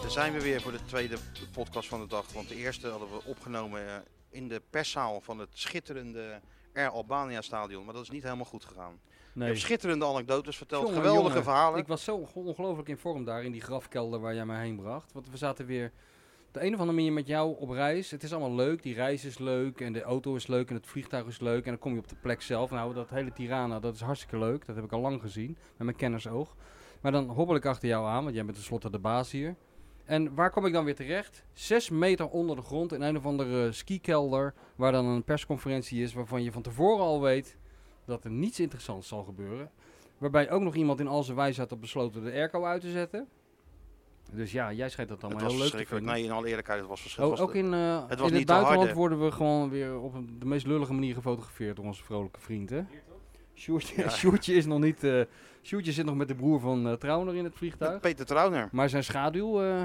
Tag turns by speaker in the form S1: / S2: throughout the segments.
S1: Daar zijn we weer voor de tweede podcast van de dag. Want de eerste hadden we opgenomen eh, in de perszaal van het schitterende Air Albania Stadion. Maar dat is niet helemaal goed gegaan. Je
S2: Nee.
S1: hebt schitterende anekdotes verteld,
S2: Jongen,
S1: geweldige
S2: jongen,
S1: verhalen.
S2: Ik was zo onge- ongelooflijk in vorm daar in die grafkelder waar jij mij heen bracht. Want we zaten weer op de een of andere manier met jou op reis. Het is allemaal leuk. Die reis is leuk. En de auto is leuk. En het vliegtuig is leuk. En dan kom je op de plek zelf. Nou, dat hele Tirana, dat is hartstikke leuk. Dat heb ik al lang gezien. Met mijn kennersoog. Maar dan hobbel ik achter jou aan. Want jij bent tenslotte de baas hier. En waar kom ik dan weer terecht? Zes meter onder de grond in een of andere skikelder. Waar dan een persconferentie is waarvan je van tevoren al weet dat er niets interessants zal gebeuren. Waarbij ook nog iemand in al zijn wijsheid had besloten de airco uit te zetten. Dus ja, jij schijnt dat allemaal
S1: het was
S2: heel leuk te
S1: verschrikkelijk.
S2: vinden.
S1: Nee, in alle eerlijkheid, het was
S2: O-
S1: verschrikkelijk.
S2: ook in, eh,
S1: het was
S2: in
S1: niet
S2: het
S1: te
S2: buitenland
S1: harde.
S2: worden we gewoon weer op een- de meest lullige manier gefotografeerd door onze vrolijke vriend. Hè? Sjoertje,
S1: Ja.
S2: Sjoertje is nog niet. eh Sjoertje zit nog met de broer van eh Trauner in het vliegtuig.
S1: Peter Trouwner.
S2: Maar zijn schaduw, eh,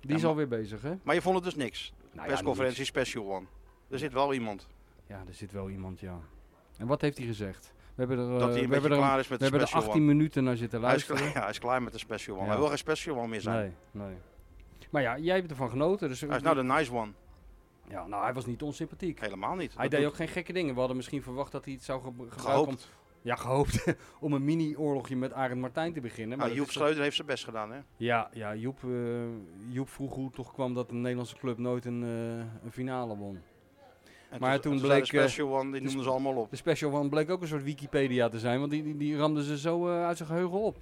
S2: die
S1: Ja,
S2: is
S1: maar-
S2: alweer bezig, hè?
S1: Maar je vond het dus niks.
S2: Nou ja, Eh,
S1: Persconferentie special one. Er zit wel iemand.
S2: niks. Ja, er zit wel iemand, ja. En wat heeft hij gezegd? We hebben er, eh,
S1: dat hij een
S2: we hebben
S1: beetje
S2: er,
S1: klaar is met
S2: we
S1: de
S2: hebben er
S1: special
S2: 18 minuten naar zitten
S1: one. Hij is,
S2: luisteren.
S1: klaar, ja, hij is klaar met de special one.
S2: Ja.
S1: Hij wil geen special one meer zijn.
S2: Nee, nee. Maar ja, jij hebt ervan genoten. Dus
S1: Hij is nou de nice one.
S2: ja, nou, hij was niet onsympathiek.
S1: Helemaal niet.
S2: Hij
S1: Dat
S2: deed
S1: doet-
S2: ook geen gekke dingen. We hadden misschien verwacht dat hij het zou gebru- gebruiken om,
S1: gehoopt.
S2: ja, gehoopt om een mini-oorlogje met Arend Martijn te beginnen. Maar
S1: Nou,
S2: dat
S1: Joep
S2: is toch-
S1: Schreuder heeft zijn best gedaan, hè?
S2: ja, ja Joep, eh, Joep vroeg hoe het toch kwam dat een Nederlandse club nooit een, eh, een finale won.
S1: En
S2: Maar toen
S1: zei de
S2: bleek, eh,
S1: special one, die
S2: dus-
S1: noemden ze allemaal op.
S2: De Special One bleek ook een soort Wikipedia te zijn, want die, die, die ramden ze zo eh, uit zijn geheugen op.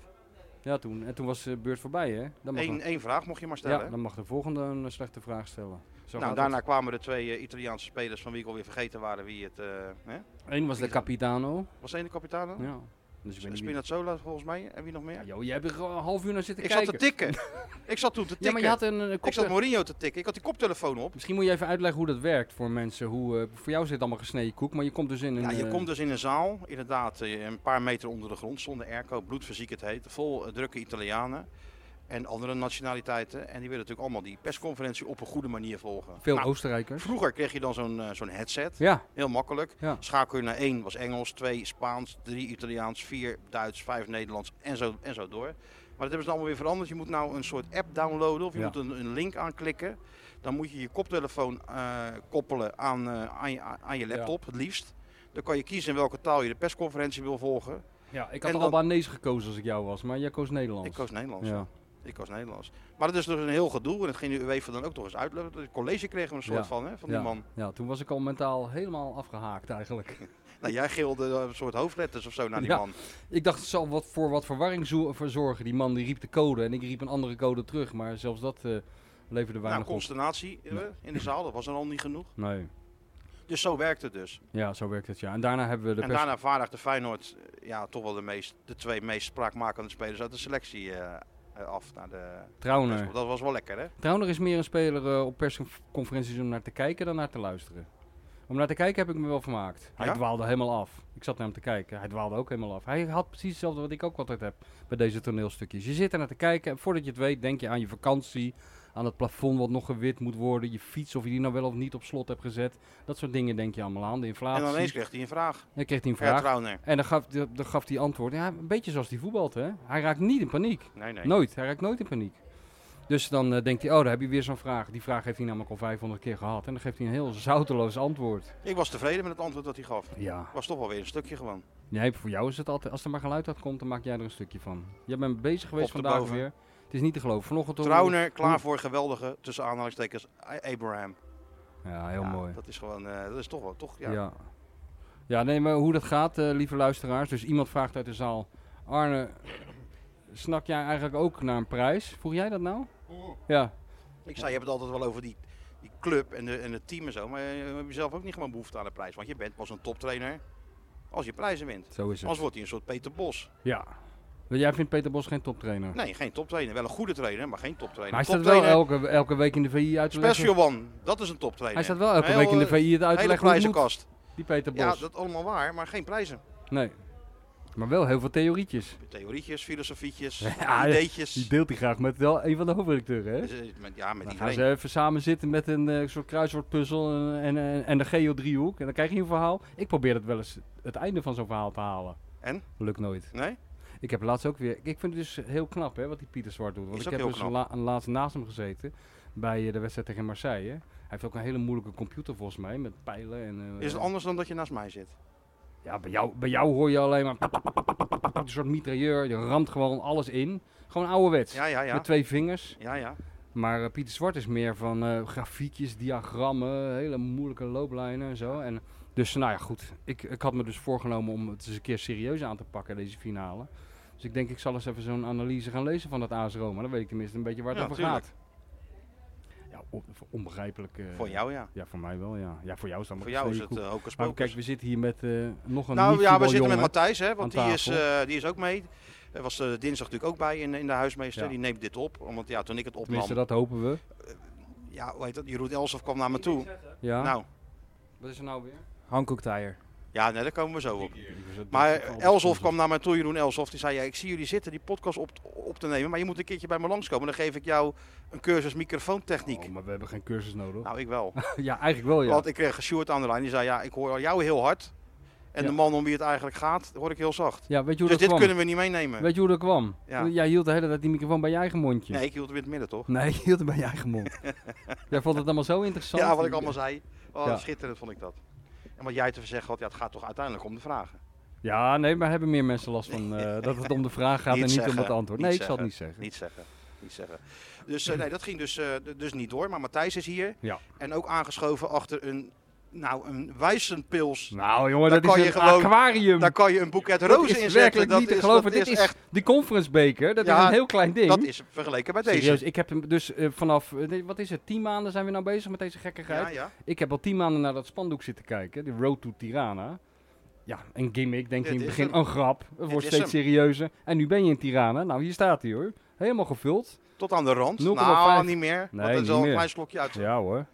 S2: Ja, toen. En toen was de beurt voorbij, hè? Dan mag,
S1: Eén,
S2: de,
S1: één vraag mocht je maar stellen.
S2: ja,
S1: hè?
S2: dan mag de volgende een eh, slechte vraag stellen. Zo
S1: nou,
S2: gaat
S1: daarna
S2: het.
S1: kwamen de twee eh, Italiaanse spelers van wie ik alweer vergeten waren wie het... eh, hè?
S2: Eén was de Capitano.
S1: Was de ene kapitein dan?
S2: Ja. Dus ik weet niet wie-
S1: Spinazzola volgens mij. En wie nog meer?
S2: Ja, joh, jij hebt er gewoon een half uur naar zitten
S1: ik zat
S2: kijken.
S1: te tikken. ik zat toen te tikken.
S2: Ja, maar je had een, eh,
S1: Ik zat
S2: koptele-
S1: Mourinho te tikken. Ik had die koptelefoon op.
S2: Misschien moet je even uitleggen hoe dat werkt voor mensen. Hoe, eh, voor jou zit allemaal gesneden koek, maar je komt dus in een...
S1: Ja, je
S2: eh,
S1: komt dus in een zaal, inderdaad, eh, een paar meter onder de grond, zonder airco, bloedfysiek het heet, vol eh, drukke Italianen en andere nationaliteiten. En die willen natuurlijk allemaal die persconferentie op een goede manier volgen.
S2: Veel
S1: Nou,
S2: Oostenrijkers.
S1: vroeger kreeg je dan zo'n eh, zo'n headset,
S2: Ja,
S1: heel makkelijk.
S2: Ja.
S1: Schakel je naar één was Engels, twee Spaans, drie Italiaans, vier Duits, vijf Nederlands en zo, en zo door. Maar dat hebben ze allemaal weer veranderd. Je moet nou een soort app downloaden of je
S2: Ja.
S1: moet een, een link aanklikken. Dan moet je je koptelefoon eh, koppelen aan, eh, aan, je, aan je laptop, het liefst. Dan kan je kiezen in welke taal je de persconferentie wil volgen.
S2: ja ik
S1: En
S2: had
S1: dan-
S2: Albanese gekozen als ik jou was, maar jij koos Nederlands.
S1: Ik koos Nederlands.
S2: Ja.
S1: Ik koos Nederlands. Maar dat is dus een heel gedoe en dat ging de UEFA dan ook nog eens uitleggen. Het college kregen we een soort
S2: Ja.
S1: van, hè, van
S2: ja.
S1: die man.
S2: Ja, toen was ik al mentaal helemaal afgehaakt eigenlijk.
S1: Nou, jij gilde eh, een soort hoofdletters of zo naar die
S2: Ja.
S1: man.
S2: ik dacht, het zal wat voor wat verwarring zo- voor zorgen. Die man die riep de code en ik riep een andere code terug, maar zelfs dat eh, leverde
S1: Nou,
S2: weinig op.
S1: consternatie eh, in de zaal, dat was er al niet genoeg.
S2: Nee.
S1: Dus zo werkt het dus.
S2: Ja, zo werkt het ja. En daarna hebben we de
S1: en
S2: pers-
S1: daarna vaardigde Feyenoord eh, ja, toch wel de, meest, de twee meest spraakmakende spelers uit de selectie eh, eh, af naar de
S2: Oh, Trauner.
S1: Dat was wel lekker, hè?
S2: Trouwner is meer een speler eh, op persconferenties om naar te kijken dan naar te luisteren. Om naar te kijken heb ik me wel vermaakt. Hij
S1: Ja?
S2: dwaalde helemaal af. Ik zat naar hem te kijken. Hij dwaalde ook helemaal af. Hij had precies hetzelfde wat ik ook altijd heb bij deze toneelstukjes. Je zit er naar te kijken en voordat je het weet denk je aan je vakantie, aan het plafond wat nog gewit moet worden, je fiets of je die nou wel of niet op slot hebt gezet. Dat soort dingen denk je allemaal aan. De
S1: En
S2: inflatie.
S1: dan ineens kreeg hij een vraag.
S2: Dan kreeg hij een
S1: Ja,
S2: vraag.
S1: Trauner.
S2: en dan gaf, dan gaf hij antwoord. Ja, een beetje zoals die voetbalt hè. Hij raakt niet in paniek.
S1: Nee, nee.
S2: Nooit, hij raakt nooit in paniek. Dus dan eh, denkt hij, oh, daar heb je weer zo'n vraag. Die vraag heeft hij namelijk al 500 keer gehad. En dan geeft hij een heel zouteloos antwoord.
S1: Ik was tevreden met het antwoord dat hij gaf.
S2: Ja.
S1: Was toch wel weer een stukje gewoon.
S2: Nee, voor jou is het altijd, als er maar geluid uit komt, dan maak jij er een stukje van. Jij bent bezig geweest
S1: Op de
S2: vandaag
S1: boven.
S2: weer. Het is niet te geloven. Vanochtend hoorde-
S1: Trauner, klaar voor geweldige, tussen aanhalingstekens, A- Abraham.
S2: Ja, heel
S1: Ja,
S2: mooi.
S1: Dat is gewoon, eh, dat is toch wel, toch? Ja.
S2: Ja. ja. nee, maar hoe dat gaat, eh, lieve luisteraars. Dus iemand vraagt uit de zaal, Arne, snak jij eigenlijk ook naar een prijs? Vroeg jij dat nou? Ja.
S1: Ik zei, je hebt het altijd wel over die, die club en, de, en het team en zo. Maar eh, heb je zelf ook niet gewoon behoefte aan de prijs? Want je bent pas een toptrainer als je prijzen wint.
S2: Zo is
S1: Anders
S2: het.
S1: wordt hij een soort Peter Bos.
S2: Ja. Maar Jij vindt Peter Bos geen toptrainer.
S1: Nee, geen toptrainer. Wel een goede trainer, maar geen toptrainer.
S2: maar hij staat wel
S1: Toptrainer,
S2: elke, elke week in de VI uit te leggen.
S1: Special One, dat is een toptrainer.
S2: Hij staat wel elke
S1: Heel,
S2: week in de
S1: eh,
S2: VI het uit te
S1: Hele
S2: leggen hoe het moet.
S1: prijzenkast.
S2: Die Peter Bos.
S1: Ja, dat allemaal waar, maar geen prijzen.
S2: Nee. Maar wel heel veel theorietjes.
S1: Theorietjes, filosofietjes,
S2: Ja,
S1: ideetjes.
S2: Die deelt hij graag met wel een van de hoofdredacteuren, hè?
S1: Dus, eh, met- ja, met
S2: Dan gaan
S1: iedereen.
S2: ze even samen zitten met een eh, soort kruiswoordpuzzel en, en, en, en de geodriehoek. En dan krijg je een verhaal. Ik probeer het wel eens het einde van zo'n verhaal te halen.
S1: En?
S2: Lukt nooit.
S1: Nee?
S2: Ik heb laatst ook weer. Ik vind het dus heel knap hè, wat die Pieter Zwart doet. Want
S1: Is
S2: ik
S1: ook
S2: heb
S1: heel
S2: dus
S1: knap.
S2: la- laatst naast hem gezeten bij eh, de wedstrijd tegen Marseille. Hij heeft ook een hele moeilijke computer volgens mij met pijlen en. eh,
S1: Is het anders dan dat je naast mij zit?
S2: Ja, bij jou, bij jou hoor je alleen maar. Een soort mitrailleur. Je ramt gewoon alles in. Gewoon ouderwets.
S1: Ja, ja, ja.
S2: Met twee vingers.
S1: Ja, ja.
S2: Maar eh, Pieter Zwart is meer van eh, grafiekjes, diagrammen, hele moeilijke looplijnen en zo. En dus nou ja, goed. Ik, ik had me dus voorgenomen om het eens een keer serieus aan te pakken, deze finale. Dus ik denk, ik zal eens even zo'n analyse gaan lezen van dat AS Roma. Dan weet ik tenminste een beetje waar het
S1: Ja,
S2: over
S1: tuurlijk.
S2: gaat. Ja, on- onbegrijpelijk. eh,
S1: Voor jou, ja.
S2: Ja, voor mij wel, ja. Ja, voor jou is dat
S1: Voor
S2: maar
S1: jou is
S2: goed.
S1: het eh hocus
S2: Maar
S1: pocus.
S2: kijk, we zitten hier met eh, nog een
S1: Nou ja, we zitten met
S2: jongen.
S1: Matthijs, hè, want
S2: aan
S1: die is,
S2: tafel.
S1: eh, die is ook mee. Hij was eh, dinsdag natuurlijk ook bij in, in de huismeester.
S2: Ja.
S1: Die neemt dit op, want ja, toen ik het opnam,
S2: Tenminste, dat hopen we.
S1: ja, hoe heet dat? Jeroen Elsof kwam naar me toe.
S2: Ja.
S1: Nou,
S2: Wat is er nou weer?
S3: Hankook Tire.
S1: ja, nee, daar komen we zo op. Maar Elsof kwam naar mij toe, Jeroen Elsof. Die zei, ja, ik zie jullie zitten die podcast op, op te nemen, maar je moet een keertje bij me langskomen. Dan geef ik jou een cursus microfoontechniek.
S2: Oh, maar we hebben geen cursus nodig.
S1: Nou, ik wel.
S2: ja, eigenlijk wel, ja.
S1: Want ik kreeg Sjoerd aan de lijn. Die zei, ja, ik hoor jou heel hard. En
S2: Ja.
S1: de man om wie het eigenlijk gaat, hoor ik heel zacht.
S2: Ja, weet je hoe
S1: Dus
S2: dat
S1: dit
S2: kwam?
S1: kunnen we niet meenemen.
S2: Weet je hoe dat kwam?
S1: Ja.
S2: Jij hield de hele tijd die microfoon bij je eigen mondje.
S1: Nee, ik hield hem in het midden, toch?
S2: Nee, je hield hem bij je eigen mond. Jij vond het allemaal zo interessant.
S1: Ja, wat ik allemaal zei. Oh,
S2: Ja.
S1: schitterend vond ik dat. En wat jij te zeggen had, ja, het gaat toch uiteindelijk om de vragen.
S2: Ja, nee, maar hebben meer mensen last van eh, dat het om de vraag gaat
S1: Niet
S2: en niet om
S1: zeggen,
S2: het antwoord.
S1: niet
S2: Nee, ik zal het niet zeggen.
S1: Niet zeggen. Niet zeggen. Dus eh, nee, dat ging dus, eh, d- dus niet door. Maar Matthijs is hier.
S2: Ja.
S1: En ook aangeschoven achter een, nou, een wijzenpils.
S2: Nou jongen,
S1: Daar
S2: dat
S1: kan
S2: is
S1: je
S2: een
S1: gewoon-
S2: aquarium.
S1: Daar kan je een boeket
S2: Dat
S1: rozen
S2: is
S1: in zetten.
S2: werkelijk
S1: Dat
S2: niet te
S1: is,
S2: geloven.
S1: dat
S2: Dit
S1: is
S2: is,
S1: echt,
S2: die conference beker, dat
S1: Ja,
S2: is een heel klein ding.
S1: dat is vergeleken bij deze.
S2: Serieus, ik heb hem dus eh, vanaf, eh, nee, wat is het, tien maanden zijn we nou bezig met deze gekkigheid.
S1: Ja, ja.
S2: Ik heb al tien maanden naar dat spandoek zitten kijken, de Road to Tirana. Ja, een gimmick, denk je
S1: Dit
S2: in het
S1: is
S2: begin,
S1: hem.
S2: een grap, het wordt
S1: is
S2: steeds
S1: hem.
S2: serieuzer. En nu ben je in Tirana, nou hier staat hij hoor, helemaal gevuld.
S1: Tot aan de rand.
S2: 0,5.
S1: Nou, niet meer.
S2: Nee,
S1: want dat
S2: niet
S1: is al een
S2: meer.
S1: klein slokje uit.
S2: Ja hoor.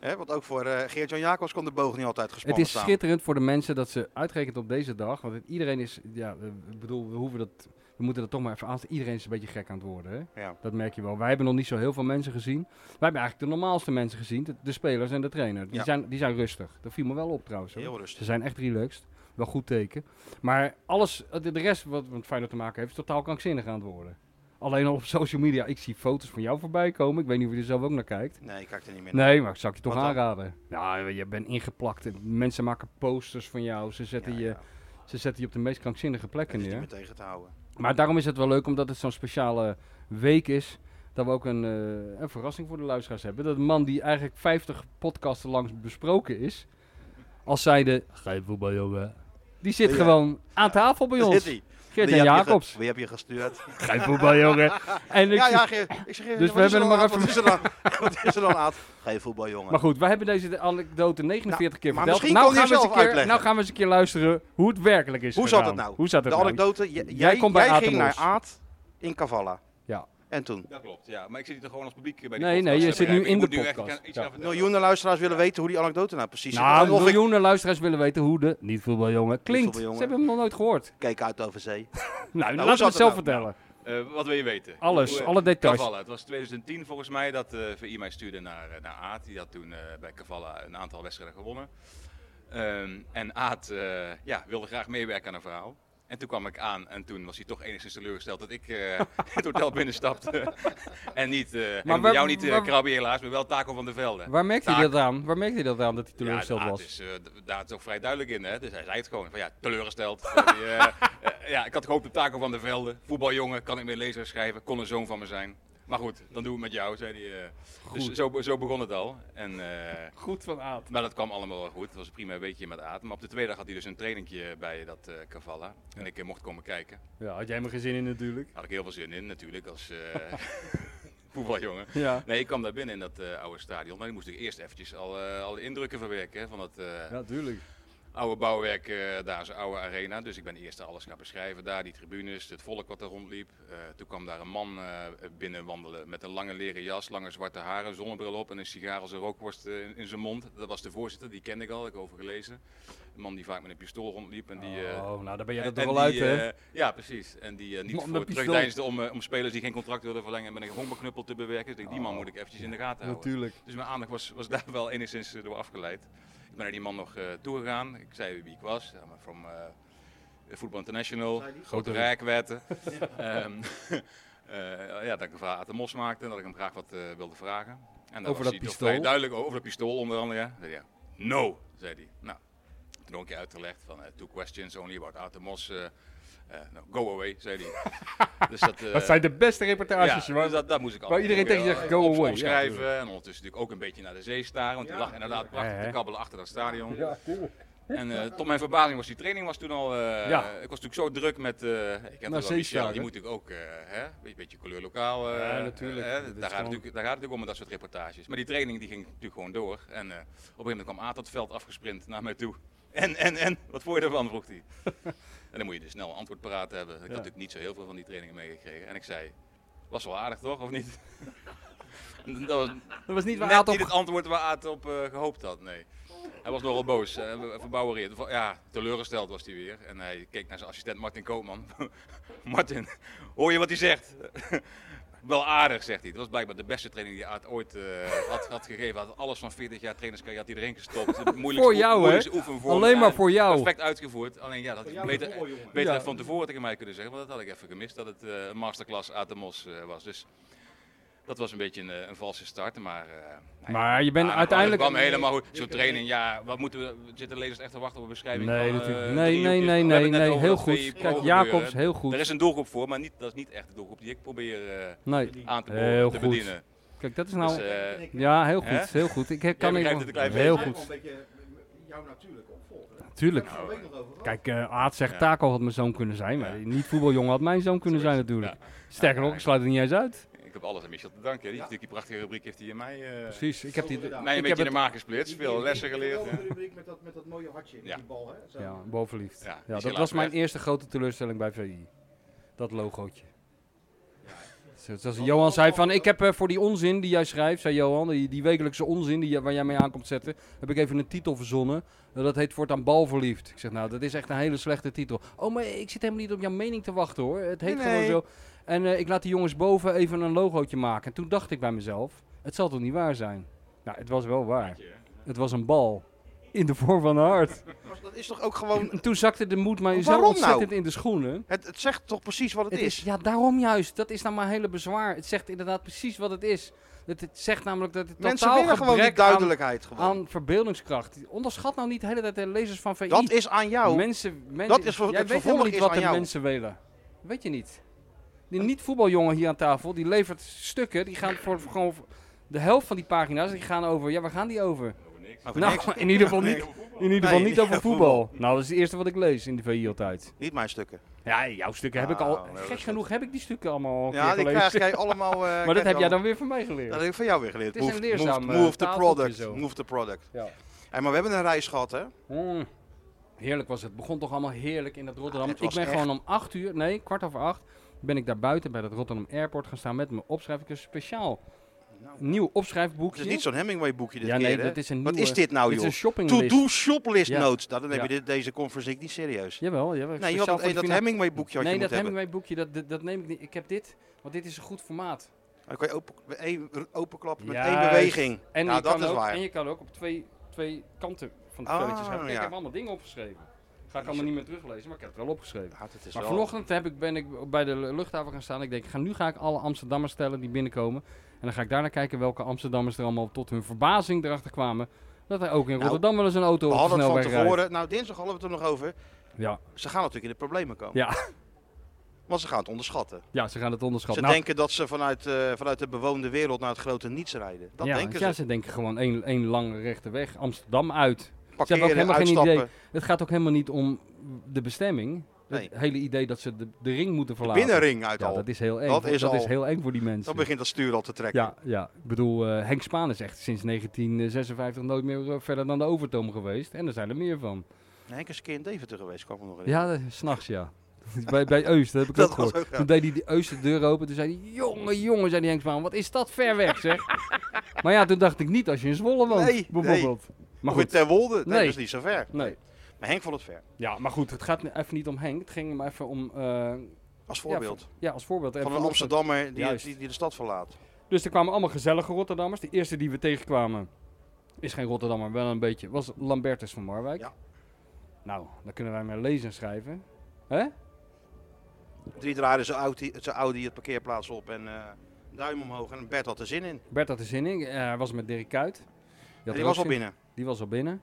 S1: Hè, want ook voor eh, Geert-Jan Jacobs kon de boog niet altijd
S2: Het
S1: gespannen
S2: is
S1: staan.
S2: schitterend voor de mensen dat ze uitgerekend op deze dag, want het- iedereen is, ja, eh, ik bedoel, we hoeven dat, we moeten dat toch maar even aan, iedereen is een beetje gek aan het worden hè.
S1: Ja.
S2: Dat merk je wel. Wij hebben nog niet zo heel veel mensen gezien. Wij hebben eigenlijk de normaalste mensen gezien, de, de spelers en de trainer. Die,
S1: Ja.
S2: zijn, die zijn rustig. Dat viel me wel op trouwens. Hoor.
S1: Heel
S2: Ze
S1: rustig.
S2: zijn echt relaxed. Wel goed teken. Maar alles, de de rest wat met Feyenoord te maken heeft, is totaal krankzinnig aan het worden. Alleen al op social media. Ik zie foto's van jou voorbij komen. Ik weet niet of je er zelf ook naar kijkt.
S1: Nee, ik kijk er niet meer naar.
S2: Nee, maar ik zou ik je toch
S1: Wat dan?
S2: aanraden. Ja, Nou, je bent ingeplakt. en Mensen maken posters van jou. Ze zetten,
S1: Ja,
S2: je,
S1: ja.
S2: Ze zetten je op de meest krankzinnige
S1: Dat
S2: plekken
S1: is niet
S2: neer.
S1: meer tegen te houden.
S2: Maar daarom is het wel leuk, omdat het zo'n speciale week is. Dat we ook een, eh, een verrassing voor de luisteraars hebben. Dat een man die eigenlijk 50 podcasten langs besproken is. Als zijde, geen voetbal jongen. Die zit
S1: Ja.
S2: gewoon aan tafel bij
S1: Daar zit
S2: ons.
S1: hij.
S2: Geert
S1: Wie
S2: en
S1: heb je ge-
S2: Jacobs.
S1: Wie heb je gestuurd?
S2: Geen voetbal jongen. En ik
S1: Ja,
S2: zie-
S1: ja, Geert. Ik zeg, Geert,
S2: Dus
S1: wat
S2: we
S1: is
S2: hebben
S1: er dan
S2: hem maar
S1: aan? Wat is er dan, wat is er dan aan? Geen voetbal, jongen.
S2: Maar goed, wij hebben deze anekdote 49 keer
S1: maar
S2: verteld.
S1: misschien kan
S2: gaan
S1: hij
S2: we eens
S1: zelf
S2: een keer,
S1: uitleggen.
S2: nou gaan we eens een keer luisteren hoe het werkelijk is
S1: Hoe zat
S2: gedaan.
S1: het nou?
S2: Hoe zat het
S1: de
S2: nou?
S1: anekdote, j- jij,
S2: komt bij
S1: jij
S2: Aad
S1: ging
S2: en
S1: naar
S2: Bos.
S1: Aad in Kavala.
S2: Ja.
S1: En toen?
S4: Dat klopt, ja. Maar ik zit hier toch gewoon als publiek eh, bij die
S2: Nee,
S4: podcast,
S2: nee, je
S4: hè,
S2: zit nu
S4: begrijp ik.
S2: in
S4: Ik
S2: de
S4: moet nu echt
S2: podcast.
S4: aan- iets aan
S2: Ja.
S4: vertellen.
S1: Miljoenen luisteraars willen weten hoe die anekdote nou precies
S2: Nou,
S1: zit. Of ik
S2: miljoenen luisteraars willen weten hoe de niet voetbaljongen klinkt.
S1: voetbaljongen.
S2: Ze hebben hem nog nooit gehoord.
S1: keek uit over zee.
S2: Nou,
S1: hoe
S2: laten we
S1: zat
S2: het
S1: het nou?
S2: zelf vertellen.
S4: Eh, wat wil je weten?
S2: Alles,
S4: Hoe, eh,
S2: alle details.
S4: Kavala. Het was 2010 volgens mij dat eh VI mij stuurde naar, eh, naar Aad. Die had toen eh, bij Kavala een aantal wedstrijden gewonnen. Ehm, en Aad eh, ja, wilde graag meewerken aan een verhaal. En toen kwam ik aan en toen was hij toch enigszins teleurgesteld dat ik eh, het hotel binnenstapte. en niet, eh, en
S2: waar-
S4: jou niet eh,
S2: waar-
S4: Krabbe helaas, maar wel Taco van der Velde.
S2: Nou, Waar merkte hij
S4: Taak.
S2: dat aan? Waar merkte hij dat aan dat hij teleurgesteld
S4: ja, Aad
S2: was?
S4: Is, eh, d- daar is ook vrij duidelijk in, hè? Dus hij zei het gewoon van ja, teleurgesteld. Eh, die, eh, eh, ja, ik had gehoopt op Taco van der Velde. Voetbaljongen, kan ik meer lezen en schrijven, kon een zoon van me zijn. Maar goed, dan doen we het met jou, zei hij. eh. Dus zo, be- zo begon het al. En, eh,
S2: Goed van Aad.
S4: maar dat kwam allemaal wel goed. Het was een prima weekje met Aad. Maar op de tweede dag had hij dus een trainingje bij dat eh Cavalla. En ik eh, mocht komen kijken.
S2: Ja, had jij mijn gezin in natuurlijk.
S4: Daar had ik heel veel zin in, natuurlijk, als eh, voetbaljongen.
S2: Ja.
S4: Nee, ik kwam daar binnen in dat eh, oude stadion. Maar die moest ik eerst eventjes al, eh, alle indrukken verwerken hè, van dat eh,
S2: Ja, tuurlijk.
S4: Oude bouwwerk, eh, daar is een oude arena. Dus ik ben eerst alles gaan beschrijven. Daar die tribunes, het volk wat er rondliep. Eh, toen kwam daar een man eh binnen wandelen met een lange leren jas, lange zwarte haren, zonnebril op en een sigaar als een rookworst eh, in, in zijn mond. Dat was de voorzitter, die kende ik al, heb ik over gelezen. Een man die vaak met een pistool rondliep en die... eh,
S2: oh, nou, daar ben jij er
S4: en-
S2: toch
S4: en
S2: wel uit,
S4: die,
S2: hè?
S4: eh, ja, precies. En die eh, niet
S2: Man met
S4: voor
S2: pistool.
S4: terugdeinsde om, eh, om spelers die geen contract wilden verlengen met een honkbalknuppel te bewerken. Dus ik denk, die man
S2: Oh.
S4: moet ik eventjes in de gaten houden.
S2: Natuurlijk.
S4: Dus mijn aandacht was, was daar wel enigszins eh, door afgeleid. Ik ben naar die man nog toe toegegaan. Ik zei wie ik was. Ja, maar from eh Football International.
S1: Zei die?
S4: Grote rijkwetten. Ehm eh, ja, dat ik een vraag aan de mos maakte en dat ik hem graag wat eh, wilde vragen. En
S2: Over
S4: was hij
S2: dat
S4: toch
S2: pistool?
S4: vrij duidelijk over dat pistool onder andere. ja. Zei hij, ja, no, zei hij. Nou, toen nog een keer uitgelegd van eh, two questions only about Atemos. eh eh, no, go away, zei hij. dus dat, eh,
S2: Dat zijn de beste reportages,
S4: ja,
S2: waar-
S4: dus dat, dat moest ik
S2: waar iedereen tegen je
S4: je
S2: zegt, go away. Ja,
S4: Schrijven en ondertussen natuurlijk ook een beetje naar de zee staren. Want die lag inderdaad prachtig
S2: Ja, hè?
S4: te kabbelen achter dat stadion. En eh, tot mijn verbazing was die training was toen al... eh,
S2: Ja.
S4: Ik was natuurlijk zo druk met... eh ik heb wel Michel,
S2: zeestaren.
S4: die moet natuurlijk ook... eh hè, een beetje kleurlokaal. eh,
S2: Ja, natuurlijk.
S4: eh, daar,
S2: Dat is
S4: gaat het
S2: gewoon-
S4: natuurlijk, daar gaat het natuurlijk om met dat soort reportages. Maar die training die ging natuurlijk gewoon door. En eh, op een gegeven moment kwam Aad dat veld afgesprint naar mij toe. En, en, en, wat vond je ervan, vroeg hij. en dan moet je dus snel een antwoord paraat hebben. Ik had natuurlijk niet zo heel veel van die trainingen meegekregen. En ik zei, was wel aardig toch, of niet? En dat was
S2: Dat was niet waar
S4: net
S2: Aad op-
S4: niet het antwoord waar Aad op eh, gehoopt had, nee. Hij was nogal boos, eh, verbouwereerd. Of, Ja, teleurgesteld was hij weer. En hij keek naar zijn assistent Martin Koopman. Martin, hoor je wat hij zegt? Wel aardig, zegt hij. Dat was blijkbaar de beste training die Aad ooit eh, had, had gegeven. Hij had alles van 40 jaar trainerscarrière had hij erin gestopt. De moeilijkste
S2: Voor
S4: oe-
S2: jou, hè?
S4: moeilijkste oefenvorm.
S2: Alleen maar
S4: Ja,
S2: voor jou.
S4: Perfect uitgevoerd. Alleen ja, dat had ik beter, beter
S2: Ja.
S4: van tevoren tegen mij kunnen zeggen. Want dat had ik even gemist, dat het eh, een masterclass Aad de Mos eh, was. Dus dat was een beetje een, eh, een valse start, maar... eh, nou ja.
S2: Maar je bent
S4: Ah,
S2: uiteindelijk...
S4: dat kwam helemaal goed. Zo'n training, ja, wat moeten we... Zitten lezers echt te wachten op een beschrijving?
S2: Nee,
S4: van, eh,
S2: natuurlijk.
S4: drie
S2: nee, nee,
S4: hoekjes?
S2: nee,
S4: We hebben
S2: nee,
S4: het net
S2: nee.
S4: over
S2: Heel
S4: dat
S2: goed.
S4: VI
S2: Kijk,
S4: gebeuren, hè.
S2: Jacobs, heel
S4: Er
S2: goed.
S4: is een doelgroep voor, maar niet, dat is niet echt de doelgroep die ik probeer eh,
S2: Nee,
S4: aan te, bo-
S2: heel
S4: te
S2: goed.
S4: bedienen.
S2: Kijk, dat is
S4: Dus,
S2: nou...
S4: eh,
S2: Ja, heel
S4: Hè?
S2: goed, heel goed. Ik he- kan
S4: begrijpt
S2: even-
S4: het een klein
S2: Heel
S4: beetje.
S2: goed,
S1: een beetje jou natuurlijk opvolgen. hè?
S2: tuurlijk.
S1: Daar hebben we het nog over gehad.
S2: Kijk, eh Aad zegt
S4: Ja.
S2: Taco had mijn zoon kunnen zijn, maar
S4: Ja.
S2: niet voetbaljongen had mijn zoon kunnen
S4: Zo is
S2: zijn
S4: het,
S2: natuurlijk. Sterker nog, ik sluit het niet eens uit.
S4: ik heb alles aan Michel te danken. hè. Die, die, die prachtige rubriek heeft hij in mij... eh,
S2: Precies, ik heb die...
S1: gedaan.
S4: mij een
S2: Ik heb
S4: beetje in de
S2: het-
S4: maag gesplitst, veel lessen geleerd.
S1: Ik
S4: hè.
S1: heb wel een rubriek met dat, met dat mooie hartje in
S4: Ja.
S1: die bal. Hè? Zo.
S2: Ja, bovenliefd.
S4: Ja, die
S2: Ja,
S4: is
S2: dat
S4: helaas
S2: was mijn
S4: weg.
S2: eerste grote teleurstelling bij VI. Dat logootje. Zo- Zoals Johan zei van, ik heb eh, voor die onzin die jij schrijft, zei Johan, die, die wekelijkse onzin die, jij- waar jij mee aankomt zetten, heb ik even een titel verzonnen. Eh, dat heet voortaan Balverliefd. Ik zeg, nou, dat is echt een hele slechte titel. Oh, maar ik zit helemaal niet op jouw mening te wachten hoor. Het heet
S1: Nee,
S2: gewoon
S1: nee.
S2: zo. En eh, ik laat die jongens boven even een logootje maken. En toen dacht ik bij mezelf, het zal toch niet waar zijn? Nou, het was wel waar. Het was een bal. In de vorm van een hart.
S1: Maar Dat is toch ook gewoon...
S2: En toen zakte de moed mij
S1: Maar
S2: zo
S1: waarom
S2: ontzettend
S1: nou?
S2: in de schoenen.
S1: Het, het zegt toch precies wat het, is?
S2: ja, daarom juist. Dat is nou mijn hele bezwaar. Het zegt inderdaad precies wat het is. Het, het zegt namelijk dat het
S1: Mensen
S2: totaal
S1: willen gewoon die
S2: gebrek aan-
S1: duidelijkheid. gewoon.
S2: Aan, verbeeldingskracht. Onderschat nou niet de hele tijd de lezers van VI.
S1: dat is aan jou.
S2: mensen, mensen,
S1: dat is voor-
S2: jij
S1: het
S2: weet
S1: vervolg
S2: helemaal niet
S1: is
S2: wat
S1: aan
S2: de
S1: jou.
S2: mensen willen. Weet je niet. Die niet-voetbaljongen hier aan tafel, die levert stukken. Die gaan voor, voor gewoon voor- de helft van die pagina's, die gaan over, ja waar gaan die over?
S1: Maar voor
S2: Nou,
S1: niks.
S2: in ieder geval niet, in ieder geval
S1: Nee,
S2: niet over voetbal. Nou, dat is het eerste wat ik lees in de VI altijd.
S1: Niet mijn stukken.
S2: Ja, jouw stukken heb ik al.
S1: Ah, nee, dat
S2: gek
S1: is
S2: genoeg heb ik die stukken allemaal al een
S1: Ja,
S2: keer
S1: die
S2: gelezen.
S1: krijg jij allemaal... eh,
S2: maar
S1: krijg
S2: dat
S1: je
S2: heb jij
S1: allemaal.
S2: dan weer van mij geleerd.
S1: Dat heb ik van jou weer geleerd.
S2: Het is een
S1: Move-
S2: leerzaam,
S1: move-
S2: eh,
S1: Move the
S2: tafeltje
S1: product.
S2: zo.
S1: Move the product.
S2: Ja.
S1: Hey, maar we hebben een reis gehad, hè?
S2: Mm. Heerlijk was het. Het begon toch allemaal heerlijk in dat Rotterdam.
S1: het
S2: ik
S1: was
S2: ben
S1: echt-
S2: gewoon om acht uur, nee, kwart over acht, ben ik daar buiten bij dat Rotterdam Airport gaan staan met mijn opschrijf. Ik heb een speciaal nieuw
S1: Nou. Het
S2: opschrijfboekje.
S1: is niet zo'n Hemingway-boekje dit
S2: Ja,
S1: keer,
S2: nee,
S1: hè?
S2: dat is een
S1: Wat
S2: nieuwe-
S1: is dit nou,
S2: Dit is een
S1: joh?
S2: shoppinglist.
S1: To-do shoplist
S2: Ja.
S1: notes. Nou, dan heb
S2: Ja.
S1: je dit, deze conferentie niet serieus.
S2: Jawel, jawel.
S1: nee, je
S2: speciaal
S1: had dat,
S2: voor de
S1: dat
S2: finale.
S1: Hemingway-boekje had
S2: Nee,
S1: je
S2: dat
S1: moeten hebben.
S2: Hemingway boekje, dat, dat, dat neem ik niet. Ik heb dit, want dit is een goed formaat.
S1: Dan kan je open, één- openklappen met één
S2: Juist.
S1: beweging.
S2: En,
S1: nou,
S2: je
S1: dat
S2: kan
S1: is
S2: ook,
S1: waar.
S2: en je kan ook op twee, twee kanten van de
S1: Ah,
S2: velletjes hebben. Kijk,
S1: ja. dus
S2: Ik heb allemaal dingen opgeschreven. Ga ik allemaal niet meer teruglezen, maar ik heb het wel opgeschreven.
S1: Ja, dat is
S2: Maar
S1: wel-
S2: vanochtend heb ik, ben ik bij de luchthaven gaan staan. Ik denk, ik ga, nu ga ik alle Amsterdammers stellen die binnenkomen. En dan ga ik daarna kijken welke Amsterdammers er allemaal tot hun verbazing erachter kwamen. Dat er ook in Rotterdam wel eens een auto
S1: Nou, We
S2: op de
S1: hadden het van
S2: snelweg rijdt.
S1: tevoren. Nou, dinsdag hadden we het er nog over.
S2: Ja,
S1: Ze gaan natuurlijk in de problemen komen.
S2: Ja.
S1: Want ze gaan het onderschatten.
S2: ja, ze gaan het
S1: Ze
S2: onderschatten. Nou,
S1: denken dat ze vanuit, eh, vanuit de bewoonde wereld naar het grote niets rijden. Dat
S2: ja,
S1: denken
S2: want ja,
S1: ze.
S2: ze denken gewoon één, één lange rechte weg. Amsterdam uit.
S1: Parkeren,
S2: helemaal geen
S1: uitstappen.
S2: idee Het gaat ook helemaal niet om de bestemming. Het
S1: Nee.
S2: hele idee dat ze de, de ring moeten
S1: De
S2: verlaten.
S1: binnenring uit
S2: Ja,
S1: al.
S2: dat is heel eng.
S1: Dat
S2: Dat,
S1: is
S2: is,
S1: al-
S2: heel eng voor die mensen.
S1: Dan begint dat stuur al te trekken.
S2: ja, ja, ik bedoel, eh, Henk Spaan is echt sinds 1956 nooit meer eh, verder dan de Overtoom geweest. En er zijn er meer van.
S1: een Henkerske in Deventer geweest, kwam ik me nog herinneren.
S2: Ja, s'nachts ja. bij, bij Eus, dat heb ik
S1: Dat
S2: ook
S1: was
S2: gehoord.
S1: ook raar.
S2: Toen deed hij die Eus de deur open. Toen zei hij, jongen, jongen, zei die Henksmaan, wat is dat ver weg zeg. maar ja, toen dacht ik niet als je in Zwolle woont,
S1: Nee, nee.
S2: bijvoorbeeld. Maar
S1: Maar goed,
S2: goed,
S1: Ter Wolde, nee,
S2: Nee.
S1: dat is niet zo ver.
S2: nee.
S1: Maar Henk vond het ver,
S2: Ja, maar goed, het gaat nu even niet om Henk. Het ging maar even om, eh,
S1: als voorbeeld.
S2: Ja, ja, als voorbeeld. En
S1: van een Amsterdammer die,
S2: Juist.
S1: die, die de stad verlaat.
S2: Dus er kwamen allemaal gezellige Rotterdammers. De eerste die we tegenkwamen, is geen Rotterdammer, wel een beetje, was Lambertus van Marwijk.
S1: Ja.
S2: Nou, dan kunnen wij maar lezen en schrijven. Hè?
S1: Drie draaiden zijn Audi, zijn Audi het parkeerplaats op en eh, duim omhoog. En Bert had er zin in.
S2: Bert had er zin in. Eh, Hij was met Dirk Kuyt. Die, had
S1: En
S2: er
S1: die
S2: ook
S1: was al
S2: zin-
S1: binnen.
S2: Die was al binnen.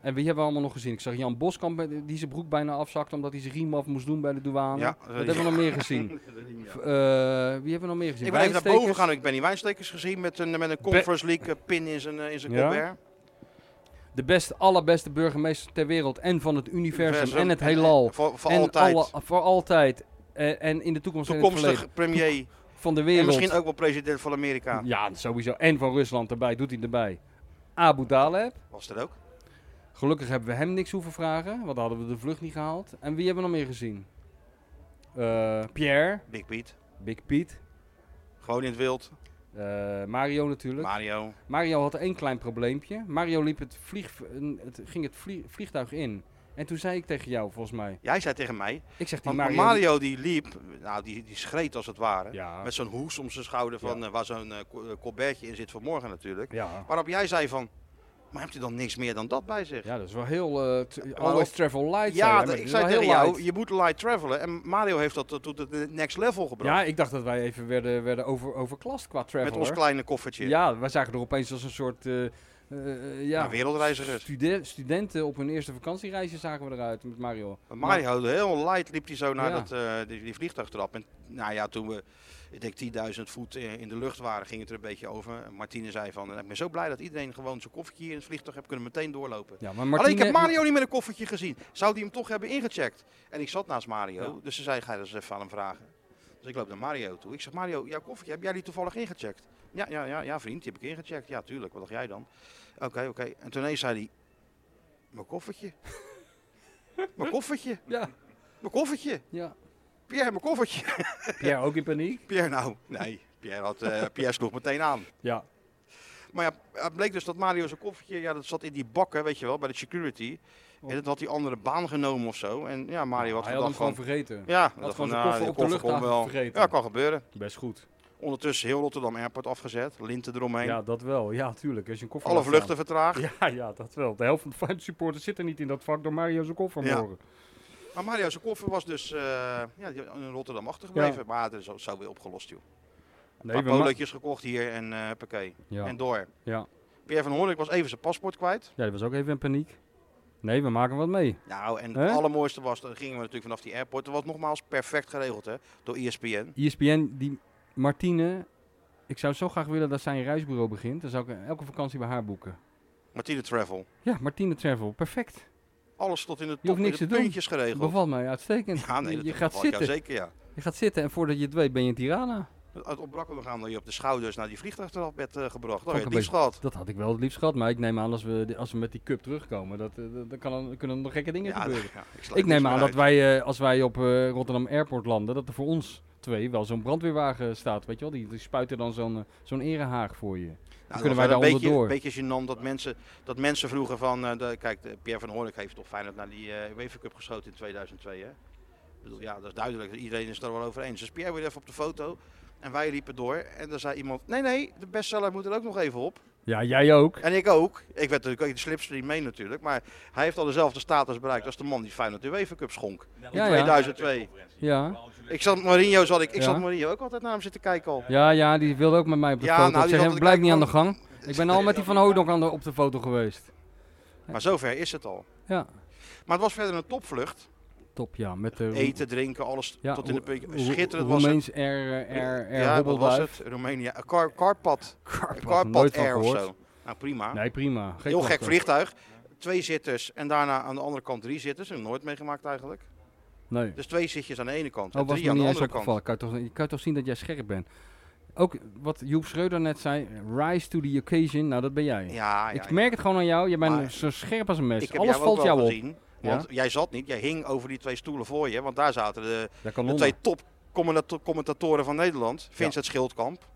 S2: En wie hebben we allemaal nog gezien? Ik zag Jan Boskamp met- die zijn broek bijna afzakte omdat hij zijn riem af moest doen bij de douane.
S1: Ja,
S2: dat hebben we nog meer gezien. V- eh, wie hebben we nog meer gezien?
S1: Ik ben even naar boven
S2: Wijnstekers.
S1: gegaan. Ik ben die wijnstekers gezien met een, met een Conference League eh, pin in zijn, eh, in zijn
S2: Ja.
S1: colbert.
S2: De beste, allerbeste burgemeester ter wereld en van het universum
S1: Universum
S2: en het heelal.
S1: Voor, voor
S2: en
S1: altijd.
S2: alle- voor altijd. Eh, en in de toekomst en in het verleden.
S1: toekomstig premier.
S2: van de
S1: En
S2: wereld.
S1: misschien ook wel president van Amerika.
S2: Ja, sowieso. En van Rusland erbij, doet hij erbij. Abu Daleb.
S1: Was dat ook?
S2: Gelukkig hebben we hem niks hoeven vragen, want dan hadden we de vlucht niet gehaald. En wie hebben we nog meer gezien? Eh, Pierre,
S1: Big Piet.
S2: Big Piet,
S1: Gewoon in het wild.
S2: eh, Mario natuurlijk.
S1: Mario.
S2: Mario had één klein probleempje. Mario liep het vlieg, een- het, ging het vlie- vliegtuig in. En toen zei ik tegen jou, volgens mij.
S1: Jij zei tegen mij.
S2: Ik zeg die
S1: Want Mario,
S2: Mario.
S1: die liep, nou die, die schreed als het ware.
S2: Ja,
S1: Met zo'n hoes om zijn schouder van eh, waar zo'n eh, co- eh, colbertje in zit vanmorgen natuurlijk.
S2: ja.
S1: Waarop jij zei van, maar hebt u dan niks meer dan dat bij zich?
S2: ja, dat is wel heel. eh, t-
S1: Waarop-
S2: always travel light.
S1: Ja,
S2: hij,
S1: d-
S2: maar
S1: ik
S2: dit is
S1: zei
S2: wel
S1: tegen
S2: heel
S1: jou,
S2: light.
S1: je moet light travelen. En Mario heeft dat eh, tot het next level gebracht.
S2: Ja, ik dacht dat wij even werden, werden over, overklast qua travel.
S1: met ons kleine koffertje.
S2: Ja, wij zagen er opeens als een soort. eh, eh, ja,
S1: Ja, wereldreizigers.
S2: stude- studenten op hun eerste vakantiereisje zagen we eruit met Mario.
S1: Maar Mario, heel light liep hij zo naar
S2: Ja.
S1: dat, eh, die, die vliegtuigtrap. En nou ja, toen we, ik denk 10.000 voet eh, in de lucht waren, ging het er een beetje over. En Martine zei van, "Nou, ik ben zo blij dat iedereen gewoon zijn koffertje hier in het vliegtuig heeft kunnen meteen doorlopen.
S2: Ja, maar Martine,
S1: Alleen ik heb Mario niet met een koffertje gezien. Zou die hem toch hebben ingecheckt? En ik zat naast Mario,
S2: Ja.
S1: dus ze zei, ga je dat eens even aan hem vragen. Dus ik loop naar Mario toe. Ik zeg, Mario, jouw koffertje, heb jij die toevallig ingecheckt? Ja, ja, ja, ja vriend, die heb ik ingecheckt. Ja, tuurlijk, wat dacht jij dan? Oké, oké. En toen ineens zei hij, mijn koffertje. mijn koffertje,
S2: Ja,
S1: mijn koffertje.
S2: ja.
S1: Pierre, mijn koffertje.
S2: Pierre ook in paniek.
S1: Pierre nou, nee, Pierre, had, eh, Pierre sloeg meteen aan.
S2: Ja,
S1: Maar ja, het bleek dus dat Mario zijn koffertje, ja, dat zat in die bakken, weet je wel, bij de security. En dat had die andere baan genomen of zo. En ja, Mario had
S2: hij had hem
S1: gedacht
S2: gewoon
S1: van...
S2: vergeten.
S1: Ja, dat
S2: gewoon zijn
S1: nou,
S2: koffer
S1: die
S2: op de
S1: kon
S2: luchthaven
S1: wel.
S2: vergeten.
S1: Ja, kan gebeuren.
S2: Best goed.
S1: Ondertussen heel Rotterdam Airport afgezet, linten eromheen.
S2: Ja, dat wel. Ja, tuurlijk. Als je een koffer
S1: Alle
S2: laat staan.
S1: vluchten vertraagd.
S2: Ja, ja, dat wel. De helft van de Feyenoord supporters zit er niet in dat vak door Mario zijn koffer
S1: Ja.
S2: morgen.
S1: Maar Mario zijn koffer was dus eh, ja, die- in Rotterdam achtergebleven.
S2: Ja.
S1: Maar dat is ook zo weer opgelost, joh.
S2: Nee,
S1: Een
S2: we
S1: paar
S2: ma-
S1: polootjes gekocht hier en eh pakket.
S2: ja.
S1: En door.
S2: Ja.
S1: Pierre van Hoornik was even zijn paspoort kwijt.
S2: ja, die was ook even in paniek. Nee, we maken wat mee.
S1: Nou, en het
S2: Hè?
S1: allermooiste was, dan gingen we natuurlijk vanaf die airport. Dat was nogmaals perfect geregeld, hè, door E ESPN.
S2: ESPN, die Martine, ik zou zo graag willen dat zij een reisbureau begint. Dan zou ik elke vakantie bij haar boeken.
S1: Martine Travel.
S2: Ja, Martine Travel, perfect.
S1: Alles tot in de
S2: hoeft
S1: top, in
S2: niks
S1: de
S2: te doen.
S1: puntjes geregeld.
S2: Bevalt mij uitstekend.
S1: Ja, nee,
S2: je
S1: dat
S2: je gaat
S1: bevalt jou
S2: zitten.
S1: zeker, ja.
S2: Je gaat zitten en voordat je het weet ben je in Tirana.
S1: Het ontbrak er nog aan dat je op de schouders naar die vliegtuigtrap werd eh, gebracht. Dat had
S2: Vond ik
S1: je
S2: een
S1: het liefst gehad.
S2: Dat had ik wel het liefst gehad, maar ik neem aan als we, de- als we met die cup terugkomen, dat, eh, dat, dan kan, er- kunnen er nog gekke dingen
S1: Ja,
S2: gebeuren.
S1: ja, sluit
S2: Ik
S1: niks
S2: neem
S1: meer
S2: aan dat
S1: uit.
S2: wij, eh, als wij op eh, Rotterdam Airport landen, dat er voor ons twee wel zo'n brandweerwagen staat. Weet je wel, die, die spuiten dan zo'n eh, zo'n erehaag voor je.
S1: Nou,
S2: kunnen
S1: dat
S2: wij
S1: was
S2: daar
S1: wel een
S2: onderdoor.
S1: beetje, een beetje gênant dat mensen, dat mensen vroegen van... eh, de, kijk, de Pierre van Hoornik heeft toch Feyenoord naar die eh UEFA Cup geschoten in 2002, hè? Ik bedoel, ja, dat is duidelijk. Iedereen is daar wel over eens. Dus Pierre weer even op de foto. En wij riepen door. En dan zei iemand, nee, nee, de bestseller moet er ook nog even op.
S2: Ja, jij ook.
S1: En ik ook. Ik werd natuurlijk ook in de slipstream mee natuurlijk. Maar hij heeft al dezelfde status bereikt als de man die Feyenoord de UEFA Cup schonk.
S2: Ja, ja.
S1: 2002.
S2: Ja.
S1: Ik zat Mourinho, zat ik, ik
S2: Ja.
S1: zat Mourinho ook altijd naar hem zitten kijken al.
S2: Ja, ja, die wilde ook met mij op de
S1: Ja,
S2: foto.
S1: nou,
S2: ik
S1: die
S2: zeg,
S1: zat te
S2: blijkt niet aan
S1: kijken
S2: de gang. Ik ben al met die Van Houdonk aan de, op de foto geweest.
S1: Maar zover is het al.
S2: Ja,
S1: Maar het was verder een topvlucht.
S2: top ja. Met eh, de
S1: Eten, drinken, alles
S2: Ehm, ja,
S1: tot in de
S2: Ro-
S1: puntje.
S2: Ro-
S1: Schitterend was het.
S2: Roemeens air, eh, air, air
S1: ja, wat was
S2: hobbelduif.
S1: het? Roemenië. eh, Een car, carpad. Een
S2: Karpman, nooit
S1: carpad
S2: van
S1: air of
S2: gehoord.
S1: zo. Nou, prima.
S2: Nee, prima. Geen
S1: Heel gek
S2: klachten.
S1: vliegtuig. Twee zitters en daarna aan de andere kant drie zitters. Heb ik nooit meegemaakt eigenlijk.
S2: Nee.
S1: Dus twee zitjes aan de ene kant en
S2: Oh, was
S1: drie
S2: me
S1: aan
S2: niet
S1: de
S2: eens
S1: andere kant.
S2: opgevallen. Kan je, toch, je kan toch zien dat jij scherp bent. Ook wat Joep Schreuder net zei, rise to the occasion, nou dat ben jij.
S1: Ja, ja.
S2: ik merk het gewoon aan jou, je bent
S1: Maar-
S2: zo scherp als een mes.
S1: Ik heb
S2: Alles
S1: jou
S2: valt
S1: ook
S2: jou
S1: wel
S2: op.
S1: gezien. Want
S2: Ja?
S1: jij zat niet, jij hing over die twee stoelen voor je. Want daar zaten de,
S2: Daar
S1: de
S2: kan
S1: twee top commentato- commentatoren van Nederland. Vincent Schildkamp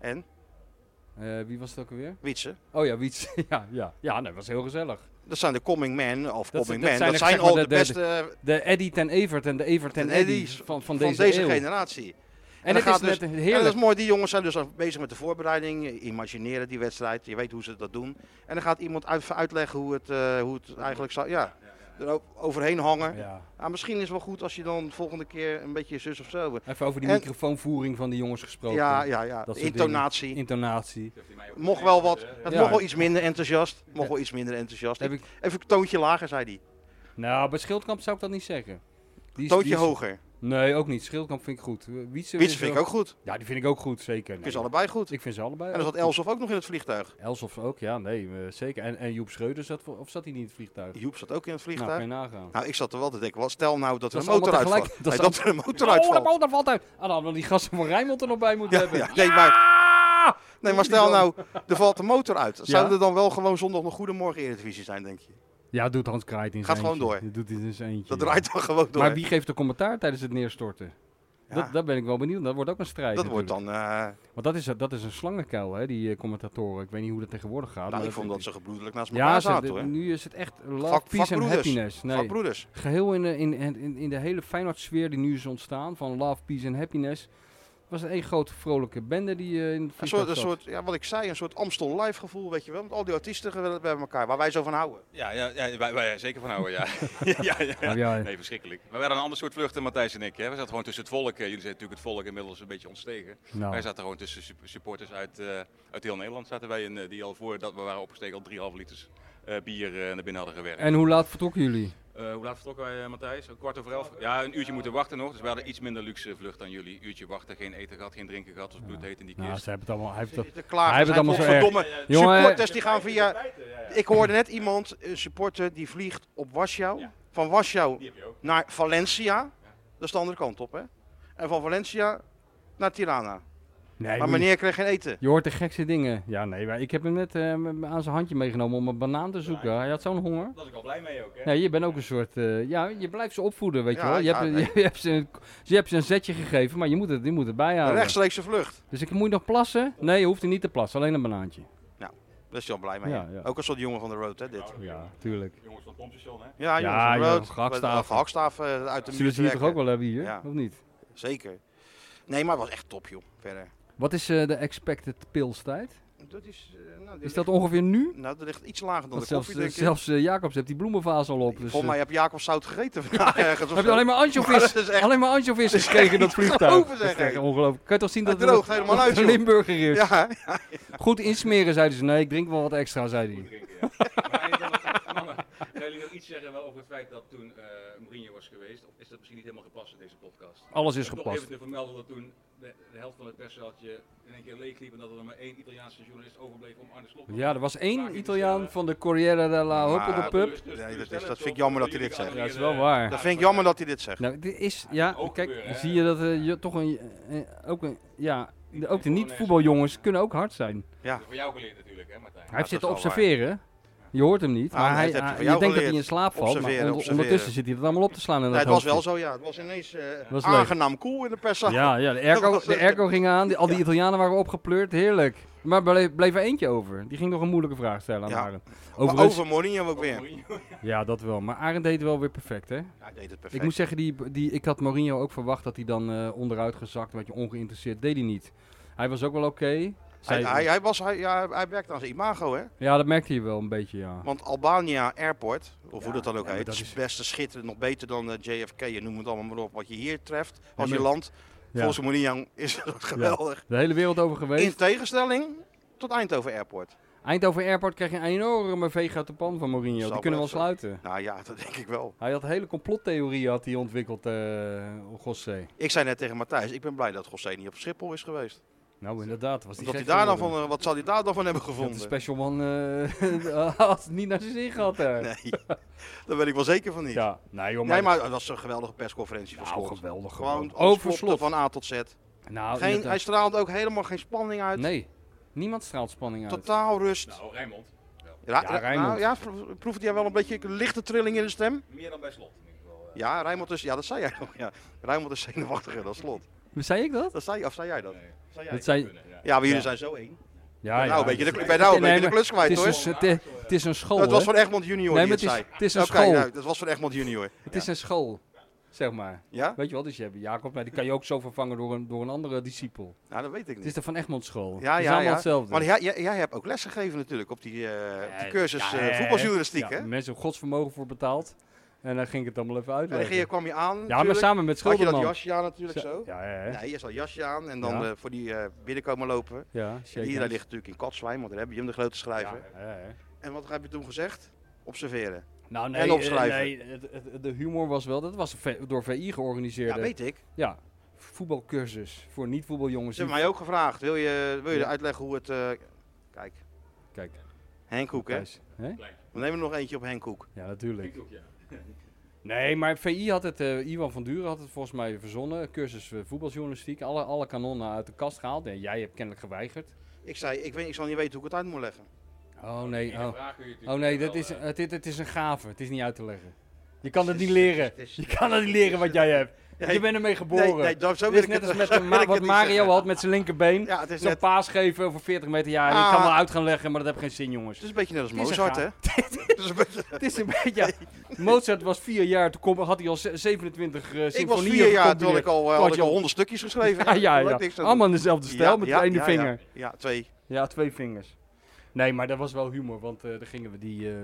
S1: en
S2: Eh, wie was het ook alweer?
S1: Wietse.
S2: Oh ja, Wiets. ja, ja. ja nee, was heel gezellig.
S1: Dat zijn de coming men of
S2: Dat-
S1: coming
S2: dat
S1: men.
S2: zijn
S1: dat zijn
S2: echt, zeg maar,
S1: al
S2: de-
S1: de,
S2: de-
S1: beste
S2: De Eddie ten Evert en de Evert ten
S1: Ten
S2: Eddy
S1: Eddy's
S2: van, van
S1: van
S2: deze,
S1: deze,
S2: eeuw.
S1: generatie.
S2: En
S1: En
S2: het
S1: dan
S2: is
S1: gaat
S2: met
S1: dus- Ja,
S2: heerlijk.
S1: dat is mooi. Die jongens zijn dus al bezig met de voorbereiding. Imagineren die wedstrijd. Je weet hoe ze dat doen. En dan gaat iemand uit, uitleggen hoe het, eh, hoe het eigenlijk zou... Ja, er ook overheen hangen.
S2: Ja.
S1: Ah, misschien is het wel goed als je dan de volgende keer een beetje zus of zo...
S2: Even over die
S1: En-
S2: microfoonvoering van de jongens gesproken.
S1: Ja, ja, ja.
S2: Dat soort
S1: Intonatie.
S2: Intonatie.
S4: Heeft hij mij ook
S1: Mocht wel wat.
S4: gezegd, hè?
S1: Het
S2: Ja.
S1: mocht wel iets minder enthousiast. Mocht wel iets minder enthousiast.
S2: Heb
S1: Even
S2: ik,
S1: een toontje lager, zei hij.
S2: nou, bij Schildkamp zou ik dat niet zeggen. Die is- die
S1: Toontje
S2: is-
S1: hoger.
S2: Nee, ook niet. Schildkamp vind ik goed. Wietse,
S1: Witsen vind ik ook goed.
S2: Ja, die vind ik ook goed, zeker.
S1: Ik
S2: Nee.
S1: vind ze allebei goed.
S2: Ik vind ze allebei.
S1: En dan
S2: ook
S1: zat
S2: goed.
S1: Elsof ook nog in het vliegtuig.
S2: Elsof ook, ja, nee, eh, zeker. En, en Joep Schreuder zat, voor- of zat hij niet in het vliegtuig?
S1: Joep zat ook in het
S2: Nou, kan
S1: vliegtuig.
S2: je nagaan.
S1: Nou, ik zat er wel te denken. Wat, stel nou dat er
S2: Dat
S1: een
S2: is
S1: motor
S2: allemaal
S1: uitvalt.
S2: tegelijk. Dat
S1: Nee,
S2: is
S1: dat er een motor
S2: oh, de
S1: uitvalt.
S2: motor valt uit! Ah, dan hadden we die gasten van Rijnmond er nog bij moeten
S1: Ja,
S2: hebben. Ah!
S1: ja, nee, maar, nee, maar stel
S2: dan.
S1: nou, er valt de motor uit. Zou
S2: Ja?
S1: er dan wel gewoon zondag nog Goedemorgen Eredivisie zijn, denk je?
S2: Ja, doet Hans Kraait in
S1: Gaat
S2: zijn
S1: gewoon
S2: eentje.
S1: door.
S2: Dat doet hij in zijn eentje.
S1: Dat
S2: ja.
S1: draait dan gewoon door.
S2: Maar wie geeft de commentaar tijdens het neerstorten?
S1: Ja,
S2: Dat, daar ben ik wel benieuwd. Dat wordt ook een strijd.
S1: dat wordt dan...
S2: natuurlijk.
S1: eh,
S2: Want dat is, dat is een slangenkuil, hè, die eh, commentatoren. Ik weet niet hoe dat tegenwoordig gaat.
S1: nou,
S2: maar
S1: ik vond dat ze gebroedelijk naast
S2: Ja,
S1: elkaar
S2: ze-
S1: zaten,
S2: de-
S1: hoor.
S2: nu is het echt love,
S1: Vak-
S2: peace and
S1: vakbroeders.
S2: happiness. Nee,
S1: Vakbroeders.
S2: geheel in de, in, in, in de hele Feyenoord-sfeer die nu is ontstaan, van love, peace and happiness, was het één grote vrolijke bende die eh, in het
S1: Een
S2: vliegtuig
S1: soort, een
S2: zat.
S1: soort, ja, wat ik zei, een soort Amstel live gevoel, weet je wel. Met al die artiesten ge- bij elkaar, waar wij zo van houden.
S4: Ja, ja, ja wij, wij zeker van houden, ja. ja, ja, ja.
S2: Nou ja,
S4: Nee, verschrikkelijk. Maar we hadden een ander soort vluchten, Matthijs en ik. Hè. We zaten gewoon tussen het volk. eh, Jullie zijn natuurlijk het volk inmiddels een beetje ontstegen.
S2: nou,
S4: Wij zaten gewoon tussen sup- supporters uit, eh, uit heel Nederland. Zaten wij in, eh, die al voordat we waren opgestegen al 3,5 liters eh, bier eh, naar binnen hadden gewerkt.
S2: En hoe laat vertrokken jullie?
S4: Eh, hoe laat vertrokken wij, eh, Matthijs? Een kwart over elf? Ja, een uurtje moeten wachten nog. Dus we hadden iets minder luxe vlucht dan jullie. Uurtje wachten, geen eten gehad, geen drinken gehad. Het was bloedheet in die
S2: Nou,
S4: kist.
S2: ze hebben het allemaal... Hij heeft het-
S1: De klagen
S2: Hij heeft het
S1: zijn
S2: allemaal zo
S1: godverdomme.
S2: Jongen,
S1: supporters die gaan via... Ik hoorde net iemand, een supporter, die vliegt op Warschau.
S4: Ja.
S1: Van Warschau
S4: Die heb je ook.
S1: naar Valencia. Dat is de andere kant op, hè. En van Valencia naar Tirana.
S2: nee,
S1: maar
S2: moet je-
S1: meneer kreeg geen eten.
S2: Je hoort de gekste dingen. Ja, nee, maar ik heb hem net eh, m- aan zijn handje meegenomen om een banaan te zoeken. Hij had zo'n honger.
S4: Daar was ik al blij mee ook, hè?
S2: Nee, je bent ook een soort. eh, ja, je blijft ze opvoeden, weet je
S1: Ja,
S2: wel. Je,
S1: ja,
S2: hebt,
S1: nee.
S2: je, hebt ze een, je hebt ze een zetje gegeven, maar je moet het, je moet het
S1: Een
S2: bijhouden.
S1: rechtstreekse vlucht.
S2: Dus ik moet je nog plassen? Nee, je hoeft er niet te plassen, alleen een banaantje.
S1: Daar is hij al blij mee.
S2: Ja, ja.
S1: Ook een soort jongen van de road, hè, dit.
S2: Ja, tuurlijk.
S4: Jongens van het pompstation, hè?
S1: Ja,
S2: Ja,
S1: jongens van de
S2: ja,
S1: road.
S2: gehakstaaf.
S1: Met, eh, Gehakstaaf eh, uit de muur
S2: Zullen ze hier toch
S1: trekken.
S2: ook wel hebben hier,
S1: Ja.
S2: of niet?
S1: Zeker. Nee, maar het was echt top, joh. Verder.
S2: Wat is eh, de expected pilstijd?
S1: Dat is... eh, nou, dit
S2: Is dat ongeveer nu?
S1: Nou, dat ligt iets lager dan
S2: Want
S1: de
S2: zelfs
S1: koffie, denk ik.
S2: zelfs eh, Jacobs heeft die bloemenvaas al op. Dus,
S1: Volgens mij
S2: eh,
S1: heb Jacob zout gegeten vandaag ergens of
S2: heb
S1: zo.
S2: je alleen maar ansjovis,
S1: dat is echt-
S2: alleen maar ansjovis gekregen in dat vliegtuig.
S1: geloven,
S2: Dat is
S1: zeg
S2: echt
S1: ik.
S2: ongelooflijk. Kan je toch zien
S1: Het
S2: dat
S1: droogt
S2: dat-
S1: helemaal
S2: dat
S1: uit,
S2: een
S1: joh.
S2: Limburger is?
S1: Ja,
S2: Goed insmeren, zeiden ze. Nee, ik drink wel wat extra, zei hij.
S4: drinken, ja. maar dan, mannen, gaan jullie nog iets zeggen wel over het feit dat toen eh Mourinho was geweest? Of is dat misschien niet helemaal gepast in deze podcast?
S2: Alles is
S4: Ik wil
S2: gepast.
S4: Even te vermelden dat toen de, de helft van het perszaaltje in één keer leegliep en dat er nog maar één Italiaanse journalist overbleef om Arne Slot.
S2: Ja, er was één Italiaan van de Corriere della Hoppe de
S1: Maar-
S2: Pub.
S4: dus-
S1: Nee, dat is- dat vind ik jammer dat hij dit zegt.
S2: Ja, is wel waar.
S1: dat vind ik jammer dat hij dit zegt.
S2: Nou, dit is, ja,
S4: Ook
S2: kijk,
S4: gebeuren, hè?
S2: zie je dat eh, je toch een, eh, ook een, ja, de- ook de niet-voetbaljongens kunnen ook hard zijn.
S4: Voor jou geleerd natuurlijk, hè Martijn?
S2: Hij heeft
S1: dat
S2: zitten
S1: is wel
S2: observeren. Je hoort hem niet,
S1: Ah,
S2: maar
S1: dat
S2: hij,
S1: heb je
S2: hij-
S1: van
S2: je
S1: jou
S2: denkt dat hij
S1: geleerd.
S2: in slaap valt, maar
S1: Observeren,
S2: onder-
S1: observeren.
S2: ondertussen zit hij het allemaal op te slaan. In
S1: Nee,
S2: dat
S1: het was wel
S2: hoofdje.
S1: zo, ja. Het was ineens eh,
S2: Was leuk.
S1: aangenaam cool in de perszaal.
S2: Ja, ja de,
S1: Dat
S2: airco,
S1: was
S2: de
S1: het.
S2: airco ging aan, die- al die Italianen waren opgepleurd, heerlijk. Maar bleef, bleef er eentje over, die ging nog een moeilijke vraag stellen aan
S1: Ja.
S2: Arend.
S1: Maar
S2: Overigens-
S1: over Mourinho ook weer.
S4: Mourinho.
S2: ja, dat wel, maar Arend deed het wel weer perfect, hè?
S1: Ja, hij deed het perfect.
S2: Ik moet zeggen, die, die, ik had Mourinho ook verwacht dat hij dan eh, onderuit gezakt, een beetje ongeïnteresseerd. Deed hij niet. Hij was ook wel oké.
S1: hij,
S2: Zei-
S1: hij, hij, was, hij, ja, hij werkte aan zijn imago, hè.
S2: Ja, dat merkte je wel een beetje, ja.
S1: Want Albania Airport, of hoe dat dan ook
S2: ja, maar
S1: heet,
S2: dat
S1: is
S2: is-
S1: best te schitterend. Nog beter dan eh, JFK en noem het allemaal maar op. Wat je hier treft, als
S2: maar-
S1: je landt.
S2: Ja.
S1: Volgens Mourinho is dat geweldig.
S2: De hele wereld over
S1: In
S2: geweest.
S1: tegenstelling tot Eindhoven Airport.
S2: Eindhoven Airport kreeg je een enorme veeg uit de pan van Mourinho.
S1: Zal
S2: Die
S1: wel
S2: kunnen we wel
S1: even.
S2: sluiten.
S1: Nou ja, dat denk ik wel.
S2: Hij had hele complottheorieën had hij ontwikkeld, eh José.
S1: Ik zei net tegen Matthijs, ik ben blij dat José niet op Schiphol is geweest.
S2: Nou, inderdaad. Was die
S1: Dat hij
S2: gek
S1: daar dan van,
S2: geworden.
S1: eh, wat zal hij daar dan van hebben
S2: Dat de
S1: gevonden?
S2: special man eh, had het niet naar zijn zin gehad. hè.
S1: Nee, daar ben ik wel zeker van niet.
S2: Ja, nee joh, maar...
S1: nee, maar dat was een geweldige persconferentie van
S2: Nou,
S1: Slot.
S2: geweldig gewoon.
S1: Gewoon alles
S2: Oh, voor
S1: klopte
S2: Slot.
S1: van A tot Z.
S2: Nou,
S1: Geen,
S2: inderdaad.
S1: hij straalde ook helemaal geen spanning uit.
S2: Nee, niemand straalt spanning uit.
S1: Totaal rust.
S4: Nou, Rijnmond. Wel.
S1: Ra-
S2: Ja,
S1: Ra-
S2: Rijnmond.
S1: nou ja, pro- proefde jij wel een beetje een lichte trilling in de stem?
S4: Meer dan bij slot. in ieder geval, eh.
S1: Ja, Rijnmond is, ja dat zei jij nog. Ja. Rijnmond is zenuwachtiger dan slot.
S2: Zei ik dat?
S1: Dat zei, of zei jij dat? Zei jij?
S2: Dat zei...
S4: Kunnen, ja.
S1: Ja, maar jullie
S2: Ja.
S1: zijn zo één.
S2: Ja,
S1: nou, een
S2: ja.
S1: beetje de, ik ben nou een
S2: Nee,
S1: beetje de
S2: maar
S1: klus
S2: Het
S1: kwijt hoor.
S2: is, een, het, is- het is een school,
S1: dat was
S2: hè?
S1: van Egmond Junior
S2: Nee,
S1: die
S2: maar
S1: het
S2: het is,
S1: zei.
S2: het is een
S1: Oké,
S2: school.
S1: nou, dat was van Egmond Junior.
S2: Het is een school, zeg maar.
S1: Ja?
S2: Weet je wel, dus je hebt Jacob, maar die kan je ook zo vervangen door een, door een andere discipel.
S1: Nou, dat weet ik
S2: Het
S1: niet.
S2: is de Van Egmond school.
S1: Ja,
S2: het is
S1: ja,
S2: allemaal
S1: ja.
S2: hetzelfde.
S1: Maar jij, jij, jij hebt ook les gegeven natuurlijk op die, eh, op die cursus eh, voetbaljournalistiek, hè?
S2: Ja, mensen hebben godsvermogen voor betaald. En dan ging ik het allemaal even
S1: En dan
S2: uitleggen.
S1: ging je, kwam je aan
S2: ja, maar
S1: natuurlijk.
S2: samen met
S1: Had je
S2: Schilderman.
S1: dat jasje aan natuurlijk zo?
S2: Ja, ja, ja.
S1: Nee, eerst dat jasje aan en dan
S2: Ja.
S1: eh, voor die eh, binnenkomen lopen.
S2: ja
S1: En
S2: shakehands.
S1: Iedereen ligt natuurlijk in Katzwijn, want daar heb je hem de grote schrijver.
S2: Ja, ja, ja.
S1: En wat heb je toen gezegd? Observeren.
S2: Nou, nee,
S1: En
S2: eh,
S1: opschrijven.
S2: nee, het- het- de humor was wel, dat was ve- door VI georganiseerd.
S1: Ja, weet ik. Ze
S2: Ja, voetbalcursus voor niet-voetbaljongens. die-
S1: hebben mij ook gevraagd, wil je, wil je
S2: Ja.
S1: uitleggen hoe het... eh, kijk,
S2: Kijk,
S1: Henk Hoek, hè?
S2: Thijs, hè?
S1: We nemen er nog eentje op Henk Hoek.
S2: Ja, natuurlijk.
S4: Ik ook, ja.
S2: Nee, maar VI had het, eh Iwan van Duren had het volgens mij verzonnen. Cursus eh, voetbaljournalistiek, alle, alle kanonnen uit de kast gehaald. Nee, jij hebt kennelijk geweigerd.
S1: Ik zei, ik, weet, ik zal niet weten hoe ik het uit moet leggen.
S2: Oh nee,
S4: Iedere
S2: oh,
S4: vraag kun je natuurlijk
S2: oh, nee
S4: wel,
S2: dat is,
S4: eh,
S2: het, is- het is een gave, het is niet uit te leggen. Je kan het
S1: is-
S2: niet
S1: het
S2: leren.
S1: is-
S2: Je kan het niet leren wat jij hebt.
S1: Nee,
S2: Je bent ermee geboren.
S1: Nee, nee, dat, zo
S2: Het
S1: wil
S2: is
S1: ik
S2: net
S1: het-
S2: als met
S1: zo wil
S2: Ma-
S1: ik het
S2: wat
S1: niet
S2: Mario
S1: zeggen.
S2: had met zijn linkerbeen.
S1: Ja, het is,
S2: Zo'n
S1: net,
S2: paas geven over 40 meter. Ja, ik kan
S1: Ah. Dus
S2: wel uit gaan leggen, maar dat heeft geen zin, jongens.
S1: het is een beetje net als
S2: Het is een
S1: Mozart, hè? Het is een beetje-
S2: het is een beetje... ja, Mozart was vier jaar, toen kon- had hij al ze- 27 eh
S1: Ik was
S2: symfonieën
S1: vier jaar toen
S2: gecomponeerd.
S1: ik al, eh,
S2: Toen
S1: had
S2: had
S1: ik
S2: je
S1: al
S2: al-
S1: honderd stukjes geschreven.
S2: Ja, ja,
S1: Daar
S2: ja.
S1: had ik niks aan
S2: Allemaal in dezelfde
S1: doen.
S2: stijl,
S1: Ja,
S2: met
S1: ja,
S2: de ene
S1: ja,
S2: vinger.
S1: Ja, ja, twee.
S2: Ja, twee vingers. Nee, maar dat was wel humor, want eh daar gingen we die... eh,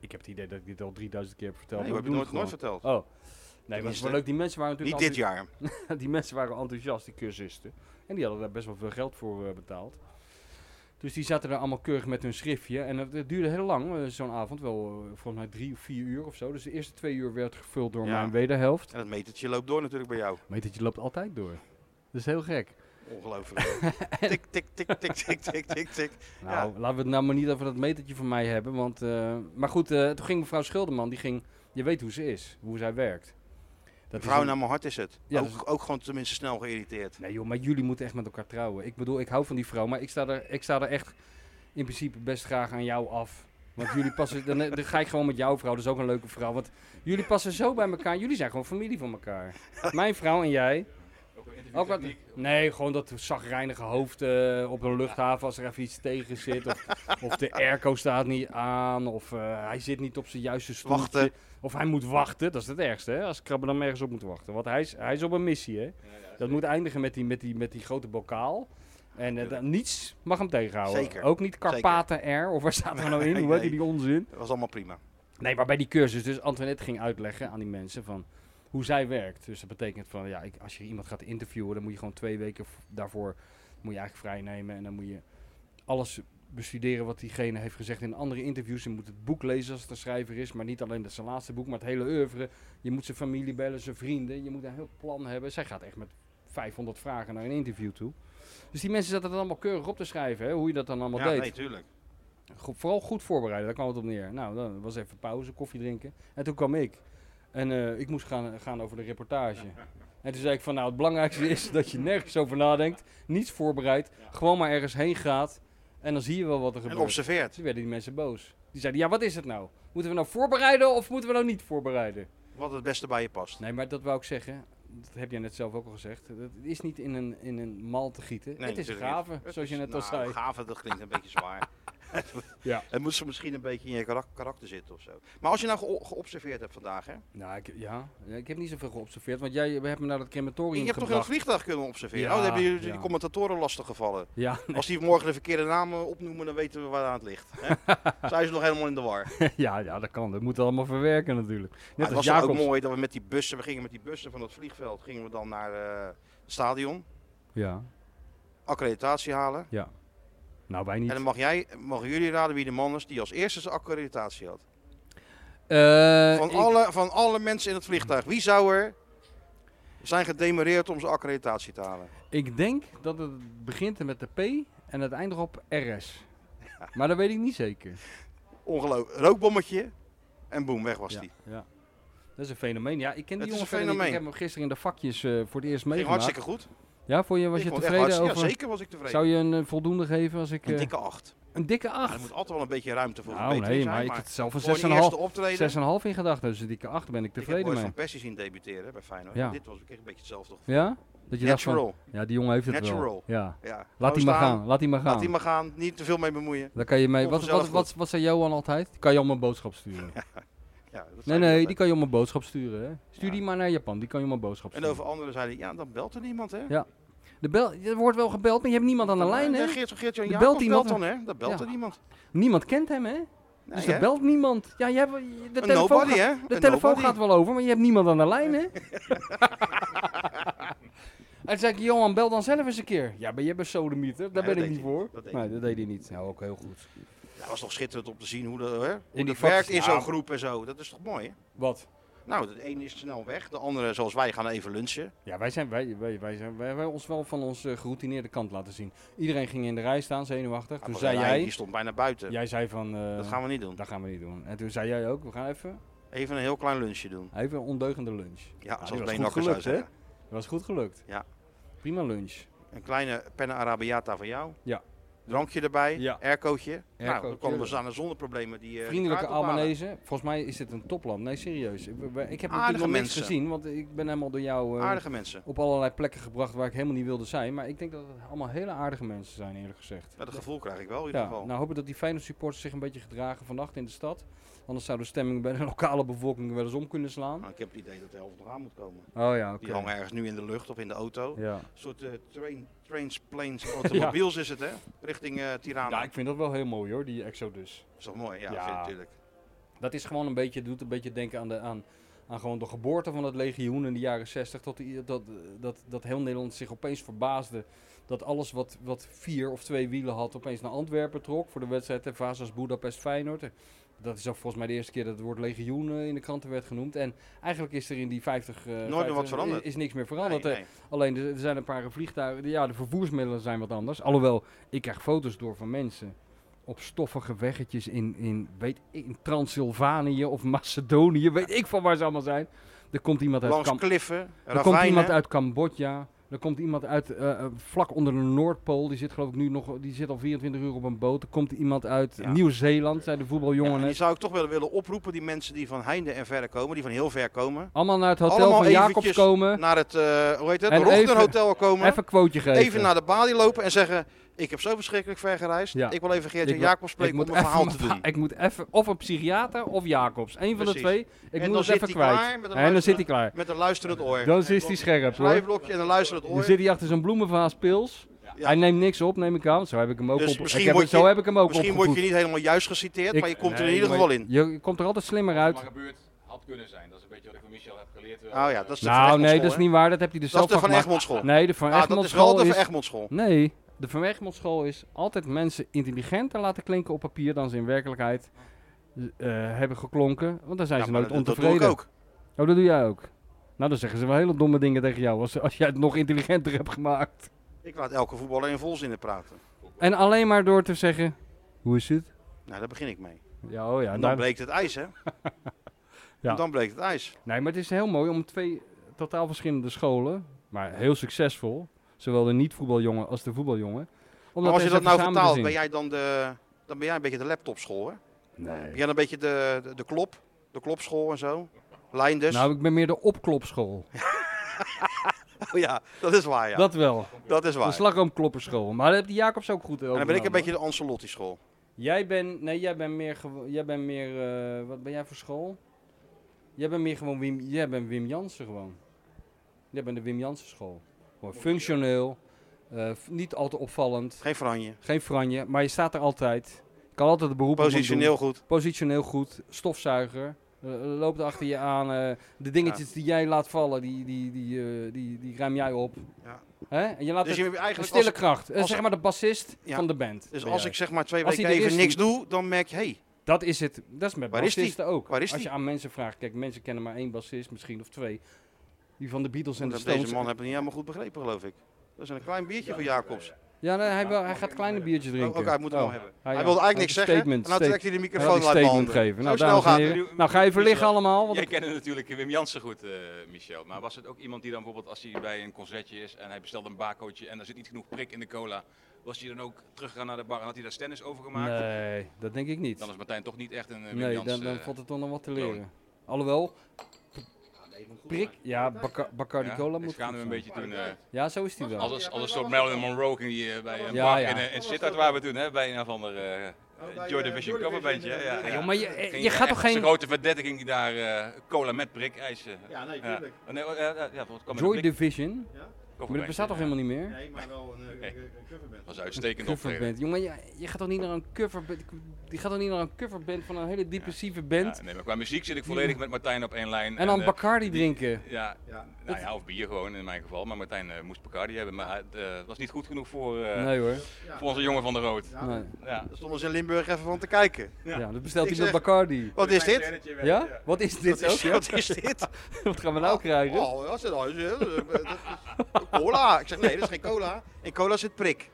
S2: ik heb het idee dat ik dit al 3000 keer heb verteld.
S1: Nee,
S2: maar
S1: heb
S2: we
S1: ik
S2: doen
S1: nooit, nooit
S2: het gewoon.
S1: verteld.
S2: Oh. Nee, maar het is
S1: Tenminste,
S2: wel leuk. Die mensen waren
S1: Niet
S2: natuurlijk
S1: dit jaar.
S2: enthousi- Die mensen waren enthousiast, die cursisten. En die hadden daar best wel veel geld voor eh, betaald. Dus die zaten daar allemaal keurig met hun schriftje. En het, het duurde heel lang, eh, zo'n avond. Wel eh, volgens mij drie of vier uur of zo. Dus de eerste twee uur werd gevuld door
S1: Ja.
S2: mijn wederhelft.
S1: En het metertje loopt door natuurlijk bij jou.
S2: Metertje loopt altijd door. Dat is heel gek.
S1: Ongelooflijk. tik, tik, tik, tik, tik, tik, tik, tik.
S2: Nou, laten we het nou maar niet over dat metertje van mij hebben. Want, eh, maar goed, eh, toen ging mevrouw Schilderman, die ging, je weet hoe ze is, hoe zij werkt. Dat is
S1: Vrouw
S2: een-
S1: naar mijn hart is het.
S2: Ja,
S1: ook,
S2: dat is-
S1: ook gewoon tenminste snel geïrriteerd.
S2: Nee joh, maar jullie moeten echt met elkaar trouwen. Ik bedoel, ik hou van die vrouw, maar ik sta er, ik sta er echt in principe best graag aan jou af. Want jullie passen, dan, dan ga ik gewoon met jouw vrouw, dat is ook een leuke vrouw. Want jullie passen zo bij elkaar, jullie zijn gewoon familie van elkaar. Mijn vrouw en jij.
S4: Ook een
S2: Ook wat,
S4: interviewtechniek.
S2: nee, gewoon dat zagrijnige hoofd eh, op een luchthaven als er even iets tegen zit. Of, of de airco staat niet aan. Of eh, hij zit niet op zijn juiste stoeltje.
S1: Wachten.
S2: Of hij moet wachten. Dat is het ergste, hè? Als krabben dan ergens op moet wachten. Want hij is, hij is op een missie, hè?
S4: Ja, ja,
S2: Dat moet eindigen met die, met die, met die grote bokaal. En eh, dan- niets mag hem tegenhouden.
S1: Zeker.
S2: Ook niet Carpaten R. Of waar staat er nou in? Hoe
S1: Nee.
S2: heet die, die onzin?
S1: Dat was allemaal prima.
S2: Nee, maar bij die cursus. Dus Antoinette ging uitleggen aan die mensen van hoe zij werkt. Dus dat betekent van, ja, ik, als je iemand gaat interviewen, dan moet je gewoon twee weken v- daarvoor moet je eigenlijk vrij nemen. En dan moet je alles bestuderen wat diegene heeft gezegd in andere interviews. Je moet het boek lezen als het een schrijver is, maar niet alleen dat zijn laatste boek, maar het hele oeuvre. Je moet zijn familie bellen, zijn vrienden. Je moet een heel plan hebben. Zij gaat echt met 500 vragen naar een interview toe. Dus die mensen zaten dat allemaal keurig op te schrijven, hè, hoe je dat dan allemaal
S1: ja,
S2: deed.
S1: nee, tuurlijk.
S2: Go- vooral goed voorbereiden, daar kwam het op neer. Nou, dan was even pauze, koffie drinken. En toen kwam ik. En eh, ik moest gaan, gaan over de reportage. En toen zei ik van, nou, het belangrijkste is dat je nergens over nadenkt. Niets voorbereid. Gewoon maar ergens heen gaat. En dan zie je wel wat er
S1: En
S2: gebeurt.
S1: observeert.
S2: Toen werden die mensen boos. Die zeiden, ja, wat is het nou? Moeten we nou voorbereiden of moeten we nou niet voorbereiden?
S1: Wat het beste bij je past.
S2: Nee, maar dat wou ik zeggen. Dat heb jij net zelf ook al gezegd. Het is niet in een, in een mal te gieten.
S1: Nee,
S2: het is
S1: natuurlijk niet.
S2: graven,
S1: Het
S2: zoals je
S1: is-
S2: net al
S1: nou,
S2: zei.
S1: Gaven, dat klinkt een beetje zwaar.
S2: Ja.
S1: Het moet ze misschien een beetje in je karak- karakter zitten of zo. Maar als je nou ge- geobserveerd hebt vandaag, hè?
S2: Nou, ik, ja, Ja, ik heb niet zoveel geobserveerd, want jij hebt me naar dat crematorium
S1: Je hebt toch heel het
S2: gebracht.
S1: vliegtuig kunnen observeren?
S2: Ja,
S1: oh, dan hebben jullie
S2: ja.
S1: die commentatoren lastig gevallen.
S2: ja,
S1: Als die morgen de verkeerde namen opnoemen, dan weten we waar aan het ligt. Hè? Zijn ze nog helemaal in de war. Maar
S2: ja, ja, dat kan. Dat moet allemaal verwerken natuurlijk. Net
S1: het
S2: als
S1: was dan ook
S2: Jacobs.
S1: mooi dat we met die bussen, we gingen met die bussen van het vliegveld, gingen we dan naar eh, het stadion,
S2: Ja,
S1: accreditatie halen.
S2: ja. Nou, wij niet.
S1: En dan mag jij, mogen jullie raden wie de man is die als eerste zijn accreditatie had.
S2: Eh,
S1: Van,
S2: ik-
S1: alle, van alle mensen in het vliegtuig, wie zou er zijn gedemareerd om zijn accreditatie te halen?
S2: Ik denk dat het begint met de P en het eindigt op RS. Maar dat weet ik niet zeker.
S1: Ongelooflijk. Rookbommetje en boem, weg was
S2: ja,
S1: die.
S2: ja. Dat is een fenomeen. Ja, ik ken die
S1: Het is
S2: jongen
S1: een
S2: verder niet. Ik
S1: fenomeen.
S2: heb hem gisteren in de vakjes eh, voor het eerst
S1: Ging
S2: meegemaakt.
S1: hartstikke goed.
S2: Ja, voor je, was
S1: Ik
S2: je
S1: vond het echt
S2: tevreden
S1: hartstikke-
S2: over?
S1: Ja, zeker was ik tevreden.
S2: Zou je een eh, voldoende geven als ik...
S1: Een
S2: eh,
S1: dikke acht.
S2: Een dikke
S1: er
S2: 8.
S1: moet altijd wel een beetje ruimte voor
S2: Nou,
S1: verbetering
S2: nee,
S1: zijn.
S2: maar ik
S1: maar
S2: had zelf
S1: voor die eerste
S2: een
S1: optreden...
S2: 6,5 in gedachten. Dus een dikke 8 ben ik
S1: ik heb
S2: tevreden
S1: ooit
S2: mee.
S1: Van Persie zien debuteren bij Feyenoord.
S2: Ja.
S1: En Dit was ik kreeg een beetje hetzelfde gevoel.
S2: Ja? Dat je dacht van,
S1: Natural.
S2: ja, die jongen heeft het wel.
S1: Natural.
S2: Ja.
S1: Ja.
S2: Laat die
S1: Gewoon
S2: maar
S1: staan,
S2: gaan, laat die maar
S1: Laat die
S2: gaan.
S1: maar gaan. Niet te veel mee bemoeien.
S2: Dan kan je mee. Wat,
S1: Vanzelf
S2: wat, wat, wat zei Johan altijd? Kan je allemaal een boodschap sturen?
S1: Ja, dat
S2: Nee,
S1: zei
S2: nee,
S1: hij
S2: die
S1: altijd.
S2: kan je om een boodschap sturen. Hè. Stuur
S1: Ja.
S2: die maar naar Japan, die kan je om een boodschap
S1: En
S2: sturen.
S1: over anderen zeiden, ja, dan belt er niemand, hè?
S2: Ja, De bel, er wordt wel gebeld, maar je hebt niemand aan de
S1: Dan,
S2: lijn,
S1: eh,
S2: hè?
S1: Geert, Geert Jan
S2: Er
S1: Jacobs
S2: belt
S1: belt,
S2: iemand.
S1: dan, hè? Dan belt
S2: Ja.
S1: er niemand.
S2: Niemand kent hem, hè?
S1: Nee,
S2: Dus er
S1: hè?
S2: belt niemand. Ja, je hebt, de
S1: Een
S2: telefoon,
S1: nobody,
S2: gaat,
S1: hè?
S2: de
S1: Een
S2: telefoon
S1: nobody.
S2: gaat wel over, maar je hebt niemand aan de lijn, hè? Hij zei ik, Johan, bel dan zelf eens een keer. Ja, maar je bent sodemieter, daar
S1: Nee, dat
S2: ben ik
S1: deed
S2: niet
S1: hij
S2: voor.
S1: niet. Dat deed
S2: nee,
S1: hij
S2: dat deed hij niet. Nou, ook heel goed.
S1: Dat was toch schitterend om te zien hoe, de, hè, hoe
S2: die
S1: dat
S2: vak-
S1: werkt in
S2: Ja.
S1: zo'n groep en zo. Dat is toch mooi, hè?
S2: Wat?
S1: Nou, de ene is snel weg. De andere, zoals wij, gaan even lunchen.
S2: Ja, wij zijn, wij, wij, wij zijn, wij hebben ons wel van onze geroutineerde kant laten zien. Iedereen ging in de rij staan, zenuwachtig. Toen
S1: Maar
S2: zei
S1: Rijn,
S2: jij,
S1: Die stond bijna buiten.
S2: jij zei van, eh,
S1: Dat gaan we niet doen.
S2: dat gaan we niet doen. En toen zei jij ook, we gaan even,
S1: Even een heel klein lunchje doen.
S2: even een ondeugende lunch.
S1: Ja,
S2: Nou, die
S1: zoals
S2: was
S1: Been
S2: goed
S1: Akker zou
S2: gelukt, hè?
S1: zeggen.
S2: Dat was goed gelukt.
S1: Ja.
S2: Prima lunch.
S1: Een kleine penna arabiata van jou.
S2: Ja.
S1: Drankje erbij.
S2: Ja.
S1: Aircootje. Nou,
S2: Aircootje.
S1: dan kwamen we dus aan de zonder problemen. Die, eh,
S2: Vriendelijke
S1: kaart ophalen.
S2: Albanese. Volgens mij is dit een topland. Nee, serieus. Ik, ik- ik heb natuurlijk
S1: Aardige
S2: nog niks
S1: mensen.
S2: gezien, want ik ben helemaal door jou eh,
S1: Aardige mensen.
S2: op allerlei plekken gebracht waar ik helemaal niet wilde zijn. Maar ik denk dat het allemaal hele aardige mensen zijn, eerlijk gezegd.
S1: Ja, dat gevoel krijg ik wel in ieder
S2: Ja,
S1: geval.
S2: nou hopen dat die Feyenoord supporters zich een beetje gedragen vannacht in de stad. Anders zou de stemming bij de lokale bevolking wel eens om kunnen slaan.
S1: Nou, ik heb het idee dat de helft nog aan moet komen.
S2: Oh ja,
S1: Die
S2: oké.
S1: hangen ergens nu in de lucht of in de auto.
S2: Ja.
S1: Een soort eh, train, trains, planes, automobiels is het, hè? Richting eh Tirana.
S2: ja, ik vind dat wel heel mooi hoor, die Exodus.
S1: Dat is toch mooi? Ja,
S2: Ja.
S1: vind ik natuurlijk.
S2: Dat is gewoon een beetje, doet een beetje denken aan de, aan, aan gewoon de geboorte van het legioen in de jaren 60. Dat, die- dat, eh, dat, dat heel Nederland zich opeens verbaasde dat alles wat, wat vier of twee wielen had opeens naar Antwerpen trok voor de wedstrijd en Vazas Budapest Feyenoord. En Dat is ook volgens mij de eerste keer dat het woord legioen eh, in de kranten werd genoemd. En eigenlijk is er in die 50... eh,
S1: meer wat
S2: 50
S1: veranderd.
S2: Is, is niks meer veranderd.
S1: Nee,
S2: Eh,
S1: nee.
S2: Alleen er, er zijn een paar vliegtuigen. Ja, de vervoersmiddelen zijn wat anders. Alhoewel, ik krijg foto's door van mensen op stoffige weggetjes in, in, weet, ik, in Transylvanië of Macedonië. Weet ik van waar ze allemaal zijn. Er komt iemand uit,
S1: Langs
S2: Kam
S1: kliffen,
S2: er komt iemand
S1: ravijnen.
S2: uit Cambodja. Er komt iemand uit eh, eh, vlak onder de Noordpool. Die zit geloof ik nu nog. Die zit al 24 uur op een boot. Er komt iemand uit
S1: Ja.
S2: Nieuw-Zeeland, zei de
S1: Ja,
S2: voetbaljongen.
S1: en
S2: net.
S1: die zou ik toch wel willen oproepen, die mensen die van heinde en verre komen, die van heel ver komen.
S2: Allemaal naar het hotel
S1: Allemaal
S2: van Jacobs
S1: eventjes
S2: komen.
S1: Naar het, eh hoe heet het,
S2: En
S1: Rochter
S2: even-
S1: Hotel komen.
S2: Even een quoteje geven.
S1: even naar de balie lopen en zeggen: Ik heb zo verschrikkelijk ver gereisd.
S2: Ja.
S1: Ik wil even Geert
S2: Ik
S1: en
S2: wil-
S1: Jacob
S2: Ik
S1: spreken
S2: moet
S1: om mijn
S2: even
S1: verhaal
S2: mijn
S1: te
S2: verha-
S1: doen.
S2: Ik moet even, of een psychiater of Jacobs. Eén van de
S1: Precies.
S2: twee. Ik
S1: En
S2: moet
S1: dan
S2: het
S1: zit
S2: even
S1: hij
S2: kwijt.
S1: klaar met een eh,
S2: en dan
S1: luisteraar-
S2: zit hij klaar.
S1: Met een luisterend oor.
S2: Dan is hij scherp hoor.
S1: Schrijfblokje en een luisterend
S2: Dan
S1: oor.
S2: zit hij achter zijn bloemenvaas pils.
S1: Ja.
S2: Hij neemt niks op, neem ik aan. Zo heb ik hem ook
S1: Dus
S2: op.
S1: misschien
S2: Ik heb, hem-
S1: word je-
S2: zo heb ik hem ook
S1: Misschien
S2: opgevoed.
S1: word je niet helemaal juist geciteerd,
S2: Ik-
S1: maar je komt er in
S4: Nee,
S1: ieder
S4: maar-
S1: geval in.
S2: Je komt er altijd slimmer
S4: Wat
S2: uit.
S4: maar gebeurd had kunnen zijn. Dat is een beetje wat ik van Michel heb geleerd.
S1: Oh ja, dat is de Van
S2: Nou,
S1: Egmond
S2: nee,
S1: school,
S2: dat is
S1: hè?
S2: niet waar. Dat heb hij er
S1: Dat
S2: zelf
S1: is de Van
S2: gemaakt.
S1: Egmond school.
S2: Nee, de Van
S1: Ah, dat is wel
S2: Egmondschool
S1: de Van
S2: is...
S1: Egmond school.
S2: Nee, de Van Egmondschool is altijd mensen intelligenter laten klinken op papier dan ze in werkelijkheid eh, hebben geklonken. Want dan zijn
S1: Ja,
S2: ze
S1: maar
S2: nooit
S1: dat- dat
S2: ontevreden.
S1: doe ik ook.
S2: Oh, dat doe jij ook. Nou, dan zeggen ze wel hele domme dingen tegen jou als, als jij het nog intelligenter hebt gemaakt.
S1: Ik laat elke voetballer in volzinnen praten.
S2: En alleen maar door te zeggen, hoe is het?
S1: Nou, daar begin ik mee.
S2: Ja, oh ja.
S1: En
S2: daar-
S1: dan breekt het ijs, hè?
S2: Ja.
S1: En Dan breekt het ijs.
S2: Nee, maar het is heel mooi om twee totaal verschillende scholen, maar heel succesvol, zowel de niet-voetbaljongen als de voetbaljongen. Om
S1: Maar als je
S2: eens
S1: dat nou
S2: even samen te
S1: vertaalt,
S2: zien.
S1: ben jij dan de... Dan ben jij een beetje de laptopschool, hè? Ben
S2: Nee.
S1: jij dan een beetje de, de, de klop? De klopschool en zo? Lijn dus?
S2: Nou, ik ben meer de opklopschool.
S1: Oh ja, dat is waar, ja. Dat,
S2: Dat wel.
S1: is waar.
S2: De slagroomklopperschool. Maar dat heeft die Jacobs ook goed
S1: en
S2: over.
S1: dan ben ik een beetje de Ancelotti-school.
S2: Jij bent, nee, jij bent meer, gewo- jij bent meer, eh, wat ben jij voor school? Jij bent meer gewoon Wim, jij bent Wim Jansen gewoon. Jij bent de Wim Jansen school. Gewoon functioneel, eh, f- niet al te opvallend,
S1: Geen franje.
S2: geen franje, maar je staat er altijd. Je kan altijd de beroep op hem
S1: Positioneel goed.
S2: doen. Positioneel goed, stofzuiger, eh, loopt achter je aan. eh, de dingetjes die jij laat vallen, die, die, die, eh, die, die ruim jij op.
S1: Ja.
S2: Hè? En je laat
S1: Dus,
S2: het,
S1: je hebt
S2: een
S1: eigenlijk
S2: stille
S1: als,
S2: kracht. Eh,
S1: als-
S2: zeg maar de bassist
S1: Ja.
S2: van de band.
S1: dus
S2: ben
S1: als
S2: jij.
S1: ik zeg maar twee
S2: Als
S1: weken
S2: hij er
S1: even
S2: is,
S1: niks doe, dan merk je, hé, hey,
S2: Dat is het. Dat is met
S1: Waar is die?
S2: bassisten ook.
S1: Waar is
S2: Als je
S1: die?
S2: aan mensen vraagt, kijk, mensen kennen maar één bassist, misschien of twee. Die van de Beatles en de
S1: dat- deze
S2: Stones.
S1: man heb ik niet helemaal goed begrepen, geloof ik. Dat is een klein biertje voor Jacobs.
S2: Ja, nee, hij, wil, hij gaat kleine biertjes drinken.
S1: Ook hij moet hem
S2: Oh.
S1: wel hebben.
S2: Hij-
S1: Hij,
S2: ja,
S1: wilde eigenlijk
S2: hij had
S1: niks
S2: een
S1: zeggen.
S2: statement,
S1: en dan trekt
S2: statement.
S1: hij de
S2: Hij wil
S1: microfoon
S2: een
S1: uit mijn
S2: statement
S1: handen.
S2: geven. Nou,
S1: Zo snel
S2: dames en
S1: gaat
S2: heren.
S1: het.
S4: nu-
S2: Nou, ga even liggen allemaal. want
S4: Jij
S2: het-
S4: kende natuurlijk Wim Jansen goed, eh, Michel. Maar was het ook iemand die dan bijvoorbeeld als hij bij een concertje is en hij bestelt een barcootje en er zit niet genoeg prik in de cola, was hij dan ook teruggegaan naar de bar en had hij daar stennis over gemaakt?
S2: Nee, dat denk ik niet.
S4: Dan is Martijn toch niet echt een eh, Wim
S2: Nee,
S4: Jansen.
S2: dan, dan
S4: eh,
S2: valt het toch nog wat te
S4: persoon.
S2: leren. Alhoewel, prik, ja, Baca- Bacardi
S4: ja,
S2: Cola
S4: ik
S2: moet
S4: schaam
S2: goed
S4: me een
S2: zijn.
S4: beetje toen. eh,
S2: Ja, zo is die wel.
S4: als, als, als een soort Marilyn Monroe ging die eh, bij een
S2: Ja,
S4: bar
S2: ja.
S4: in, eh, in Sittard waar we toen, hè, bij een of ander eh, Joy Division coverbandje. hè, Ja,
S2: Ja,
S4: ja.
S2: joh, maar je,
S4: Ging
S2: je
S4: daar
S2: gaat
S4: echt
S2: toch
S4: als
S2: geen
S4: een grote verdette ging die daar eh, cola met prik eisen.
S1: Ja, nee,
S4: Ja.
S1: tuurlijk.
S4: Oh, nee, oh, ja, ja, ja, volgens- kwam met
S2: Joy
S4: een prik-
S2: Division? Maar dat
S4: coverbandje,
S2: bestaat toch
S4: ja.
S2: helemaal niet meer?
S1: Nee, maar wel een, eh, een coverband.
S4: Dat was uitstekend optreden.
S2: Coverband. Jongen, je, je gaat toch niet naar een coverband. Je gaat toch niet naar een coverband van een hele depressieve band.
S4: Ja, nee, maar qua muziek zit ik volledig met Martijn op één lijn.
S2: En dan
S4: eh,
S2: Bacardi drinken.
S4: ja,
S1: Ja.
S4: nou ja, of bier gewoon in mijn geval. Maar Martijn eh, moest Bacardi hebben. Maar het eh, was niet goed genoeg voor, eh,
S2: Nee hoor.
S4: voor onze jongen van de Rood.
S2: Nee.
S4: Ja.
S1: Daar stonden ze in Limburg even van te kijken.
S2: Ja, dat bestelt
S1: Ik
S2: hij met
S1: zeg-
S2: Bacardi.
S1: Wat is dit?
S2: Ja? Wat is dit
S1: Wat
S2: ook?
S1: is,
S2: ja?
S1: wat is dit?
S2: Wat gaan we nou krijgen?
S1: Oh, dat is, dat is, eh, dat is cola. Ik zeg nee, dat is geen cola. In cola zit prik.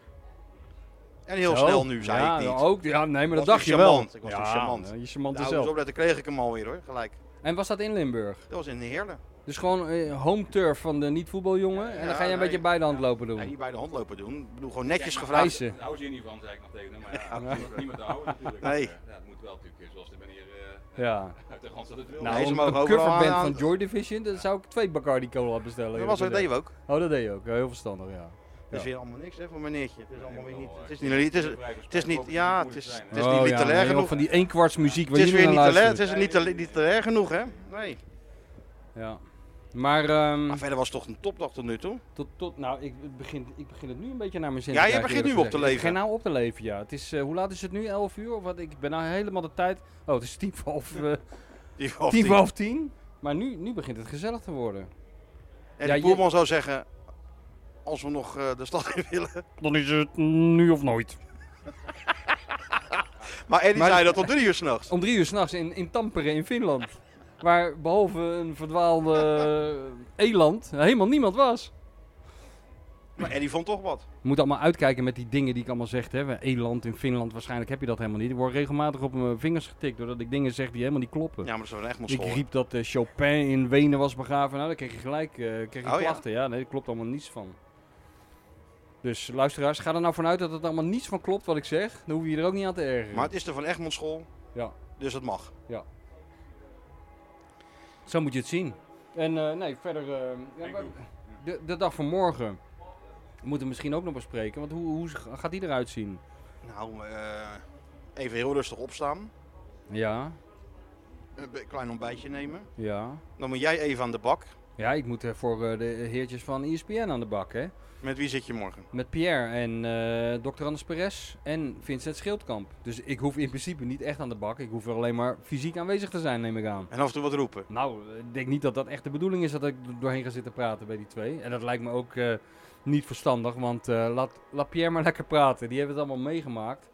S1: En heel
S2: Zo.
S1: snel nu, zei
S2: Oh. ja,
S1: ik niet.
S2: Ook, ja, nee, maar
S1: was
S2: dat dacht
S1: toen
S2: je wel.
S1: charmant. Ik was toen
S2: ja,
S1: charmant.
S2: Je charmant
S1: Nou,
S2: zelf.
S1: dus opletten kreeg ik hem alweer hoor, gelijk.
S2: En was dat in Limburg?
S1: Dat was in Heerlen.
S2: Dus gewoon eh, home turf van de niet-voetbaljongen. En dan ga je een
S1: nee.
S2: beetje bij de hand lopen
S1: Nee, niet
S2: doen.
S1: bij de hand lopen doen. Ik bedoel, gewoon netjes gevraagd.
S2: Eisen.
S4: Daar hou ze hier niet van, zei ik nog tegen hem. Maar ja, dat is niemand te houden natuurlijk.
S1: Nee.
S4: Eh, Ja, het moet wel natuurlijk, eh, zoals de meneer eh,
S2: Ja.
S4: uit de gans dat het wil.
S2: Nou,
S1: Nee, ze
S2: een,
S1: mogen
S2: een
S1: overal
S2: coverband
S1: aan-
S2: van Joy Division, dan zou ik twee Bacardi Cola bestellen.
S1: Dat was dat
S2: eerlijk
S1: deden we ook.
S2: gezegd. Oh, dat deed je ook. Ja, heel verstandig, ja.
S1: Dat is
S2: Ja.
S1: weer allemaal niks hè, voor meneertje. Het is allemaal weer niet. Het is niet.
S4: Nee,
S1: Het is,
S4: maar vrij
S1: het is niet.
S4: gesproken
S1: Ja,
S4: moet
S1: het is.
S4: zijn, hè.
S1: Het is niet
S2: Oh, ja,
S1: literair
S2: nee, joh,
S1: genoeg.
S2: van die één kwarts muziek waar
S1: Het is weer
S2: iedereen
S1: niet
S2: naar
S1: te leer. Het
S2: luistert.
S1: is niet te niet te leer genoeg hè. Nee.
S2: Ja. Maar, ehm,
S1: Maar verder was het toch een topdag tot nu toe.
S2: tot, tot, nou, ik het begin, ik begin het nu een beetje naar mijn zin
S1: Ja,
S2: te
S1: je
S2: krijgen,
S1: begint
S2: eerlijk
S1: nu op te
S2: gezegd. Ik begin
S1: leven.
S2: nou op te leven, ja. Het is, eh, hoe laat is het nu? 11 uur? Of wat? Ik ben nou helemaal de tijd... Oh, het is tien voor half, eh,
S1: Die was
S2: tien
S1: die.
S2: voor half tien. Maar nu, nu begint het gezellig te worden.
S1: En
S2: Ja,
S1: de
S2: je-
S1: boerman zou zeggen, als we nog eh, de stad in willen.
S2: Dan is het nu of nooit.
S1: Maar Eddie
S2: Maar-
S1: zei dat tot drie uur s'nachts.
S2: Om drie uur s'nachts in, in Tampere in Finland. Waar behalve een verdwaalde eh, eland helemaal niemand was.
S1: Maar Eddie vond toch wat.
S2: Je moet allemaal uitkijken met die dingen die ik allemaal zeg. Hè. Eland in Finland, waarschijnlijk heb je dat helemaal niet. Ik word regelmatig op mijn vingers getikt doordat ik dingen zeg die helemaal niet kloppen.
S1: Ja, maar dat is wel een Egmond
S2: Ik
S1: school.
S2: riep dat eh, Chopin in Wenen was begraven. Nou, daar kreeg je gelijk eh, kreeg je
S1: Oh, ja?
S2: klachten. Ja? nee, daar klopt allemaal niets van. Dus luisteraars, ga er nou vanuit dat het allemaal niets van klopt wat ik zeg. Dan hoef je je er ook niet aan te ergeren.
S1: Maar het is er van Egmond school,
S2: Ja.
S1: dus het mag.
S2: Zo moet je het zien. En eh, nee, verder... eh, ja, maar- de, de dag van morgen moeten we misschien ook nog bespreken. Want hoe, hoe gaat die eruit zien?
S1: Nou, eh, even heel rustig opstaan.
S2: Ja,
S1: Een be- klein ontbijtje nemen.
S2: ja.
S1: Dan moet jij even aan de bak.
S2: Ja, ik moet eh, voor eh, de heertjes van ESPN aan de bak, hè.
S1: Met wie zit je morgen?
S2: Met Pierre en eh Dr. Anders Perez en Vincent Schildkamp. Dus ik hoef in principe niet echt aan de bak. Ik hoef er alleen maar fysiek aanwezig te zijn, neem ik aan.
S1: En af en toe wat roepen.
S2: Nou, ik denk niet dat dat echt de bedoeling is dat ik er doorheen ga zitten praten bij die twee. En dat lijkt me ook eh, niet verstandig, want eh, laat, laat Pierre maar lekker praten. Die hebben het allemaal meegemaakt.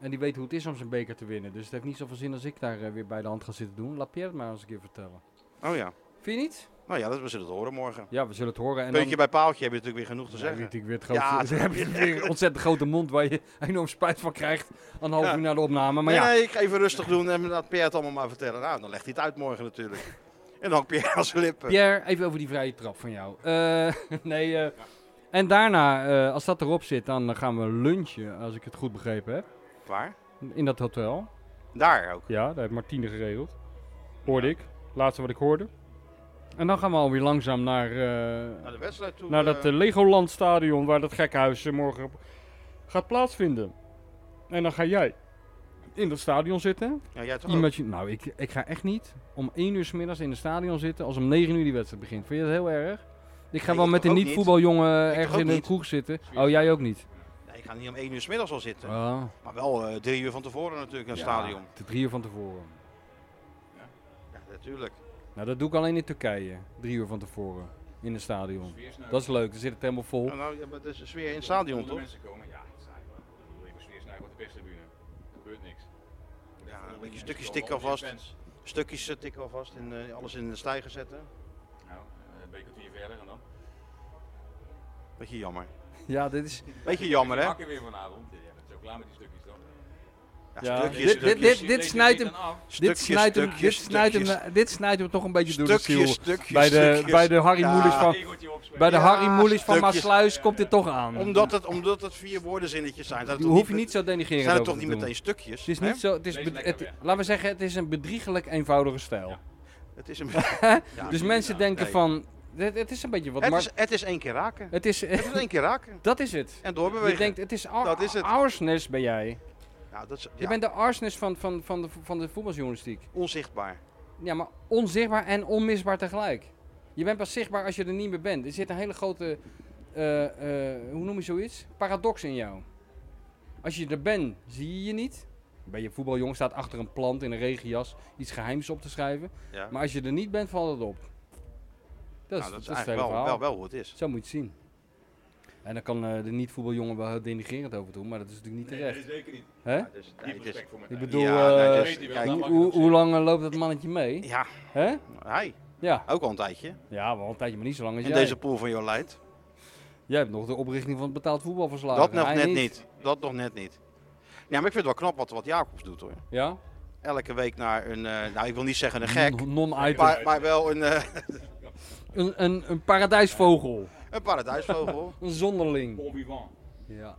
S2: En die weet hoe het is om zijn beker te winnen. Dus het heeft niet zoveel zin als ik daar eh, weer bij de hand ga zitten doen. Laat Pierre het maar eens een keer vertellen.
S1: Oh ja.
S2: Vind je niet?
S1: Nou ja, dat, we zullen het horen morgen.
S2: Ja, we zullen het horen. En dan-
S1: Puntje bij paaltje heb je natuurlijk weer genoeg te
S2: Ja,
S1: zeggen.
S2: weet ik weer het
S1: Ja,
S2: grootste- ze hebben weer een ontzettend grote mond waar je enorm spijt van krijgt. Een half
S1: Ja.
S2: uur na de opname. Maar
S1: nee,
S2: ja,
S1: nee, ik ga even rustig doen en laat Pierre het allemaal maar vertellen. Nou, dan legt hij het uit morgen natuurlijk. En dan Pierre aan zijn lippen.
S2: Pierre, even over die vrije trap van jou. Eh, nee, eh, en daarna, eh, als dat erop zit, dan eh, gaan we lunchen, als ik het goed begrepen heb.
S1: Waar?
S2: In dat hotel.
S1: Daar ook.
S2: Ja, daar heeft Martine geregeld. Hoorde ik. Laatste wat ik hoorde. En dan gaan we alweer langzaam naar, eh,
S1: Naar de wedstrijd toe.
S2: naar
S1: eh,
S2: dat eh, Legoland stadion waar dat gekhuis eh, morgen op- gaat plaatsvinden. En dan ga jij in dat stadion zitten.
S1: ja, jij toch ook?
S2: Imagine, nou, ik, ik ga echt niet om 1 uur 's middags in het stadion zitten als om 9 uur die wedstrijd begint. Vind je dat heel erg? Ik ga
S1: Nee,
S2: wel
S1: ik
S2: met
S1: toch
S2: een
S1: ook
S2: niet-voetbaljongen
S1: Ik
S2: ergens
S1: toch
S2: in
S1: ook
S2: de
S1: niet.
S2: kroeg zitten. Oh, jij ook niet?
S1: Nee, ik ga niet om 1 uur 's middags al zitten.
S2: Ah,
S1: Maar wel eh, drie uur van tevoren natuurlijk naar het stadion.
S2: De drie uur van tevoren.
S1: Ja, natuurlijk.
S2: Nou, dat doe ik alleen in Turkije. Drie uur van tevoren in het stadion. Dat is leuk, dan zit het helemaal vol.
S1: Nou, nou, ja, maar het is een sfeer in het stadion, toch?
S4: mensen komen, ja, het is saai. Ik bedoel, je moet sneersnuigen op de perstribune. Er gebeurt niks.
S1: Ja, een beetje stukjes tikken alvast. Stukjes eh, tikken alvast en eh, alles in de stijger zetten.
S4: eh, Nou, een beetje kwartier verder en dan.
S1: Beetje jammer.
S2: Ja, dit is...
S1: Beetje jammer, hè?
S4: Pakken weer vanavond. Ja, ik ben zo klaar met die stukjes dan.
S2: Ja,
S1: stukjes,
S2: dit- dit-
S1: stukjes.
S2: dit- snijdt hem- Dit
S1: Stukjes,
S2: snijdt hem, dit
S1: stukjes,
S2: snijdt hem,
S1: stukjes.
S2: eh, dit snijdt hem toch een beetje door de
S1: Stukjes,
S2: ziel.
S1: stukjes,
S2: bij, de,
S1: stukjes.
S2: bij de Harry
S1: Ja.
S2: Moelis van, bij de
S1: Ja,
S2: Harry Moelis van
S1: stukjes.
S2: Maasluis komt dit toch aan.
S1: Omdat het, omdat het vier woordenzinnetjes zijn. zijn
S2: Die
S1: het toch
S2: hoef je niet zo denigrerend
S1: zijn het
S2: over
S1: toch
S2: te
S1: niet
S2: doen.
S1: meteen stukjes?
S2: Het is niet zo, het is,
S4: Lees
S2: bed-
S4: lekker
S2: het-
S4: weer.
S2: laten we zeggen, het is een bedriegelijk eenvoudige stijl.
S4: Ja.
S1: Het is een Ja,
S2: dus mensen denken
S1: nee.
S2: van, het, het is een beetje wat
S1: het,
S2: Mar-
S1: is, het is één keer raken.
S2: het is,
S1: Het is één keer raken.
S2: dat is het.
S1: En
S2: Je
S1: doorbewegen.
S2: denkt, het is, ar
S1: Dat is het.
S2: Arsnes ben jij.
S1: ja, dat is,
S2: Je
S1: ja,
S2: bent de Arsnes van, van, van, de, van de voetbaljournalistiek.
S1: onzichtbaar.
S2: Ja, maar onzichtbaar en onmisbaar tegelijk. Je bent pas zichtbaar als je er niet meer bent. Er zit een hele grote, eh, eh, hoe noem je zoiets? Paradox in jou. Als je er bent, zie je je niet. Bij je voetbaljong staat achter een plant in een regenjas iets geheims op te schrijven.
S1: Ja.
S2: Maar als je er niet bent, valt het op. Dat is,
S1: Nou,
S2: dat is het hele
S1: eigenlijk wel,
S2: verhaal.
S1: wel, wel hoe het is.
S2: Zo moet je het zien. En dan kan eh, de niet-voetbaljongen wel heel denigerend over doen, maar dat is natuurlijk niet terecht.
S4: Nee, zeker niet.
S2: Hè?
S1: Ja, dus, nee,
S4: Diep
S1: het is-
S4: respect voor
S2: Ik
S4: mijn
S2: bedoel,
S1: Ja, nee,
S2: eh,
S1: dus-
S4: Weet hij wel,
S1: kijk,
S4: dat
S2: hoe,
S4: mag
S2: hoe,
S4: ik ook
S2: hoe lang eh, loopt dat mannetje mee?
S1: ja,
S2: Hè?
S1: hij.
S2: Ja.
S1: Ook al een tijdje.
S2: Ja, wel een tijdje, maar niet zo lang als
S1: In
S2: jij.
S1: deze pool van jouw
S2: Oh,
S1: leidt.
S2: Jij hebt nog de oprichting van het betaald voetbal verslagen.
S1: Dat nog
S2: Hij
S1: net niet. Dat nog net niet. Ja, maar ik vind het wel knap wat, wat Jacobs doet hoor.
S2: Ja?
S1: Elke week naar een, eh, nou ik wil niet zeggen een gek,
S2: Non- Non-item.
S1: maar, maar wel een, eh,
S2: Een, een, een paradijsvogel.
S1: een paradijsvogel.
S2: Een zonderling.
S4: Bon vivant.
S2: Ja.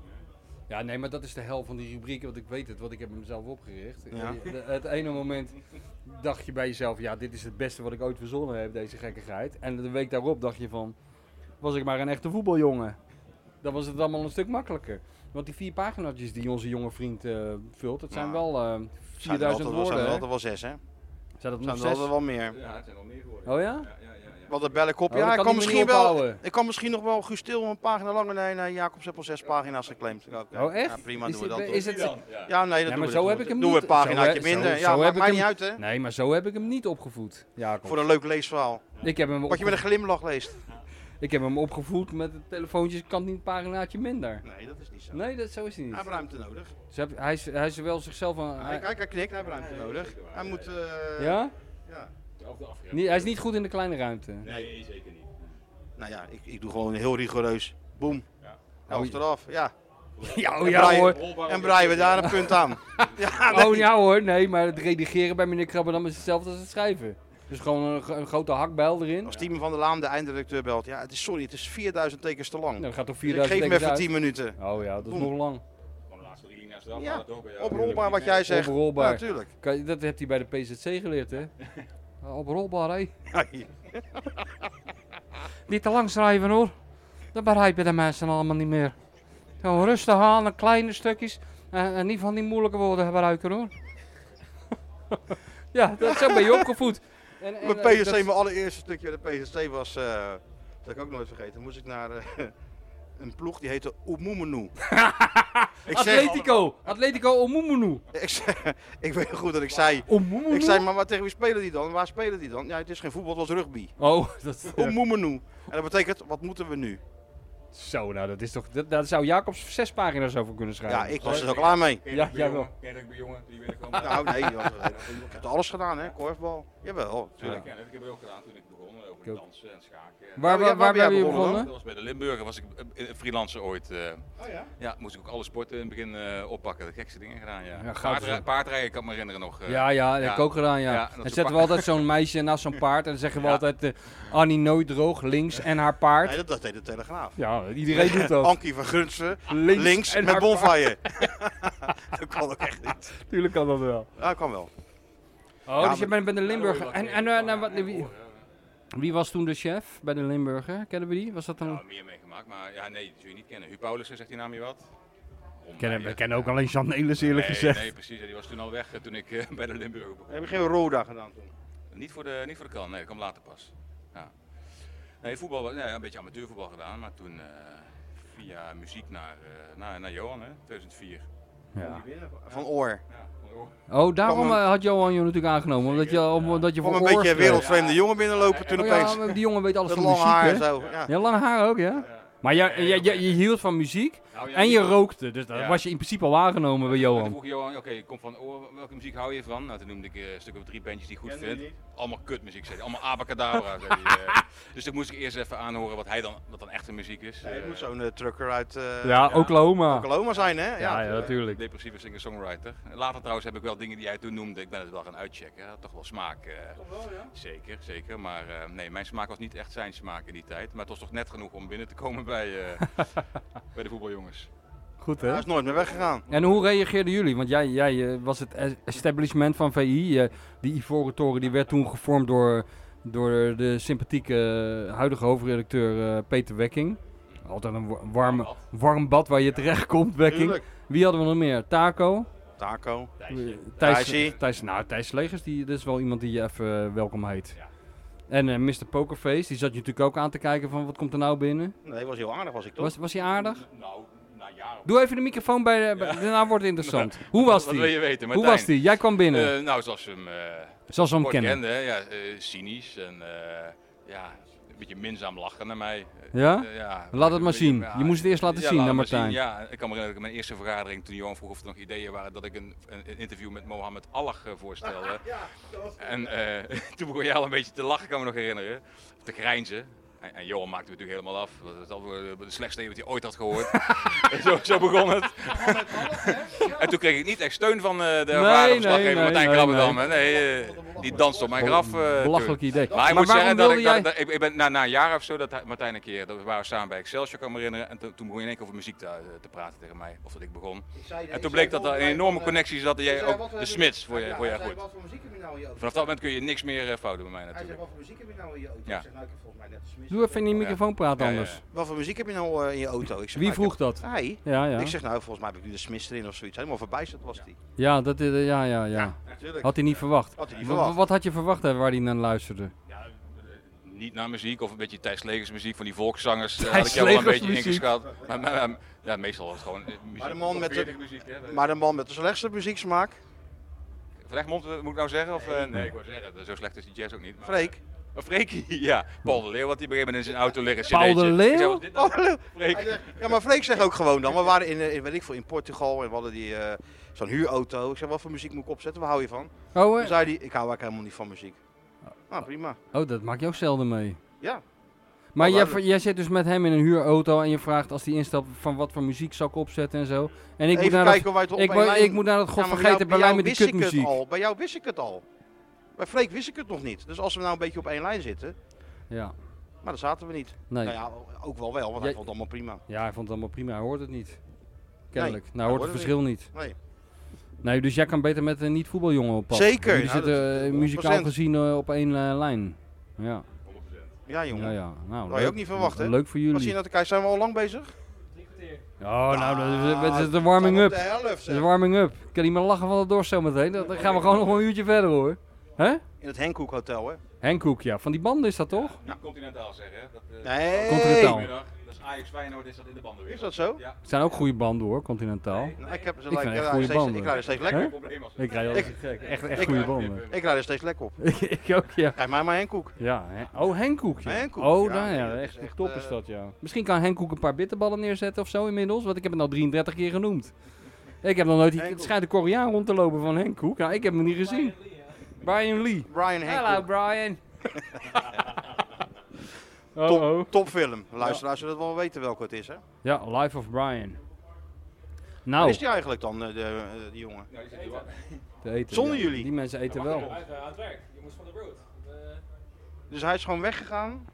S2: Ja, nee, maar dat is de hel van die rubrieken, want ik weet het, want ik heb hem zelf opgericht.
S1: Ja.
S2: Eh, de- het ene moment dacht je bij jezelf, ja, dit is het beste wat ik ooit verzonnen heb, deze gekkigheid. En de week daarop dacht je van, was ik maar een echte voetbaljongen. Dan was het allemaal een stuk makkelijker. Want die vier pagina's die onze jonge vriend eh, vult, dat zijn
S1: Ja.
S2: wel eh
S1: Zijn er
S2: 4000
S1: altijd wel- zijn
S2: woorden.
S1: er
S2: hè?
S1: altijd wel zes hè?
S2: Zijn dat nog
S1: Zijn er altijd
S2: zes?
S1: wel meer.
S4: Ja, het zijn al meer geworden.
S2: Oh ja?
S4: Ja, ja, ja. ja.
S1: Want de bellenkop,
S2: Oh, dat
S1: ja, ik kan,
S2: kan hij me
S1: misschien
S2: niet
S1: wel,
S2: ophouden.
S1: ik kan misschien nog wel Gustil een pagina langer. Nee, nee, Jacobs heeft al zes pagina's geclaimd. Oké.
S2: Oh, echt?
S1: Ja, prima,
S2: Is
S1: doen we
S2: dit-
S1: dat.
S2: is
S1: door.
S2: het-
S4: Die dan? Ja.
S1: Ja, nee, dat
S2: maar
S1: doen we
S2: zo
S1: dat doen
S2: heb ik
S1: we.
S2: hem
S1: Doen we
S2: niet-
S1: een paginaatje
S2: zo heb-
S1: minder.
S2: zo-
S1: ja,
S2: zo
S1: maar
S2: heb ik
S1: maakt
S2: hem-
S1: niet uit hè.
S2: Nee, maar zo heb ik hem niet opgevoed. Ja,
S1: Voor een leuk leesverhaal.
S2: ik, heb hem
S1: Wat je met een
S2: opgevoed-
S1: glimlach leest.
S2: ik heb hem opgevoed met het telefoontje, ik kan het niet een paginaatje minder.
S1: Nee, dat is niet zo.
S2: Nee, dat, zo is hij
S1: Hij heeft
S2: niet.
S1: ruimte nodig.
S2: Ze heb- hij, is, hij is wel zichzelf aan...
S1: Hij,
S2: hij-
S1: hij, hij knikt, hij heeft ruimte nodig. Hij moet... eh,
S2: ja?
S1: ja.
S4: Of de afgerecht.
S2: Nee, hij is niet goed in de kleine ruimte.
S4: Nee, zeker niet.
S1: Nou ja, ik, ik doe gewoon heel rigoureus. Boom.
S4: Ja.
S1: Helft eraf, ja.
S2: Ja, oh,
S1: En
S2: ja
S1: Brian-
S2: hoor.
S1: En breien we daar een punt aan. Ja, nee.
S2: Oh ja hoor, nee, maar het redigeren bij meneer Krabberdam is hetzelfde als het schrijven. Dus gewoon een, gro- een grote hakbijl erin.
S1: Als Tiemen van der Laan de eindredacteur belt. Ja, het is, sorry, het is 4000 tekens te lang.
S2: Nou, dat gaat toch
S1: Dus ik
S2: 4000
S1: geef hem
S2: tekens
S1: even
S2: uit?
S1: 10 minuten.
S2: Oh ja, dat is
S1: Boem.
S2: nog lang.
S4: Van de laatste drie linia's eraf.
S1: Ja,
S4: maar dat ook bij jou.
S1: Oprolbaar wat jij zegt.
S2: Oprolbaar.
S1: Ja, natuurlijk.
S2: Kan- Dat hebt hij bij de PZC geleerd, hè? Oprolbaar, hè? Niet te lang schrijven hoor. Dat begrijpen de mensen allemaal niet meer. Gewoon rustig aan, en kleine stukjes. En, en niet van die moeilijke woorden gebruiken hoor. ja, dat, zo ben je opgevoed. En, en,
S1: Mijn
S2: eh,
S1: PSC,
S2: dat-
S1: mijn allereerste stukje bij de PSC was, eh, dat heb ik ook nooit vergeten, moest ik naar eh, een ploeg die heette Oemumenu. ik, zeg,
S2: Atletico, Atletico Omumunu.
S1: ik, zeg, ik weet goed dat ik zei,
S2: Omumunu?
S1: ik zei, maar, maar tegen wie spelen die dan? Waar spelen die dan? Ja, het is geen voetbal, het was rugby.
S2: Oh, dat,
S1: Oemumenu. En dat betekent, wat moeten we nu?
S2: zo nou, dat is toch, dat, daar zou Jacobs zes pagina's over kunnen schrijven.
S1: Ja, ik was er zo klaar mee.
S2: Ja,
S4: Ja,
S2: ja,
S4: ja, wel. Ken ik bij jongen, die wil ik gewoon.
S1: Nou, nee, dat- ik heb alles gedaan, hè? Korfbal. Jawel,
S4: Ja, ik
S1: natuurlijk.
S4: ken het. Ik heb het ook gedaan toen ik begon eh, over
S2: Ook.
S4: dansen en schaken.
S2: Waar,
S1: Oh, ja,
S2: waar,
S1: waar
S2: waar
S1: ben jij
S2: ben je
S1: begonnen dan?
S4: Dat
S2: begonnen?
S4: was bij de Limburger, was ik eh, eh, freelancer ooit. eh.
S1: Oh ja?
S4: ja, moest ik ook alle sporten in het begin eh, oppakken. De gekste dingen gedaan, ja.
S2: Ja, gaaf,
S4: Paardrij-
S2: zeg.
S4: paardrijden kan ik me herinneren nog. eh.
S2: Ja, ja, dat
S4: ja.
S2: heb ik ook gedaan, ja.
S4: Ja, dat
S2: en
S4: is
S2: dan
S4: een
S2: zetten we
S4: paar-
S2: altijd zo'n meisje naast zo'n paard en dan zeggen we
S4: Ja.
S2: altijd eh, Annie nooit droog, links en haar
S1: Nee,
S2: paard.
S1: dat, dat deed de Telegraaf.
S2: Ja, iedereen doet dat.
S1: Ankie van Gunsen,
S2: Links,
S1: links
S2: en
S1: met
S2: haar paard.
S1: bonfire. dat kan ook echt niet.
S2: Tuurlijk kan dat wel.
S1: Ja, dat kan wel.
S2: Oh,
S1: Ja,
S2: dus je
S1: maar-
S2: bent bij de Limburger.
S4: Ja,
S2: En, en, eh, nou, wat, wie, wie was toen de chef bij de Limburger? Kennen we die? Was dat
S4: Nou,
S2: een...
S4: meer meegemaakt, maar ja, nee, dat zul je niet kennen. Huub Paulussen, zegt die naam je wat?
S2: we kennen ook alleen Jean Nelis eerlijk
S4: nee,
S2: gezegd.
S4: Nee, precies. ja, Die was toen al weg eh, toen ik eh, bij de Limburger begon.
S1: Heb je geen Roda gedaan toen?
S4: Niet voor de, niet voor de kan, nee, dat kwam later pas. Ja. Nee, voetbal, was- nee, een beetje amateurvoetbal gedaan, maar toen eh, via muziek naar, eh, naar, naar Johan, hè, 2004.
S2: Ja.
S1: Van Oor.
S4: Ja,
S2: Oh, daarom
S1: Kwam een-
S2: eh, had Johan je natuurlijk aangenomen. Omdat je, om- omdat je
S1: Om
S2: voor
S1: een beetje
S2: oorspel-
S1: wereldvreemde jongen binnenlopen toen
S2: Oh
S1: opeens.
S2: ja, maar die jongen weet alles
S1: dat
S2: van
S1: lange
S2: muziek,
S1: haar
S2: hè?
S1: en zo. Ja.
S2: Ja, lang haar ook, ja. Maar jij, jij, jij- je hield van muziek,
S4: Nou, ja,
S2: En je
S4: die-
S2: rookte, dus dan
S4: Ja.
S2: was je in principe al aangenomen bij
S4: En toen
S2: Johan.
S4: vroeg Johan, oké, ik kom van oor, welke muziek hou je van? Nou, toen noemde ik eh, een stuk of drie bandjes die ik goed vind. Allemaal kutmuziek, zei hij. Allemaal abacadabra, zei hij. eh. Dus toen moest ik eerst even aanhoren wat, hij dan, wat dan echte muziek is.
S1: Nee, het
S4: Eh,
S1: moet zo'n eh, trucker uit eh,
S2: Ja, Oklahoma.
S1: Oklahoma zijn, hè?
S2: Ja, ja, natuurlijk.
S4: Depressieve singer-songwriter. Later trouwens heb ik wel dingen die jij toen noemde, ik ben het wel gaan uitchecken. Hij had toch wel smaak. eh, Zeker, zeker. Maar eh, nee, mijn smaak was niet echt zijn smaak in die tijd. Maar het was toch net genoeg om binnen te komen bij, eh, bij de voetbaljongens.
S2: Goed
S1: Hij
S2: hè?
S1: is nooit meer weggegaan.
S2: En hoe reageerden jullie? Want jij, jij eh, was het es- establishment van VI. eh, die Ivoren Toren die werd toen gevormd door, door de sympathieke eh, huidige hoofdredacteur eh, Peter Wekking. Altijd een wa- warm, warm bad waar je terecht komt, Wekking.
S1: Tuurlijk.
S2: Wie hadden we nog meer? Taco?
S1: Taco.
S2: Thijs,
S1: Thijsie.
S2: Thijs, nou, Thijs Legers, die, dat is wel iemand die je even eh, welkom heet. En eh, Mr. Pokerface, die zat je natuurlijk ook aan te kijken van wat komt er nou binnen.
S1: Nee, was heel aardig, was ik toch?
S2: Was, was hij aardig?
S4: Nou, na jaren.
S2: Doe even de microfoon bij de... bij- Daarna wordt het interessant. Hoe was
S4: Wat wil
S2: die?
S4: je weten,
S2: Hoe
S4: Martijn?
S2: was die? Jij kwam binnen.
S4: Eh, nou, zoals we hem eh
S2: Zoals we hem
S4: kort
S2: kennen.
S4: kenden, hè. ja, eh, cynisch en eh, ja, een beetje minzaam lachen naar mij. Eh,
S2: Ja?
S4: eh, ja,
S2: Laat het maar
S4: Een
S2: zien.
S4: beetje-
S2: Je moest het eerst laten
S4: Ja,
S2: zien
S4: laat
S2: aan
S4: het maar
S2: Martijn.
S4: zien. Ja, ik kan me herinneren dat ik mijn eerste vergadering toen Johan vroeg of er nog ideeën waren dat ik een, een een interview met Mohammed Allag eh, voorstelde. En eh, toen begon je al een beetje te lachen, kan me nog herinneren. Of te grijnzen. En, en Johan maakte het natuurlijk helemaal af. Dat is altijd de slechtste idee wat hij ooit had gehoord. En zo, zo begon het. en toen kreeg ik niet echt steun van eh, de ervaren verslaggever
S2: nee,
S4: Martijn
S2: nee,
S4: Krabbendam. hè. Nee, eh, die danste op mijn graf. eh, toen.
S2: Belachelijk idee.
S4: Maar ik moet
S2: waarom
S4: zeggen dat
S2: wilde
S4: ik, dat- dat- ik, ik ben na, na een jaar of zo, dat hij- Martijn een keer, dat we waren samen bij Excelsior, kan ik me herinneren. En toen toen begon je in één keer over muziek te, eh, te praten tegen mij, of dat ik begon. En toen bleek dat er een enorme connectie zat, dat jij
S1: eh,
S4: ook de Smits voor je, voor je goed.
S1: Wat voor muziek heb je nou in je auto?
S4: Vanaf dat moment kun je niks meer eh, fout doen bij mij
S1: Hij zegt,
S4: natuurlijk.
S1: wat voor muziek heb je nou in je auto?
S4: Ja.
S1: Ik zeg, nou, ik heb volgens mij net de Smits.
S2: Doe even in die microfoon praten
S4: Ja, ja,
S2: anders.
S4: ja.
S1: Wat voor muziek heb je nou eh, in je auto? Ik zeg,
S2: Wie
S1: nou, ik
S2: vroeg dat?
S1: heb- Hij.
S2: Ja, ja.
S1: Ik zeg, nou, volgens mij heb ik nu de Smits erin of zoiets. Helemaal verbijsterd was die.
S2: Ja, dat is, eh, ja, ja, ja.
S1: Natuurlijk.
S2: Had hij niet verwacht.
S1: Had hij niet
S2: Wa-
S1: verwacht.
S2: Wat had je verwacht hè, waar hij naar luisterde?
S4: Niet naar muziek, of een beetje Thijs Legers muziek van die volkszangers, eh, had
S2: Thijs
S4: ik jou wel een
S2: Legers
S4: beetje
S2: muziek.
S4: ingeschat. Maar, maar- maar- ja, meestal was het gewoon eh, muziek.
S1: Maar de man met de-
S4: 40 muziek, hè.
S1: Maar de man met de slechtste muzieksmaak,
S4: Van Egmond, eh, moet ik nou zeggen? Of, eh, nee, ik wou zeggen, dat- zo slecht is die jazz ook niet. maar-
S1: Freek.
S4: Oh, Freekie, ja. Paul de Leeuw had die op een gegeven moment in zijn auto liggen.
S2: Paul de
S4: cd'tje. Ik zei,
S2: Leeuw?
S4: wat is dit nou? Freek.
S1: Ja, maar Freek zegt ook gewoon dan. We waren in, eh, in, weet ik veel, in Portugal en we hadden die, eh, zo'n huurauto. Ik zeg, wat voor muziek moet ik opzetten? Waar hou je van?
S2: Oh,
S1: Toen
S2: eh,
S1: zei hij, ik hou eigenlijk helemaal niet van muziek. Nou, prima.
S2: oh, dat maak je ook zelden mee.
S1: Ja.
S2: Maar
S1: Oh,
S2: jij,
S1: duidelijk.
S2: jij zit dus met hem in een huurauto en je vraagt als hij instapt van wat voor muziek zal ik opzetten en zo. En ik, moet
S1: Even
S2: naar,
S1: kijken
S2: dat,
S1: waar het op
S2: ik,
S1: mijn
S2: wou-
S1: lijn-
S2: ik moet naar dat
S1: Ja, maar
S2: godvergeten
S1: bij jou-
S2: Berlijn met
S1: bij
S2: die
S1: jou wist ik het
S2: kutmuziek.
S1: al. Bij jou wist ik het al. Bij Freek wist ik het nog niet. Dus als we nou een beetje op één lijn zitten,
S2: Ja,
S1: maar daar zaten we niet.
S2: nee.
S1: Nou ja, ook wel wel, want hij
S2: Jij-
S1: vond het allemaal prima.
S2: Ja, hij vond het allemaal prima. Hij hoort het niet. Kennelijk. nou,
S1: hij hoort
S2: hoort het
S1: het
S2: verschil niet.
S1: Nee.
S2: Nee, dus jij kan beter met een niet-voetbaljongen op pad.
S1: Zeker,
S2: Jullie
S1: nou,
S2: zitten
S1: dat-
S2: eh,
S1: 100%.
S2: muzikaal gezien eh, op één eh, lijn. Ja,
S1: Ja, jongen.
S2: ja, ja. Nou,
S1: je ook niet verwachten, hè?
S2: Leuk voor
S1: Wat zie je
S2: jullie.
S1: nou te kijken? Zijn we al lang bezig?
S2: Oh, nou, dat is,
S1: Ah,
S2: dat is de
S1: we zijn
S2: warming
S1: op
S2: up.
S1: de
S2: Dat
S1: helft,
S2: is de
S1: zeg.
S2: warming up. Ik kan niet meer lachen van het dorst zometeen. Dan dan gaan we gewoon nog een uurtje verder hoor. Hè?
S1: In het Henkoek Hotel, hè?
S2: Henkoek, ja. Van die banden is dat toch?
S4: Niet continentaal zeggen, hè. Dat, eh,
S1: Nee.
S2: Continental.
S4: Goedemiddag, dat is Ajax Feyenoord, is dat in de banden weer.
S1: Is dat zo?
S4: Ja.
S2: Het zijn ook goede banden hoor, continentaal.
S1: Nou, ik heb ze
S2: Ik vind
S1: lekker.
S2: echt
S1: Ik rijd
S2: goede
S1: er steeds-
S2: banden.
S1: ik rijd er steeds lekker
S2: Hè?
S1: op.
S4: Probleem als-
S2: Ik rij altijd gek. Echt, echt
S1: ik-
S2: goede banden.
S1: Ik rijd er steeds lekker op.
S2: ik ook, ja.
S1: Kijk mij maar Henkoek.
S2: Ja, hè- oh Henkoek. Ja.
S1: Maar Henkoek,
S2: oh,
S1: ja,
S2: nou ja,
S1: dat is
S2: echt,
S1: echt,
S2: top
S1: eh,
S2: is dat, ja. Misschien kan Henkoek een paar bitterballen neerzetten of zo inmiddels, want ik heb het al 33 keer genoemd. Ik heb nog nooit, het
S1: Henkoek.
S2: schijnt een Koreaan rond te lopen van Henkoek. Nou, ik heb hem niet gezien. Brian Lee.
S1: Brian
S2: Hallo
S1: Henkoek.
S2: Brian. oh, oh.
S1: Top, topfilm. Luisteraars zullen dat wel weten welke het is, hè?
S2: Ja, Life of Brian.
S1: Wat
S2: Nou,
S1: is die eigenlijk dan, eh, de, eh, die jongen?
S4: Nou, die zit hier wel.
S2: te eten,
S1: Zonder
S2: ja.
S1: jullie.
S2: Die mensen eten wel.
S3: Hij is eh, aan het werk. Je moest van de road. Eh,
S1: Dus hij is gewoon weggegaan.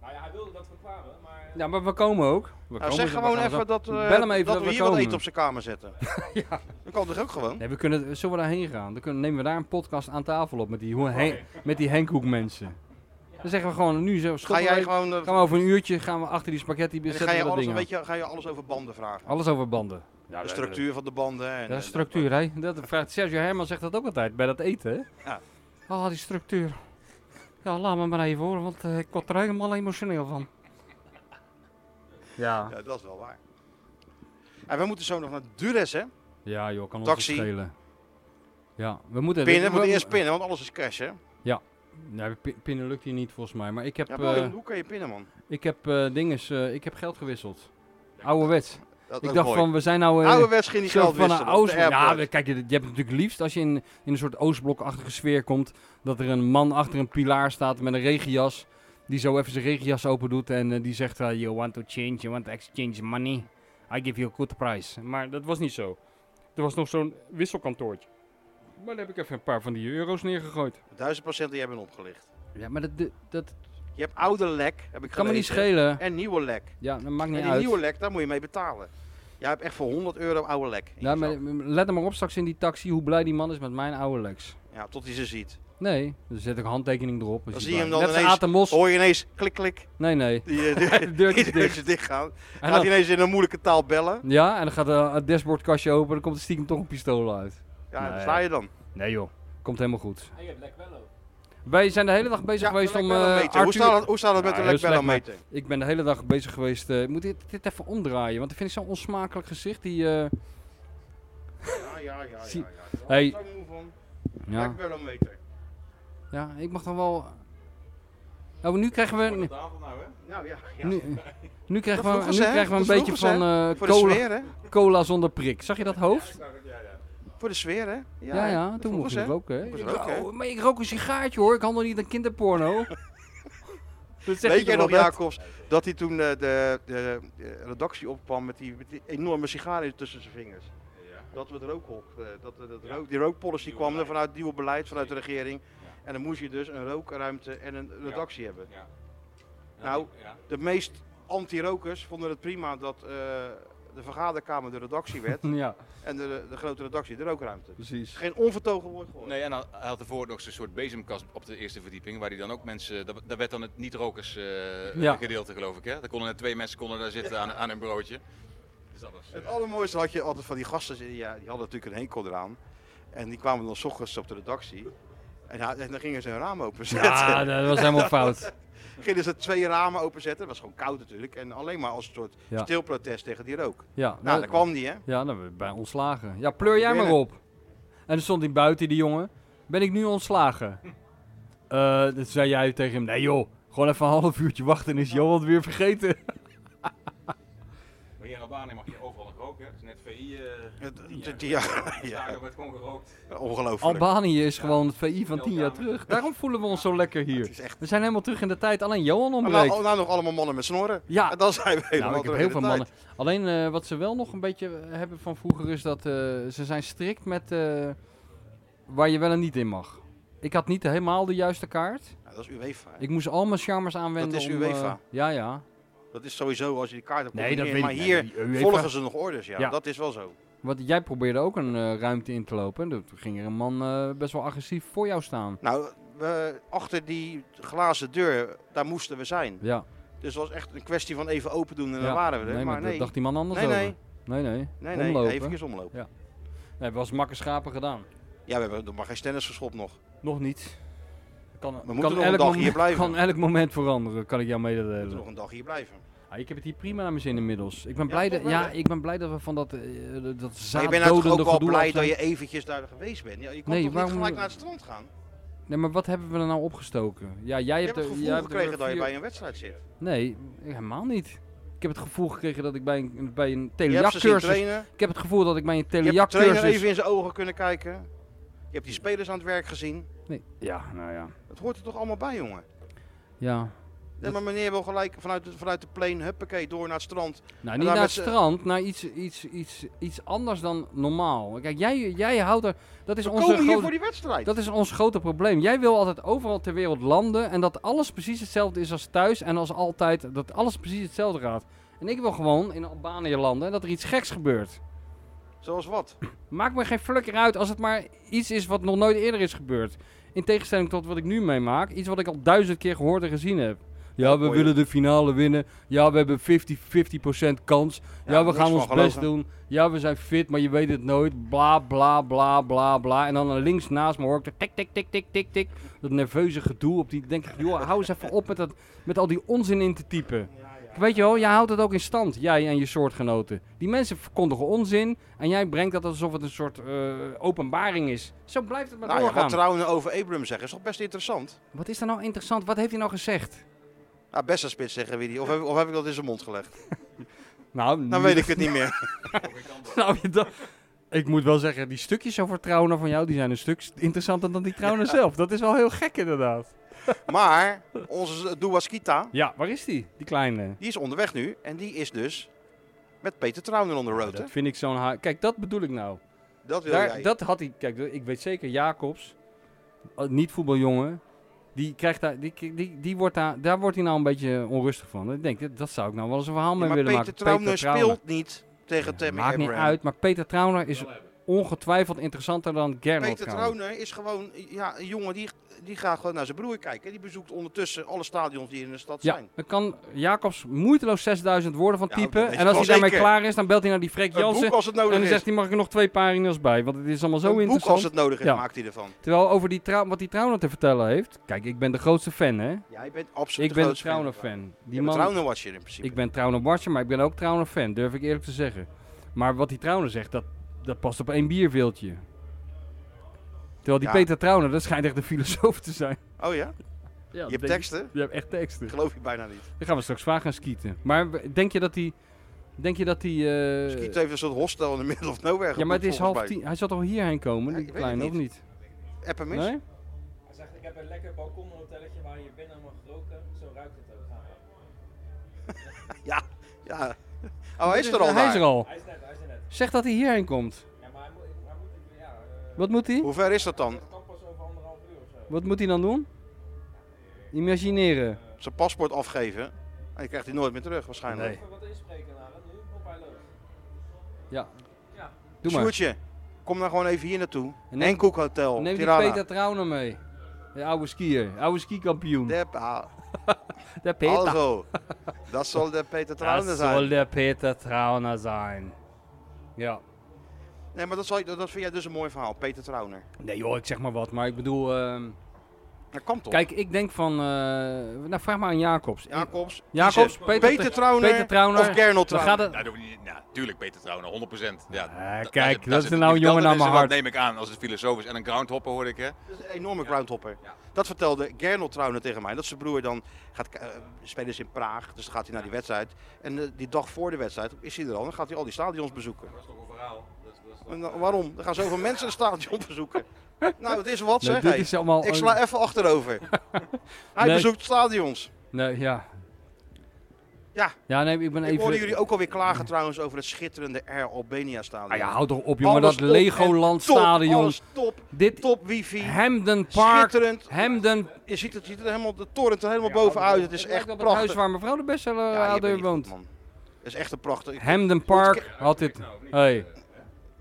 S3: nou ja, hij wilde dat we kwamen, maar... eh,
S2: Ja, maar we komen ook. We
S1: Nou,
S2: komen,
S1: zeg
S2: we
S1: gewoon
S2: gaan zo-
S1: even dat, eh,
S2: Bel hem even
S1: dat
S2: dat
S1: we
S2: we
S1: hier wat
S2: komen.
S1: eten op zijn kamer zetten. ja. Dat kan toch ook gewoon?
S2: Nee, we kunnen, zullen we daarheen gaan? Dan kunnen, nemen we daar een podcast aan tafel op met die, hoe- Hen- met die Henkoek mensen. Dan zeggen we gewoon nu zo,
S1: Ga
S2: stoppen
S1: jij
S2: wij-
S1: gewoon... eh,
S2: gaan we over een uurtje gaan we achter die spaghetti
S1: en dan
S2: zetten
S1: ga,
S2: we
S1: je
S2: dat
S1: alles
S2: ding
S1: een
S2: aan.
S1: beetje, ga je alles over banden vragen?
S2: Alles over banden. Ja,
S1: de structuur van de banden. En, eh,
S2: Dat is
S1: en-
S2: structuur, hè? Dat vraagt Sergio Herman zegt dat ook altijd bij dat eten, hè?
S1: Ja.
S2: Ah, die structuur. Ja, laat me maar even horen, want eh, ik word er helemaal emotioneel van. Ja.
S1: Ja, dat is wel waar. En we moeten zo nog naar Dures, hè?
S2: Ja, joh, kan ons
S1: Taxi.
S2: het schelen. Ja, we moeten...
S1: Pinnen, we
S2: we-
S1: moeten
S2: we-
S1: eerst pinnen, want alles is cash, hè?
S2: Nee, pin- pinnen lukt hier niet volgens mij, maar ik heb...
S1: Ja, maar
S2: eh,
S1: hoe kan je pinnen, man?
S2: Ik heb eh dinges, eh, ik heb geld gewisseld. Ouderwets.
S1: Dat
S2: ik
S1: ook
S2: dacht
S1: mooi.
S2: van, we zijn nou... eh,
S1: Ouderwets ging die
S2: soort
S1: geld
S2: van
S1: wisselen.
S2: een
S1: op de
S2: Oostblok. Ja,
S1: airport.
S2: we- kijk, je, je hebt het natuurlijk liefst als je in, in een soort Oostblokachtige sfeer komt. Dat er een man achter een pilaar staat met een regenjas. Die zo even zijn regenjas open doet en eh, die zegt: eh, You want to change, you want to exchange money. I give you a good price. Maar dat was niet zo. Er was nog zo'n wisselkantoortje. Maar daar heb ik even een paar van die euro's neergegooid.
S1: Duizend patiënten die hebben opgelicht.
S2: Ja, maar dat, dat,
S1: Je hebt oude lek, heb ik
S2: kan me niet
S1: gelezen,
S2: schelen.
S1: En nieuwe lek.
S2: Ja, dat maakt
S1: En
S2: niet
S1: die
S2: uit.
S1: nieuwe lek, daar moet je mee betalen. Jij hebt echt voor 100 euro oude lek. in
S2: Ja,
S1: je
S2: maar,
S1: zak.
S2: let er maar op straks in die taxi hoe blij die man is met mijn oude Lex.
S1: ja tot hij ze ziet.
S2: Nee, dan zet ik een handtekening erop. is
S1: Dan
S2: hij
S1: zie je hem
S2: blij.
S1: dan
S2: Net
S1: ineens-
S2: als Aad en Mos.
S1: Hoor je ineens klik klik.
S2: Nee, nee.
S1: Die, eh, die,
S2: De
S1: die
S2: deurtjes dicht.
S1: deurtjes dicht gaan.
S2: En
S1: Gaat hij
S2: dan,
S1: ineens in een moeilijke taal bellen.
S2: ja, en dan gaat eh, het dashboardkastje open en dan komt er stiekem toch een pistool uit.
S1: Ja,
S2: Nee.
S1: daar sta je dan.
S2: Nee joh, komt helemaal goed.
S3: En je hebt Lekbello.
S2: Wij zijn de hele dag bezig geweest om eh,
S1: Lekbellometer. Hoe
S2: Arthur-
S1: staat het, hoe staat het met
S2: Ja,
S1: de
S2: heel slecht,
S1: lekbellometer?
S2: Ik ben de hele dag bezig geweest. eh, ik moet dit, dit even omdraaien, want ik vind het zo'n onsmakelijk gezicht. Die, eh,
S1: Ja, ja, ja.
S2: Zie-
S1: ja,
S2: Hey.
S1: Daar moe van.
S2: ja.
S1: Lekbellometer.
S2: ja, ik mag dan wel... Oh, nu krijgen we...
S4: Wordt het avond nou, hè?
S1: Nou ja, ja.
S2: Nu, nu krijgen we,
S1: vroegen
S2: nu
S1: ze, hè?
S2: krijgen we een
S1: Dat
S2: beetje
S1: vroegen
S2: van
S1: ze,
S2: eh,
S1: voor de
S2: cola,
S1: sfeer, hè?
S2: cola zonder prik. Zag je dat hoofd?
S1: Voor de sfeer, hè?
S2: Ja, ja,
S1: dat
S2: toen
S1: vroegen
S2: mocht
S1: ze,
S2: ik
S1: hè?
S2: roken. Hè?
S1: Moest
S2: Ik
S1: roken, hè?
S2: rook- maar ik rook een sigaartje hoor, ik handel niet aan kinderporno. Dat zeg
S1: Weet jij nog,
S2: wel, Bert?
S1: Jacobs, dat hij toen eh, de, de, de redactie opkwam met die, met die enorme sigaar in- tussen zijn vingers? Dat we het rookhok, eh, dat, dat, dat rook, die rookpolicy kwam er vanuit het nieuwe beleid, vanuit de regering. En dan moest je dus een rookruimte en een redactie hebben.
S4: Ja.
S1: Nou,
S4: ja.
S1: De meest anti-rokers vonden het prima dat eh, de vergaderkamer de redactie werd
S2: Ja,
S1: en de, de grote redactie de rookruimte.
S2: precies.
S1: Geen onvertogen woord gehoord.
S4: Nee, en hij hij had ervoor nog zo'n soort bezemkast op de eerste verdieping, waar hij dan ook mensen, daar- daar werd dan het niet-rokers eh,
S2: Ja.
S4: gedeelte geloof ik, hè? Daar konden net twee mensen konden daar zitten aan, aan een broodje. Dus dat was, eh,
S1: Het allermooiste had je altijd van die gasten, die, ja, die hadden natuurlijk een hekel eraan. En die kwamen dan s ochtends op de redactie. En, ja, en dan gingen ze hun raam openzetten.
S2: Ja, dat was helemaal fout.
S1: Gingen ze twee ramen openzetten, dat was gewoon koud natuurlijk. En alleen maar als een soort
S2: Ja.
S1: stilprotest tegen die rook.
S2: Ja,
S1: Nou, daar kwam die hè.
S2: Ja, dan ben ik bij ontslagen. Ja, pleur jij maar
S1: Binnen.
S2: op. En dan stond hij buiten, die jongen. Ben ik nu ontslagen? Eh dat zei jij tegen hem. Nee joh, gewoon even een half uurtje wachten en is Johan het weer vergeten.
S4: maar hier in Albanië mag je overal roken, hè? Het is net VI, eh
S1: Het- het- Ja, ja,
S4: daar werd gewoon gerookt.
S1: ongelooflijk.
S2: Albanië is gewoon het VI van 10 jaar terug. Daarom voelen we ons zo lekker
S1: Het
S2: hier.
S1: is echt...
S2: We zijn helemaal terug in de tijd. Alleen Johan
S1: Maar
S2: ontbreekt.
S1: nou, nou nog allemaal mannen met snorren.
S2: Ja.
S1: En dan zijn we helemaal
S2: Nou, ik heb
S1: terug
S2: heel
S1: in de
S2: veel
S1: tijd.
S2: mannen. Alleen eh, wat ze wel nog een beetje eh, hebben van vroeger is dat eh, ze zijn strikt met eh, waar je wel en niet in mag. Ik had niet helemaal de juiste kaart.
S1: Ja, dat is UEFA. hè.
S2: Ik moest al mijn charmers aanwenden.
S1: Dat is
S2: om, eh,
S1: UEFA.
S2: ja, ja.
S1: Dat is sowieso als je die kaart hebt.
S2: Nee, dat
S1: gecontroleerd.
S2: weet
S1: maar
S2: ik
S1: hier
S2: niet. Nee, UEFA.
S1: volgen ze nog orders, ja.
S2: Ja.
S1: Dat is wel zo.
S2: Want jij probeerde ook een eh, ruimte in te lopen. En toen ging er een man eh, best wel agressief voor jou staan.
S1: Nou, we, achter die glazen deur, daar moesten we zijn.
S2: Ja,
S1: Dus het was echt een kwestie van even open doen en
S2: Ja.
S1: dan waren we er.
S2: nee,
S1: maar
S2: dat
S1: nee.
S2: dacht die man anders
S1: nee,
S2: over.
S1: nee,
S2: nee, nee.
S1: nee, nee,
S2: Omlopen.
S1: Even omlopen.
S2: Nee, was makkerschapen gedaan.
S1: Ja, we hebben nog maar geen stennis geschopt nog.
S2: Nog niet. Kan,
S1: moeten nog een dag hier
S2: moment,
S1: blijven.
S2: kan elk moment veranderen, kan ik jou
S1: We moeten
S2: mededelen.
S1: nog een dag hier blijven.
S2: Ah, ik heb het hier prima naar mijn zin inmiddels. Ik ben,
S1: Ja,
S2: blij,
S1: toch
S2: dat,
S1: wel,
S2: ja,
S1: hè?
S2: ik ben blij dat we van dat, eh dat
S1: Maar je bent nou toch
S2: zaaddodende
S1: ook wel
S2: gedoe
S1: blij
S2: af zijn.
S1: dat je eventjes daar geweest bent. Ja, je kon
S2: Nee,
S1: toch
S2: waarom-
S1: niet gelijk naar het strand gaan?
S2: Nee, maar wat hebben we er nou opgestoken? Ja, jij
S1: Je
S2: hebt
S1: hebt het
S2: er-
S1: gevoel
S2: jij hebt er
S1: gekregen dat je
S2: vier-
S1: bij een wedstrijd zit.
S2: Nee, helemaal niet. Ik heb het gevoel gekregen dat ik bij een, bij een
S1: Je hebt ze zien
S2: telejackcursus...
S1: trainen.
S2: Ik heb het gevoel dat ik bij een
S1: Je hebt de trainer
S2: telejackcursus...
S1: even in zijn ogen kunnen kijken. Je hebt die spelers aan het werk gezien.
S2: Nee. Ja, nou ja.
S1: Het hoort er toch allemaal bij, jongen?
S2: Ja.
S1: Nee, maar meneer wil gelijk vanuit de, vanuit de plane, huppakee, door naar het strand.
S2: Nou, niet
S1: daar
S2: naar het
S1: met z'n-
S2: strand, naar iets, iets, iets, iets anders dan normaal. Kijk, jij, jij houdt er... Dat is
S1: We
S2: onze
S1: komen hier
S2: grote-
S1: voor die wedstrijd.
S2: Dat is ons grote probleem. Jij wil altijd overal ter wereld landen en dat alles precies hetzelfde is als thuis en als altijd. Dat alles precies hetzelfde gaat. En ik wil gewoon in Albanië landen en dat er iets geks gebeurt.
S1: Zoals wat?
S2: Maakt me geen flikker uit als het maar iets is wat nog nooit eerder is gebeurd. In tegenstelling tot wat ik nu meemaak. Iets wat ik al duizend keer gehoord en gezien heb. Ja, we
S1: Mooi.
S2: willen de finale winnen. Ja, we hebben 50, 50% kans. Ja, we
S1: niks
S2: gaan
S1: van
S2: ons best
S1: geloven.
S2: doen. Ja, we zijn fit, maar je weet het nooit. Bla, bla, bla, bla, bla. En dan links naast me hoor ik dat tik, tik, tik, tik, tik, tik. Dat nerveuze gedoe op die. Denk ik, joh, hou eens even op met, dat, met al die onzin in te typen. Weet je wel, jij houdt het ook in stand, jij en je soortgenoten. Die mensen verkondigen onzin en jij brengt dat alsof het een soort eh, openbaring is. Zo blijft het maar
S1: Nou ja,
S2: doorgaan.
S1: wat trouwen over Abram zeggen is toch best interessant?
S2: Wat is daar nou interessant? Wat heeft hij nou gezegd?
S1: Nou, best een spits zeggen, Willy. Of heb, of heb ik dat in zijn mond gelegd?
S2: Nou,
S1: Dan weet ik het niet meer.
S2: Nou, je dat- ik moet wel zeggen, die stukjes over Trouwner van jou, die zijn een stuk s- interessanter dan die Trouwner zelf. Dat is wel heel gek inderdaad.
S1: Maar onze Duaskita,
S2: Ja, waar is die? Die kleine.
S1: die is onderweg nu. En die is dus met Peter Trouwner on the road. Hè?
S2: Dat vind ik zo'n... ha- Kijk, dat bedoel ik nou.
S1: Dat wil
S2: Daar,
S1: jij.
S2: dat had hij, kijk, ik weet zeker, Jacobs, eh, niet voetbaljongen, die krijgt daar, die, die, die wordt daar, daar wordt hij nou een beetje onrustig van. Ik denk, dat, dat zou ik nou wel eens een verhaal
S1: Ja,
S2: mee
S1: maar
S2: willen
S1: Peter
S2: maken.
S1: Trouwner
S2: Trouwner.
S1: speelt niet tegen Tammy
S2: Maakt niet
S1: Abraham.
S2: uit, maar Peter Trouwner is ongetwijfeld interessanter dan Gernot
S1: Peter
S2: Trouwner.
S1: Trouwner is gewoon ja, een jongen die, die gaat gewoon naar zijn broer kijken. Die bezoekt ondertussen alle stadions die in de stad
S2: Ja,
S1: zijn.
S2: dan kan Jacobs moeiteloos 6000 woorden van
S1: Ja,
S2: typen.
S1: dat weet
S2: en
S1: ik
S2: als hij
S1: wel
S2: daarmee
S1: zeker.
S2: klaar is, dan belt hij naar die Freek
S1: Een boek
S2: Jansen.
S1: als het
S2: En
S1: nodig
S2: dan
S1: is.
S2: zegt hij, mag ik er nog twee pagina's bij? Want het is allemaal zo
S1: een boek
S2: interessant.
S1: als het nodig is,
S2: Ja.
S1: maakt hij ervan.
S2: Terwijl over die trau- wat die Trouwner te vertellen heeft. Kijk, ik ben de grootste fan, hè?
S1: Jij bent absoluut
S2: Ik ben de Trouwner fan. Die
S1: Die man...
S2: man,
S1: Trouwner was je in principe.
S2: ik ben Trouwner watcher, maar ik ben ook Trouwner fan, durf ik eerlijk te zeggen. Maar wat die Trouwner zegt, dat, dat past op één bierveeltje. Terwijl die
S1: Ja.
S2: Peter Trouwner, dat schijnt echt een filosoof te zijn.
S1: Oh ja?
S2: Ja,
S1: Je hebt teksten?
S2: Je hebt echt teksten.
S1: Geloof je bijna niet.
S2: Dan gaan we straks vaak gaan skieten. Maar w- denk je dat die... Denk je dat die... eh,
S1: Schiet heeft een soort hostel in de middle of nowhere.
S2: ja, maar
S1: geboekt,
S2: het is half
S1: volgens mij.
S2: tien. Hij zat al hierheen komen,
S1: Ja,
S2: die
S1: ik weet het
S2: kleine, of
S1: niet.
S2: niet?
S1: App hem eens.
S2: Nee?
S3: Hij zegt, ik heb een lekker balkonhotelletje waar je binnen mag roken. Zo ruikt het ook.
S1: Ja, ja. Oh, hij is
S2: Dus,
S1: er al
S2: Hij is
S1: daar.
S2: er al.
S3: Hij is net, hij is er net.
S2: Zeg dat hij hierheen komt.
S3: Ja, maar hij moet, hij moet ja, eh,
S2: Wat moet hij?
S1: Hoe ver is dat dan?
S3: dat kan pas over anderhalf uur of zo.
S2: Wat moet hij dan doen? Imagineren.
S1: Zijn paspoort afgeven. En je krijgt hij nooit meer terug waarschijnlijk.
S2: Nee.
S3: Even wat inspreken naar hem nu, op hij leuk.
S2: Ja.
S3: Ja.
S2: Doe maar.
S1: Sjoerdje, kom nou gewoon even hier naartoe.
S2: En
S1: En
S2: neem-
S1: Koek Hotel,
S2: Neem die
S1: Tirana.
S2: Peter Trauner mee. De oude skier. Oude skikampioen.
S1: De, ah,
S2: De Peter.
S1: also, dat zal de Peter Trane
S2: Dat zal
S1: zijn.
S2: de Peter Trauner zijn. Ja.
S1: Nee, maar dat, zal, dat dat vind jij dus een mooi verhaal, Peter Trauner.
S2: Nee joh, ik zeg maar wat. Maar ik bedoel... ehm,
S1: Dat kan toch?
S2: kijk, ik denk van... eh, nou, vraag maar aan Jacobs.
S1: Jacobs,
S2: Jacobs,
S1: Kiezen.
S2: Peter-
S1: Peter Trauner
S2: Peter Trauner.
S1: of Gernot
S2: Dan
S1: Trauner.
S2: gaat het...
S4: Nou, doe ik niet- nou, tuurlijk Peter Trouwen, 100%. Ja,
S2: Ah,
S4: da- daar
S2: kijk,
S4: zit- daar
S2: dat
S4: zit
S2: is
S4: een
S2: nou
S4: die vertelde
S2: jongen naar mijn
S4: is, en
S2: hart.
S4: Dat neem ik aan als het filosoof is. En een groundhopper hoorde ik, hè?
S1: Dat is een enorme groundhopper.
S4: Ja.
S1: Dat vertelde Gernot Trauner tegen mij. Dat zijn broer dan gaat eh, spelen ze in Praag, dus dan gaat hij naar die wedstrijd. En eh, die dag voor de wedstrijd is hij er al, dan gaat hij al die stadions bezoeken.
S4: Dat is toch een verhaal.
S1: En dan- waarom? Er gaan zoveel mensen een stadion bezoeken. Nou, het is wat
S2: Nee,
S1: zeg
S2: dit
S1: hey.
S2: is allemaal...
S1: Ik sla even achterover. Hij
S2: Nee.
S1: bezoekt stadions.
S2: Nee, ja.
S1: Ja.
S2: Ja, nee, ik ben
S1: Ik
S2: even...
S1: hoorde jullie ook alweer klagen trouwens over het schitterende Air Albania stadion.
S2: Ah ja, hou toch op jongen,
S1: Alles
S2: dat
S1: op en
S2: Legoland
S1: top,
S2: stadion.
S1: alles top,
S2: Dit
S1: top wifi,
S2: Hamden Park,
S1: schitterend.
S2: Hamden...
S1: Je ziet het, je ziet het helemaal, de torrent er helemaal bovenuit. Het is
S2: lijkt
S1: echt
S2: op
S1: prachtig.
S2: Het huis waar mevrouw de bestseller
S1: Ja, je bent
S2: ouder
S1: niet goed,
S2: woont.
S1: man. Dat is echt een prachtig.
S2: Hamden Park had dit, hey, had dit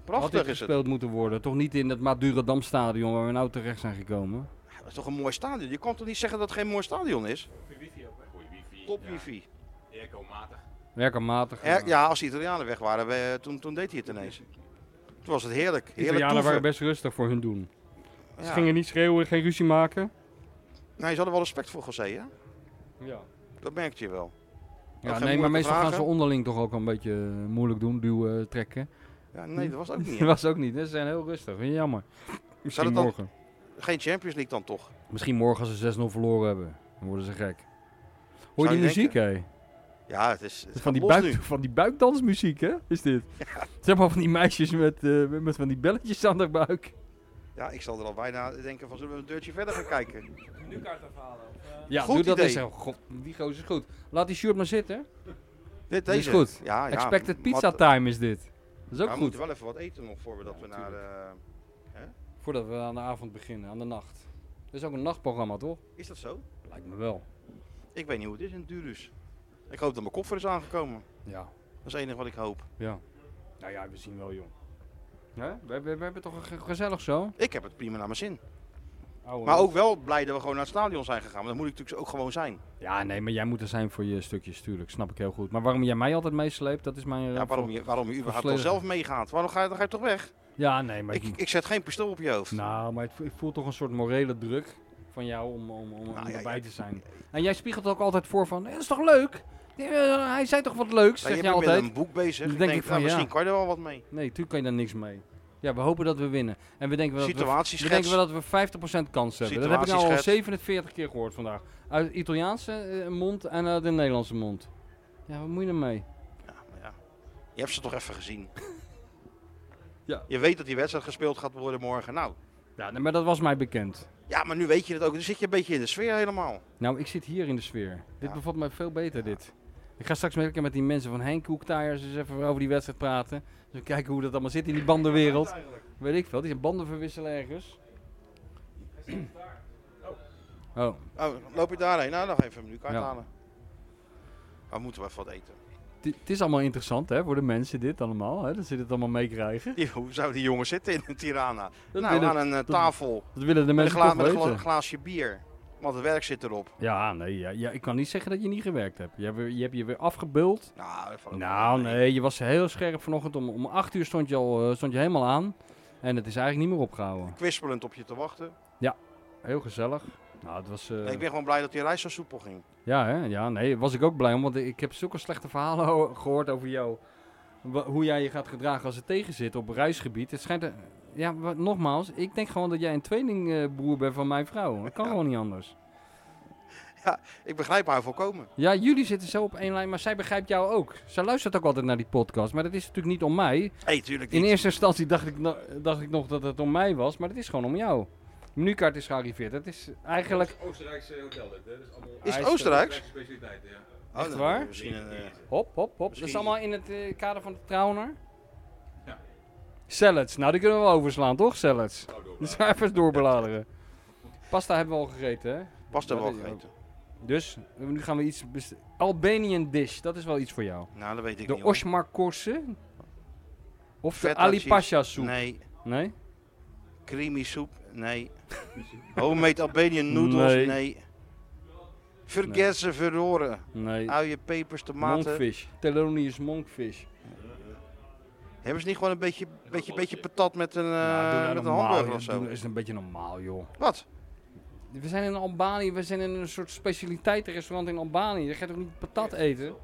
S1: Prachtig is het.
S2: gespeeld moeten worden. Toch niet in het Madurodam stadion waar we nou terecht zijn gekomen.
S1: Dat is toch een mooi stadion. Je kan toch niet zeggen dat het geen mooi stadion is?
S4: Goeie wifi.
S1: Top
S4: ja.
S1: wifi.
S4: Airco-matig.
S2: Werkermatig. eh,
S1: Ja. ja, als de Italianen weg waren, we- toen, toen deed hij het ineens. Toen was het heerlijk.
S2: de
S1: Heerlijk
S2: Italianen
S1: toeven.
S2: waren best rustig voor hun doen. Ze
S1: Ja.
S2: gingen niet schreeuwen, geen ruzie maken.
S1: Nee, ze hadden wel respect voor José, hè?
S2: Ja.
S1: Dat merkte je wel.
S2: Ja,
S1: geen
S2: nee, maar
S1: moeilijke
S2: meestal gaan
S1: vragen.
S2: ze onderling toch ook een beetje eh, moeilijk doen, duwen, trekken.
S1: Ja, nee, dat was ook niet.
S2: Dat was ook niet, hè. ze zijn heel rustig, vind je jammer. Misschien
S1: dat dan-
S2: morgen.
S1: Geen Champions League dan toch?
S2: Misschien morgen als ze 6-0 verloren hebben, dan worden ze gek. Hoor
S1: Zou
S2: je
S1: je
S2: die muziek, hè?
S1: Ja, het is. het
S2: Van
S1: gaat
S2: die,
S1: los
S2: buik,
S1: nu.
S2: van die buikdansmuziek, hè? Is dit? Zeg maar van die meisjes met, eh, met van die belletjes aan haar buik.
S1: Ja, ik zal er al bijna denken: van zullen we een deurtje verder gaan kijken?
S3: Menukaart afhalen. Of, eh,
S2: Ja,
S1: Goed
S2: doe dat
S1: idee.
S2: eens. Oh, God, die gozer is goed. Laat die shirt maar zitten.
S1: Dit
S2: Dit is
S1: deze.
S2: goed.
S1: Ja, Ah, ja.
S2: Expected
S1: Mat-
S2: pizza time is dit. Dat is ook
S1: Ja, We
S2: goed.
S1: moeten wel even wat eten nog voor we dat we naar. eh,
S2: Voordat we aan de avond beginnen, aan de nacht. Dat is ook een nachtprogramma, toch?
S1: eh, Is dat zo?
S2: Lijkt me wel.
S1: Ik weet niet hoe het is in Durus. Ik hoop dat mijn koffer is aangekomen.
S2: Ja.
S1: Dat is het enige wat ik hoop.
S2: ja. Nou ja, we zien wel, jong. Hè? We, hebben- we hebben toch een ge- gezellig zo?
S1: Ik heb het prima naar mijn zin.
S2: Ouwe
S1: Maar
S2: hoor.
S1: ook wel blij dat we gewoon naar het stadion zijn gegaan. Want dat moet ik natuurlijk ook gewoon zijn.
S2: Ja, nee, maar jij moet er zijn voor je stukjes, tuurlijk. Snap ik heel goed. Maar waarom jij mij altijd meesleept, dat is mijn... eh,
S1: Ja, waarom,
S2: voor-
S1: je, waarom je überhaupt al
S2: volledig.
S1: zelf meegaat? Waarom ga je, dan ga je toch weg?
S2: Ja, nee, maar...
S1: Ik, ik zet geen pistool op je hoofd.
S2: Nou, maar het vo- ik voel toch een soort morele druk van jou om, om, om, om
S1: Nou, ja,
S2: erbij
S1: ja.
S2: te zijn. En jij spiegelt ook altijd voor van, "Eh, dat is toch leuk? Eh, hij zei toch wat leuks,
S1: Ja, je
S2: zeg je
S1: bent met
S2: altijd.
S1: een boek bezig.
S2: Dan
S1: ik
S2: denk
S1: denk,
S2: ik van,
S1: nou, misschien
S2: ja.
S1: kan je er wel wat mee.
S2: Nee, natuurlijk kan je daar niks mee. Ja, we hopen dat we winnen. En we denken wel dat we, we, denken
S1: Situatieschets.
S2: wel dat we 50% kans hebben. Dat heb ik nou al
S1: Situatieschets.
S2: 47 keer gehoord vandaag. Uit de Italiaanse eh, mond en uit de Nederlandse mond. Ja, wat moet je ermee?
S1: Ja, maar ja. Je hebt ze toch even gezien.
S2: Ja.
S1: Je weet dat die wedstrijd gespeeld gaat worden morgen. Nou,
S2: Ja, nee, maar dat was mij bekend.
S1: ja, maar nu weet je het ook. Dan zit je een beetje in de sfeer helemaal.
S2: Nou, ik zit hier in de sfeer. Dit
S1: Ja.
S2: bevalt mij veel beter, dit. Ik ga straks met, een keer met die mensen van Henk Koektaaiers eens even over die wedstrijd praten. Dus we kijken hoe dat allemaal zit in die bandenwereld. Weet ik veel, die zijn banden verwisselen ergens. Oh,
S1: Oh, loop je daarheen? Nou, nog even een menukaart
S2: Ja.
S1: halen. Maar moeten we even wat eten?
S2: het het is allemaal interessant hè, voor de mensen dit allemaal. Hè, dat ze dit allemaal meekrijgen.
S1: Die- hoe zou die jongen zitten in Tirana?
S2: Dat,
S1: nou,
S2: willen,
S1: aan een eh, tafel.
S2: dat willen de
S1: Met een,
S2: mensen
S1: gla-
S2: toch
S1: met een gla-
S2: weten.
S1: glaasje bier. Want het werk zit erop.
S2: Ja, nee, ja, ja, ik kan niet zeggen dat je niet gewerkt hebt. Je hebt, weer- je, hebt je weer afgebuld.
S1: Nou, dat valt ook
S2: Nou,
S1: wel mee.
S2: nee, je was heel scherp vanochtend. Om, om acht uur stond je, al, eh, stond je helemaal aan. En het is eigenlijk niet meer opgehouden.
S1: Kwispelend op je te wachten.
S2: Heel gezellig. Nou, het was... eh,
S1: Ik ben gewoon blij dat die reis zo soepel ging.
S2: Ja, hè? ja, nee, was ik ook blij om, want ik heb zulke slechte verhalen ho- gehoord over jou. Wa- hoe jij je gaat gedragen als het tegen zit op reisgebied. Het schijnt, eh, ja, wa- nogmaals, ik denk gewoon dat jij een tweelingbroer bent van mijn vrouw. Dat kan gewoon niet anders.
S1: Ik begrijp haar volkomen.
S2: Ja, jullie zitten zo op één lijn, maar zij begrijpt jou ook. Zij luistert ook altijd naar die podcast, maar dat is natuurlijk niet om mij.
S1: Hé, hey, tuurlijk
S2: In
S1: niet.
S2: eerste instantie dacht ik, no- dacht ik nog dat het om mij was, maar dat is gewoon om jou. De menukaart is gearriveerd. Het is eigenlijk,
S4: Oostenrijkse hotel, dit, hè? Dus allemaal
S1: Is het
S2: Hij is- eh,
S1: Oostenrijks?
S4: specialiteit, ja.
S1: Oh,
S2: Echt
S1: dan
S2: waar?
S1: moet je Misschien een, eh,
S2: hop, hop, hop. Dat is
S1: Misschien-
S2: allemaal in het eh, kader van de trouwner.
S4: Ja.
S2: Salads, nou die kunnen we wel overslaan, toch? Salads.
S4: Nou, door.
S2: Dus ga even doorbladeren. Pasta hebben we al gegeten, hè?
S1: pasta
S2: Ja,
S1: wel
S2: dat-
S1: gegeten.
S2: Dus eh, nu gaan we iets bestellen. Albanian dish, dat is wel iets voor jou.
S1: Nou, dat weet ik niet.
S2: De
S1: hoor.
S2: Osmar Korse. Of de
S1: Feta
S2: Ali
S1: cheese.
S2: Pasha soep. Nee?
S1: Nee. Creamy soep? Nee. Homemade Albanian noodles?
S2: Nee.
S1: Nee. Vergessen, verroren.
S2: Nee.
S1: Uien, pepers, tomaten.
S2: Monkfish. Thelonious monkfish.
S1: Hebben ze niet gewoon een beetje, beetje, beetje patat met een, eh,
S2: Nou, doe nou
S1: met een
S2: normaal,
S1: hamburger
S2: joh.
S1: of zo?
S2: Doe- is een beetje normaal, joh.
S1: Wat?
S2: We zijn in Albanië, we zijn in een soort specialiteitenrestaurant in Albanië. Je gaat toch niet patat eten?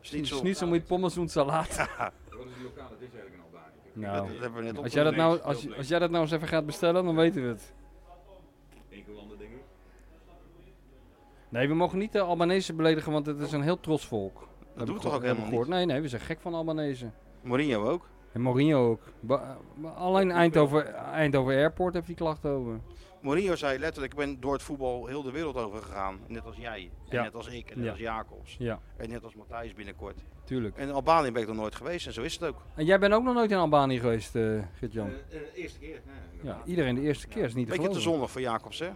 S1: Schnitzel.
S2: Schnitzel met pommes en
S4: Wat
S2: salade.
S4: is die lokale dish eigenlijk in Albanië?
S1: Dat,
S2: Nou,
S1: dat hebben we net
S2: als
S1: op.
S2: jij, dat nou,
S4: Heel
S2: als,
S4: leuk.
S2: als jij dat nou eens even gaat bestellen, dan weten we het.
S4: Ingelander, denk ik.
S2: Nee, we mogen niet de Albanese beledigen, want het is een heel trots volk. Dat,
S1: doen
S2: heb
S1: we
S2: ik
S1: toch ook
S2: geho- heb ik
S1: helemaal
S2: gehoord. Nee, nee, we zijn gek van Albanese.
S1: Mourinho ook.
S2: En Mourinho ook. Ba- ba- alleen Eindhoven, Eindhoven Airport heeft die klachten over.
S1: Mourinho zei letterlijk, ik ben door het voetbal heel de wereld over gegaan. Net als jij, en
S2: Ja.
S1: net als ik, en net
S2: Ja.
S1: als Jacobs.
S2: Ja,
S1: En net als Matthijs binnenkort.
S2: tuurlijk.
S1: En in Albanië ben ik nog nooit geweest en zo is het ook.
S2: En jij bent ook nog nooit in Albanië geweest, eh Gert-Jan.
S4: Eh, eh, eerste keer, hè?
S2: Ja, iedereen de eerste keer is niet te
S1: Beetje te
S2: geloven.
S1: zonnig voor Jacobs, hè?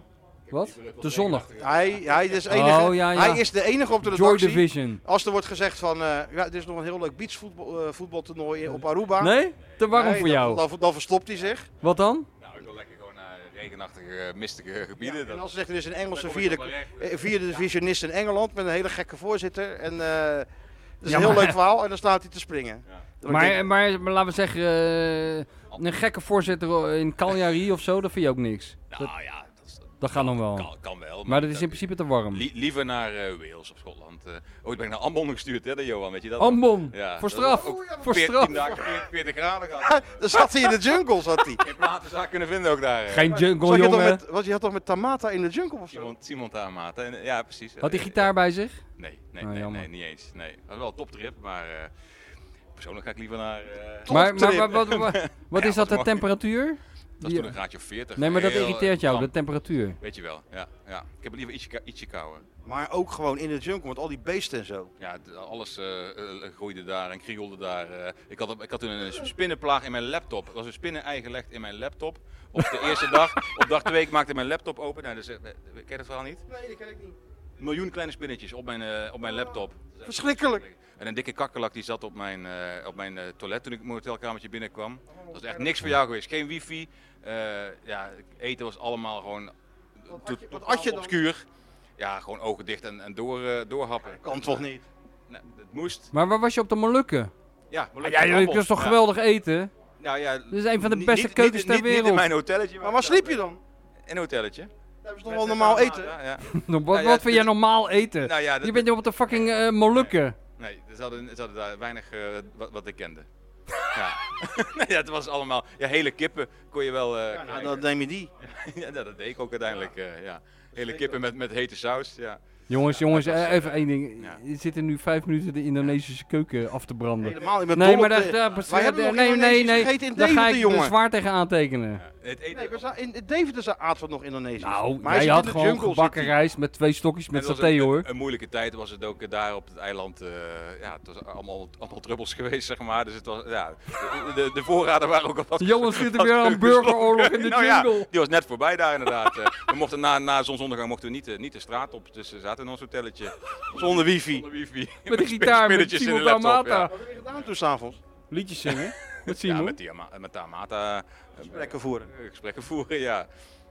S2: Wat? Te zonnig.
S1: Hij, hij, is, de
S2: Oh,
S1: enige,
S2: ja, ja.
S1: hij is de enige op de
S2: Joy
S1: redactie.
S2: Division.
S1: Als er wordt gezegd van, eh, ja, er is nog een heel leuk beachvoetbal eh, voetbaltoernooi op Aruba.
S2: Nee? Te warm
S1: Nee,
S2: voor
S1: dan-
S2: jou.
S1: Dan, dan, verstopt hij zich.
S2: Wat dan?
S4: Nou, ik wil lekker gewoon naar regenachtige, eh, mistige gebieden.
S1: En
S4: dat-
S1: als er zegt, er is een Engelse
S4: daar kom ik
S1: vierde,
S4: wel recht.
S1: eh, vierde divisionist in Engeland met een hele gekke voorzitter. En eh dat is
S2: Ja,
S1: een heel
S2: maar-
S1: leuk verhaal en dan staat hij te springen.
S4: Ja.
S1: Dan denk
S2: Maar,
S1: ik,
S2: maar, maar laten we zeggen, eh, een gekke voorzitter in Cagliari of zo, dat vind je ook niks. Dat,
S4: Nou ja, dat, Oh. is-
S2: dat gaat dan wel.
S4: kan, kan wel.
S2: Maar dat is
S4: dat-
S2: in principe te warm.
S4: li- liever naar eh, Wales of Schotland. eh. ooit ben ik naar Ambon gestuurd, hè, de Johan, weet je dat?
S2: Ambon,
S4: Ja,
S2: voor
S4: dat was
S2: straf.
S4: ook
S2: voor
S4: 14
S2: straf.
S4: dagen, 40 40 graden gehad.
S1: dan zat hij in de jungle, zat hij.
S4: Ik heb waterzaak kunnen vinden ook daar. eh.
S2: Geen jungle,
S1: Zat je, toch
S2: jongen.
S1: met, was, je had toch met Tamata in de jungle of zo?
S4: Simon, Simon Taamaat. hè. Ja, precies.
S2: Had hij
S4: Eh,
S2: gitaar bij zich?
S4: Nee, nee,
S2: Ah,
S4: nee,
S2: jammer.
S4: nee, niet eens. Nee. Dat was wel een toptrip, maar eh, persoonlijk ga ik liever naar... eh,
S1: Top
S2: maar maar
S1: trip.
S2: wat, wat, wat- wat
S4: Ja,
S2: is dat,
S4: wat
S2: de
S4: mag-
S2: temperatuur?
S4: dat is
S2: Die-
S4: toen een graadje of 40.
S2: nee, maar dat
S4: Heel, eh,
S2: irriteert jou,
S4: klam.
S2: de temperatuur.
S4: Weet je wel, ja. ja. Ik heb het liever ietsje, ka- ietsje kouder.
S1: Maar ook gewoon in de jungle met al die beesten en zo.
S4: Ja, d- alles eh, eh, groeide daar en krielde daar. eh. ik, had, ik had toen een spinnenplaag in mijn laptop. Er was een spinnenei gelegd in mijn laptop. Op de eerste dag. Op dag twee, ik maakte mijn laptop open. Nou, dus, eh, eh, ken je dat verhaal niet?
S1: Nee, dat ken ik niet.
S4: Een miljoen kleine spinnetjes op mijn, eh, op mijn laptop.
S1: Verschrikkelijk.
S4: En een dikke kakkerlak die zat op mijn, eh, op mijn eh, toilet toen ik mijn hotelkamertje
S1: Oh,
S4: binnenkwam. Dat was echt niks voor jou geweest. Geen wifi. eh, ja, eten was allemaal gewoon to-
S1: je- wat
S4: totaal
S1: at je dan?
S4: obscuur. Ja, gewoon ogen dicht en, en door, eh, doorhappen.
S1: Kan toch niet?
S4: Nee, het moest.
S2: Maar waar was je op de Molukken?
S4: Ja, maar
S2: Ah,
S4: lekker
S2: Ja,
S4: appels.
S2: jullie kunnen toch
S4: Ja.
S2: geweldig eten?
S4: Nou ja,
S2: Dit is een van de
S4: niet-
S2: beste
S4: niet-
S2: keukens
S4: niet-
S2: ter
S4: niet- Niet
S2: wereld.
S4: in mijn hotelletje.
S1: Maar waar sliep je dan?
S4: In een hotelletje.
S1: Daar hebben ze toch wel normaal eten?
S4: Ja, ja.
S2: Nou,
S4: Nou
S2: Wat,
S4: ja,
S2: wat vind jij
S4: dit-
S2: normaal eten?
S4: Nou ja, dat-
S2: Je bent op de fucking eh, Molukken.
S4: Nee, ze hadden, ze hadden daar weinig eh, wat, wat ik kende. Ja. nee, dat was allemaal... Ja, hele kippen kon je wel... eh,
S1: Ja, nou,
S4: krijgen.
S1: dan neem je die.
S4: Ja, nou, dat deed ik ook uiteindelijk. eh, ja. Hele kippen met, met hete saus. Ja.
S2: Jongens,
S4: Ja,
S2: jongens,
S4: dat was,
S2: eh,
S4: eh,
S2: even één ding.
S4: ja.
S2: Je zit er nu vijf minuten de Indonesische keuken af te branden.
S1: Helemaal in mijn
S2: Nee,
S1: dol
S2: maar
S1: op
S4: eh,
S2: daar,
S1: de-
S2: daar,
S1: Wij hebben nog
S2: eh, nee, nee,
S1: Indonesisch
S2: nee.
S1: gegeten in
S2: Daar ga
S1: Deventer,
S2: ik dus er
S1: jongen.
S2: zwaar tegen aantekenen.
S4: Ja, het eten
S1: Nee, we
S4: was-
S1: zijn- in, in Deventer za- aten we nog Indonesisch.
S2: Nou,
S1: maar
S2: jij
S1: zit
S2: had
S1: in de
S2: gewoon
S1: jungle,
S2: gebakken
S1: zit hij.
S2: rijst met twee stokjes met
S4: Het was
S2: saté
S4: een,
S2: hoor.
S4: Een, moeilijke tijd was het ook eh, daar op het eiland. eh, ja, het was allemaal, allemaal druppels geweest, zeg maar. Dus het was, ja, de, de, de voorraden waren ook al wat.
S2: Jongens, zit er
S4: wat
S2: weer aan
S4: gesloten.
S2: burgeroorlog in de
S4: nou Ja,
S2: jungle.
S4: die was net voorbij daar inderdaad. eh. we mochten na, na zonsondergang mochten we niet, eh, niet de straat op. Dus we zaten in ons hotelletje. Zonder wifi. Zonder wifi.
S2: Met de gitaar, met
S4: spinnetjes in
S2: Simon
S4: de laptop,
S2: Damata.
S1: Wat heb je gedaan toen s'avonds?
S2: Liedjes zingen. Met
S4: Ja,
S2: Simon.
S4: met, die, Ama- met de Amata eh,
S1: Gesprekken voeren. We
S4: eh, gesprekken voeren, ja.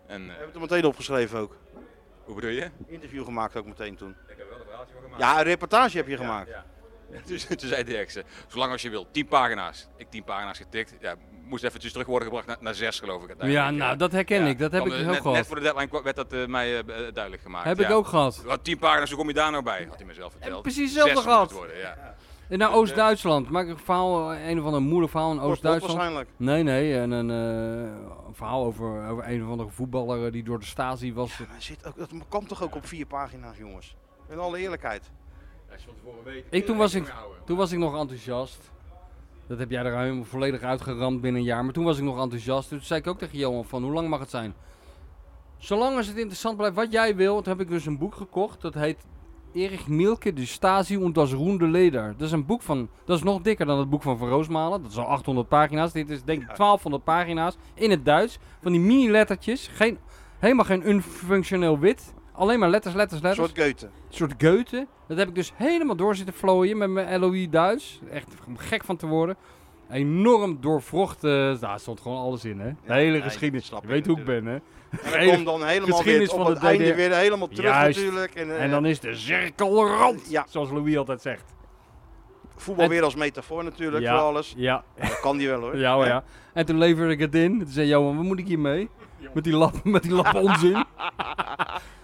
S4: En, eh,
S1: hebben het er meteen opgeschreven ook.
S4: hoe bedoel je?
S1: Interview gemaakt ook meteen toen.
S4: Ik heb wel een verhaaltje van gemaakt.
S1: Ja, een reportage heb je gemaakt.
S4: Ja. Dus toen zei de ex, eh, zolang als je wil, 10 pagina's. Ik 10 pagina's getikt. Ja, moest eventjes terug worden gebracht naar, naar 6 geloof ik
S2: Ja,
S4: uiteindelijk.
S2: nou, dat herken
S4: Ja,
S2: ik. Dat heb
S4: want,
S2: ik
S4: eh,
S2: ook
S4: net, net
S2: gehad.
S4: voor de deadline kwa- werd dat eh, mij eh, be- eh, duidelijk gemaakt.
S2: Heb ik
S4: ja.
S2: ook gehad.
S4: Wat 10 pagina's, hoe kom je daar nou bij? Had hij mezelf verteld.
S2: precies
S4: Zes
S2: hetzelfde
S4: moet
S2: gehad.
S4: het worden, ja.
S2: En naar Oost-Duitsland. Maak ik een verhaal, eh, een of ander moeilijk verhaal in
S1: Wordt
S2: Oost-Duitsland.
S1: waarschijnlijk.
S2: Nee, nee. En een eh, een verhaal over, over een of andere voetballer eh, die door de Stasi was.
S1: Maar zit ook, dat kwam toch ook op vier pagina's, jongens? In alle eerlijkheid.
S4: Als je van tevoren weet,
S2: Ik, toen, was ik, toen was ik nog enthousiast. Dat heb jij er helemaal volledig uitgeramd binnen een jaar. Maar toen was ik nog enthousiast. Toen zei ik ook tegen Johan van, hoe lang mag het zijn? Zolang als het interessant blijft wat jij wil. Toen heb ik dus een boek gekocht. Dat heet Erich Mielke, de Stasi und das Roende Leder. Dat is een boek van, dat is nog dikker dan het boek van Van Roosmalen. Dat is al 800 pagina's. Dit is denk ik 1200 pagina's in het Duits. Van die mini lettertjes. Geen, helemaal geen unfunctioneel wit. Alleen maar letters, letters,
S1: Een
S2: letters.
S1: soort Goethe.
S2: Een soort Goethe. Dat heb ik dus helemaal door zitten vlooien met mijn LOE Duits. Echt om gek van te worden. Enorm doorvrocht. eh, daar stond gewoon alles in, hè? De hele
S1: nee,
S2: geschiedenis.
S1: dat snap
S2: Je
S1: ik
S2: weet hoe ik ben,
S1: natuurlijk.
S2: hè?
S1: En
S2: Hele
S1: dan komt dan helemaal
S2: geschiedenis
S1: weer op
S2: van
S1: het
S2: de
S1: einde
S2: DDR.
S1: weer helemaal terug
S2: Juist.
S1: natuurlijk. En, eh,
S2: En dan is de cirkel rond,
S1: ja.
S2: zoals Louis altijd zegt.
S1: voetbal
S2: en-
S1: weer als metafoor natuurlijk
S2: Ja.
S1: voor alles.
S2: Ja,
S1: Dat kan die wel hoor.
S2: ja, hoor, ja. En toen leverde ik het in. Toen zei Johan, wat moet ik hiermee? Met die lap, met die lap onzin.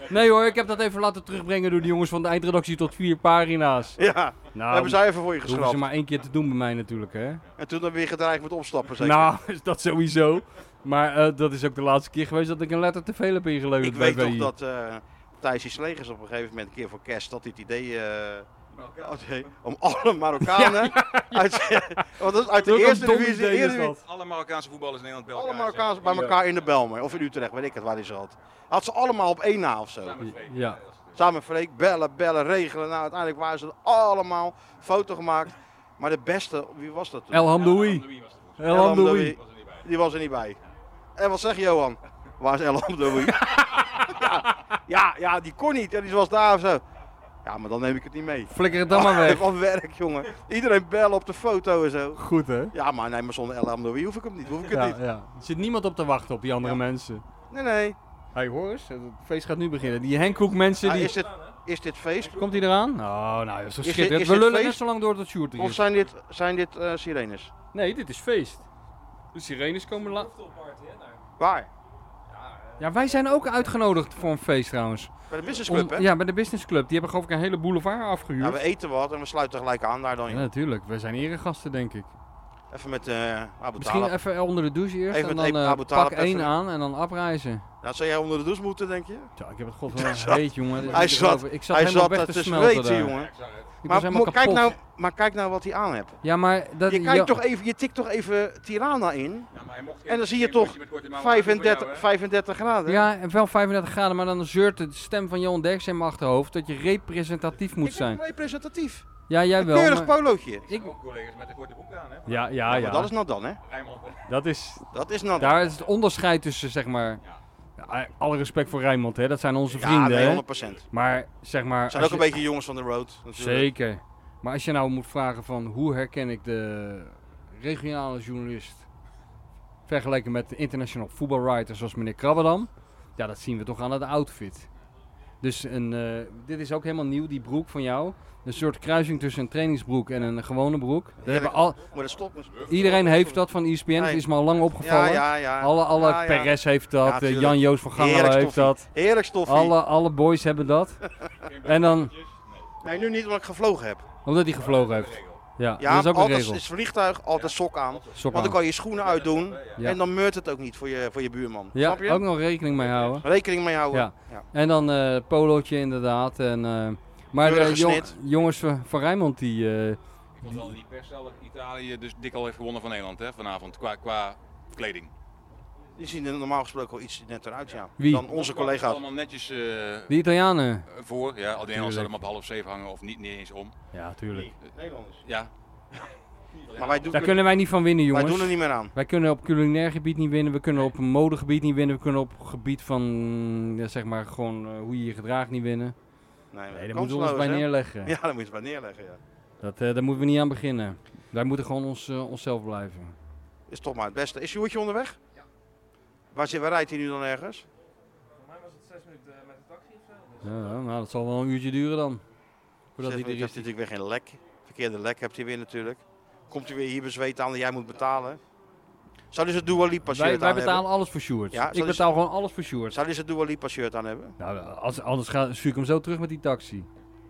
S2: Nee hoor, ik heb dat even laten terugbrengen door de jongens van de eindredactie tot vier pagina's.
S1: Ja,
S2: Nou,
S1: dat hebben zij even voor je
S2: dat hoeven ze
S1: geschrapt.
S2: maar één keer te doen bij mij natuurlijk, hè?
S1: En toen dan weer gedreigd met opstappen zeker.
S2: Nou, is dat sowieso. Maar eh, dat is ook de laatste keer geweest dat ik een letter te veel heb ingeleverd
S1: ik
S2: bij
S1: weet toch
S2: VI.
S1: dat eh Thijs die Slegers op een gegeven moment een keer voor kerst had dit idee... eh, had hij- om alle Marokkanen uit, want dat is uit de
S2: Zulk een
S1: eerste
S2: dom
S1: divisie,
S2: idee is
S1: eerder-
S2: dat.
S4: Alle Marokkaanse voetballers in Nederland bij
S1: alle
S4: elkaar,
S1: Marokkaanse
S4: zeg.
S1: bij elkaar in de Belmer of in Utrecht, weet ik het waar hij ze had. Had ze allemaal op één na of zo.
S4: Samen twee.
S2: Ja.
S1: Samen met Freek, bellen, bellen, regelen. Nou, uiteindelijk waren ze er allemaal. Foto gemaakt. Maar de beste, wie was dat toen?
S2: El Hamdoui.
S4: Louis was er volgens
S2: El Hamdoui.
S1: Hamdoui.
S4: mij niet bij.
S1: Die was er niet bij. En wat zeg je, Johan? Waar is El Hamdoui? ja, ja, ja, die kon niet. Ja, die was daar of zo. Ja, maar dan neem ik het niet mee.
S2: Flikker het dan maar weg.
S1: Wat werk, jongen. Iedereen bellen op de foto en zo.
S2: Goed hè?
S1: Ja, maar nee, maar zonder El Hamdoui hoef ik hem niet. Hoef ik het
S2: Ja,
S1: niet.
S2: ja. Er zit niemand op te wachten op die andere mensen.
S1: Nee, nee.
S2: Hé, hey, hoor eens, het feest gaat nu beginnen. Die Henk Hoek mensen,
S1: Ah,
S2: die...
S1: is, dit, is dit feest?
S2: Komt hij eraan? Oh, nou, dat is toch
S1: dit-
S2: schitterend.
S1: is
S2: We
S1: dit
S2: lullen net
S1: feest?
S2: zo lang door tot Sjoerd er
S1: Of
S2: is.
S1: zijn dit, zijn dit eh, sirenes?
S2: Nee, dit is feest. De sirenes komen laat.
S3: Cocktailparty, hè, daar.
S1: Waar?
S2: Ja, wij zijn ook uitgenodigd voor een feest trouwens.
S1: Bij de businessclub,
S2: Om-
S1: hè?
S2: ja, bij de Business Club. Die hebben geloof ik een hele boulevard afgehuurd.
S1: Ja, we eten wat en we sluiten gelijk aan daar dan.
S2: Ja,
S1: joh.
S2: natuurlijk. We zijn eregasten, denk ik.
S1: Even met eh Abu
S2: Misschien
S1: Talib.
S2: even onder de douche eerst
S1: Even
S2: en
S1: met
S2: dan
S1: Abu
S2: eh,
S1: Talib
S2: pak
S1: even-
S2: één aan en dan afreizen.
S1: Nou, zou jij onder de douche moeten, denk je?
S2: Ja, ik heb het godverdomme heet, jongen. dit is
S1: hij
S2: niet te
S1: zat-
S2: geloven. ik zat
S1: Hij
S2: helemaal
S1: zat er
S2: weg te
S1: te
S2: smelten
S1: zweten,
S2: daar.
S1: jongen.
S2: Ik was
S1: Maar,
S2: helemaal
S1: mo-
S2: kapot.
S1: kijk nou, maar kijk nou wat hij aan hebt.
S2: Ja, maar dat...
S1: Je, kijkt
S2: ja,
S1: toch even, je tikt toch even Tirana in.
S4: Ja, maar hij mocht geen-
S1: En dan zie je
S4: geen
S1: toch
S4: bordje met korte mouwen aan doen voor jou,
S1: 35, 35 graden.
S2: Ja, en wel 35 graden, maar dan zeurt de stem van Johan Derksen in mijn achterhoofd dat je representatief moet
S1: ik ben
S2: zijn.
S1: representatief.
S2: Ja, jij
S1: Een
S2: wel.
S1: keurig
S2: maar-
S1: polootje.
S4: hè? Ook collega's met een korte broek aan, hè?
S2: Ja, ja,
S1: Ja,
S2: ja.
S1: Maar dat is nou dan, hè?
S4: Rijnmond.
S2: dat is...
S1: Dat is nou dan.
S2: Daar is het onderscheid tussen, zeg maar... Ja, alle respect voor Rijnmond, hè. Dat zijn onze
S1: Ja,
S2: vrienden,
S1: nee,
S2: hè.
S1: 100%. Het
S2: Maar, zeg maar...
S1: zijn
S2: als
S1: ook een
S2: je-
S1: beetje jongens van de road. natuurlijk.
S2: Zeker. Maar als je nou moet vragen van hoe herken ik de regionale journalist vergeleken met de international voetbalwriter zoals meneer Krabbedam, ja, dat zien we toch aan het outfit. Dus een, eh, dit is ook helemaal nieuw, die broek van jou. Een soort kruising tussen een trainingsbroek en een gewone broek. Dat hebben al,
S1: Moet dat stoppen?
S2: iedereen heeft dat van E ESPN, het
S1: Nee.
S2: is me al lang
S1: Ja,
S2: opgevallen.
S1: ja, ja.
S2: Alle, alle
S1: Ja, ja.
S2: Perez heeft dat,
S1: Ja,
S2: eh,
S1: tuurlijk.
S2: Jan-Joos van Gangelen heeft
S1: stoffie.
S2: dat.
S1: Heerlijk stoffie.
S2: Alle, alle boys hebben dat. en dan,
S1: Nee, nu niet omdat ik gevlogen heb.
S2: omdat hij gevlogen heeft. Ja,
S1: Ja,
S2: dat is ook een
S1: altijd
S2: regel.
S1: het vliegtuig, altijd sok aan.
S2: Sok
S1: Want dan
S2: aan.
S1: kan je je schoenen uitdoen
S2: Ja.
S1: en dan meurt het ook niet voor je, voor je buurman.
S2: Ja,
S1: Snap je?
S2: ook nog rekening mee houden.
S1: Rekening mee houden.
S2: Ja.
S1: Ja.
S2: En dan eh polootje inderdaad. En, eh, maar
S1: Keurige
S2: eh, jong-
S1: snit.
S2: jongens van, van Rijnmond die... eh,
S4: Ik vond wel in die pers wel dat Italië dus dik al heeft gewonnen van Nederland hè, vanavond qua, qua kleding.
S1: Die zien er normaal gesproken al iets netter uit, ja.
S2: Wie?
S1: Dan onze collega's.
S4: Allemaal netjes eh,
S2: die Italianen.
S4: voor. Ja, al die Nederlanders
S2: Tuurlijk.
S4: zouden hem op half zeven hangen of niet, niet eens om.
S2: Ja, tuurlijk.
S1: Nederlanders.
S4: Ja,
S1: Maar wij doen,
S2: Daar kunnen wij niet van winnen,
S1: wij
S2: jongens.
S1: doen er niet meer aan.
S2: Wij kunnen op culinair gebied niet winnen, we kunnen op modegebied niet winnen, we kunnen op gebied van, ja, zeg maar, gewoon eh, hoe je je gedraagt niet winnen.
S1: Nee,
S2: Nee, daar moeten we
S1: kansloos,
S2: ons bij
S1: hè?
S2: neerleggen.
S1: Ja, daar moeten we bij neerleggen, ja.
S2: Dat, eh, daar moeten we niet aan beginnen. Wij moeten gewoon ons, eh, onszelf blijven.
S1: Is toch maar het beste. Is Sjoerdje onderweg? Ja. Waar, zit, waar rijdt hij nu dan ergens?
S3: Voor mij was het zes minuten eh, met de taxi of zo. Dus
S2: Ja, nou, dat zal wel een uurtje duren dan. Voordat
S1: Zes
S2: hij
S1: minuten
S2: er
S1: heeft
S2: is.
S1: hij natuurlijk weer geen lek. Verkeerde lek hebt hij weer natuurlijk. Komt hij weer hier bezweet aan dat jij moet betalen. Zou dus het Dua Lipa shirt
S2: Wij, wij
S1: aan hebben?
S2: betalen alles voor Sjoerd.
S1: Ja, zal
S2: ik
S1: ik-
S2: betaal gewoon alles voor Sjoerd.
S1: Zou dus het Dua Lipa shirt aan hebben?
S2: Nou, als, anders ga, stuur ik hem zo terug met die taxi.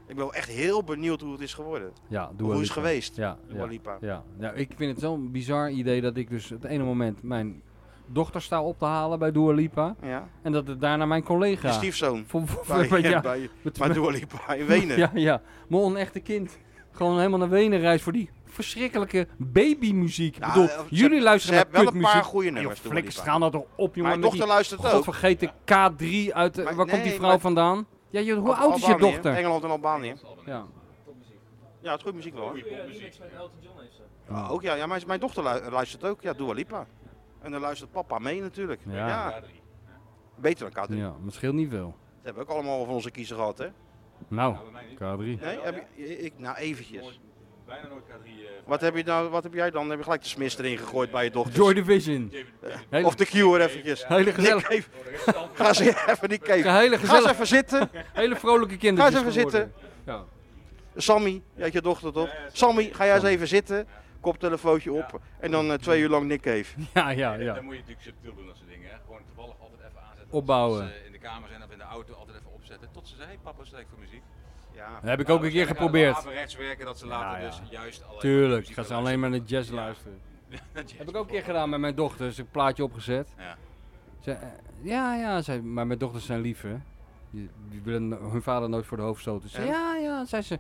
S1: Ik ben wel echt heel benieuwd hoe het is geworden.
S2: Ja, doe
S1: hoe is het geweest?
S2: Ja,
S1: Dua
S2: ja,
S1: Lipa.
S2: ja. Nou, ik vind het zo'n bizar idee dat ik dus het ene moment mijn dochter sta op te halen bij Dua Lipa.
S1: Ja.
S2: En dat het daarna mijn
S1: Je
S2: collega...
S1: stiefzoon.
S2: Voor, voor-
S1: Bij,
S2: voor- ja,
S1: bij,
S2: met-
S1: bij Dua Lipa in Wenen.
S2: Ja, ja. Mijn onechte kind. Gewoon helemaal naar Wenen reist voor die verschrikkelijke babymuziek. Ik
S1: Nou,
S2: bedoel,
S1: eh, ze-
S2: jullie
S1: Ze
S2: luisteren
S1: hebben
S2: naar
S1: wel een paar
S2: kutmuziek.
S1: goede
S2: Joh,
S1: nummers. Dua
S2: flikker,
S1: Lipa.
S2: schaal nou toch op, jongen.
S1: Mijn
S2: met
S1: dochter
S2: die
S1: luistert ook.
S2: godvergeten K3 uit... de-
S1: Maar-
S2: waar komt die
S1: nee,
S2: vrouw
S1: maar-
S2: vandaan? Ja, joh, hoe
S1: Al-
S2: oud is je
S1: Albanië,
S2: dochter?
S1: Engeland en Albanië.
S2: Ja.
S1: Ja, het is goed muziek wel. hoor.
S3: goede remix met Elton John heeft ze.
S1: Ah, ook ja, ja mijn, mijn dochter lu- luistert ook. Ja, Dua Lipa. En dan luistert papa mee natuurlijk.
S2: Ja.
S1: Ja. Beter dan K3.
S2: ja, maar het scheelt niet veel.
S1: Dat hebben we ook allemaal van onze kiezer gehad, hè?
S2: Nou, K3.
S1: Nee, heb je, ik, nou eventjes.
S4: bijna nooit K3. eh,
S1: Wat heb, je nou, wat heb jij dan? Heb je gelijk de smis erin gegooid bij je dochter?
S2: Joy Division. Hele,
S1: Of de cure eventjes.
S2: hele gezellig.
S1: Nick, even- Ga ze even die cave.
S2: Hele
S1: Ga eens
S2: gezellig.
S1: even zitten.
S2: Hele vrolijke kindertjes
S1: Ga eens even
S2: geworden. Ja.
S1: Sammy, je had je dochter toch? Sammy, ga jij eens even zitten. Koptelefoontje op. En dan eh, twee uur lang Nick Cave.
S2: ja, ja,
S4: Ja.
S2: ja.
S4: Dan moet je natuurlijk subtiel doen, dat soort dingen. Hè. Gewoon toevallig altijd even aanzetten.
S2: Opbouwen.
S4: Als ze eh, in de kamer zijn of in de auto altijd even opzetten. Tot ze zeggen, hey, papa, wat is het eigenlijk voor muziek?
S1: Ja.
S2: Dat heb ik ook een keer geprobeerd.
S4: rechts werken, dat ze later
S2: ja.
S4: dus juist alleen
S2: Tuurlijk,
S4: muziek
S2: gaan ze
S4: willen
S2: alleen maar naar jazz
S4: Ja.
S2: luisteren.
S4: luisteren.
S2: Heb ik ook een keer gedaan met mijn dochter. Ze een plaatje opgezet.
S4: Ja.
S2: Ze, eh, ja, ja, zei, maar mijn dochters zijn lief, hè. Die, die willen no- hun vader nooit voor de hoofd stoten. Ze,
S1: En?
S2: ja, ja, zei ze.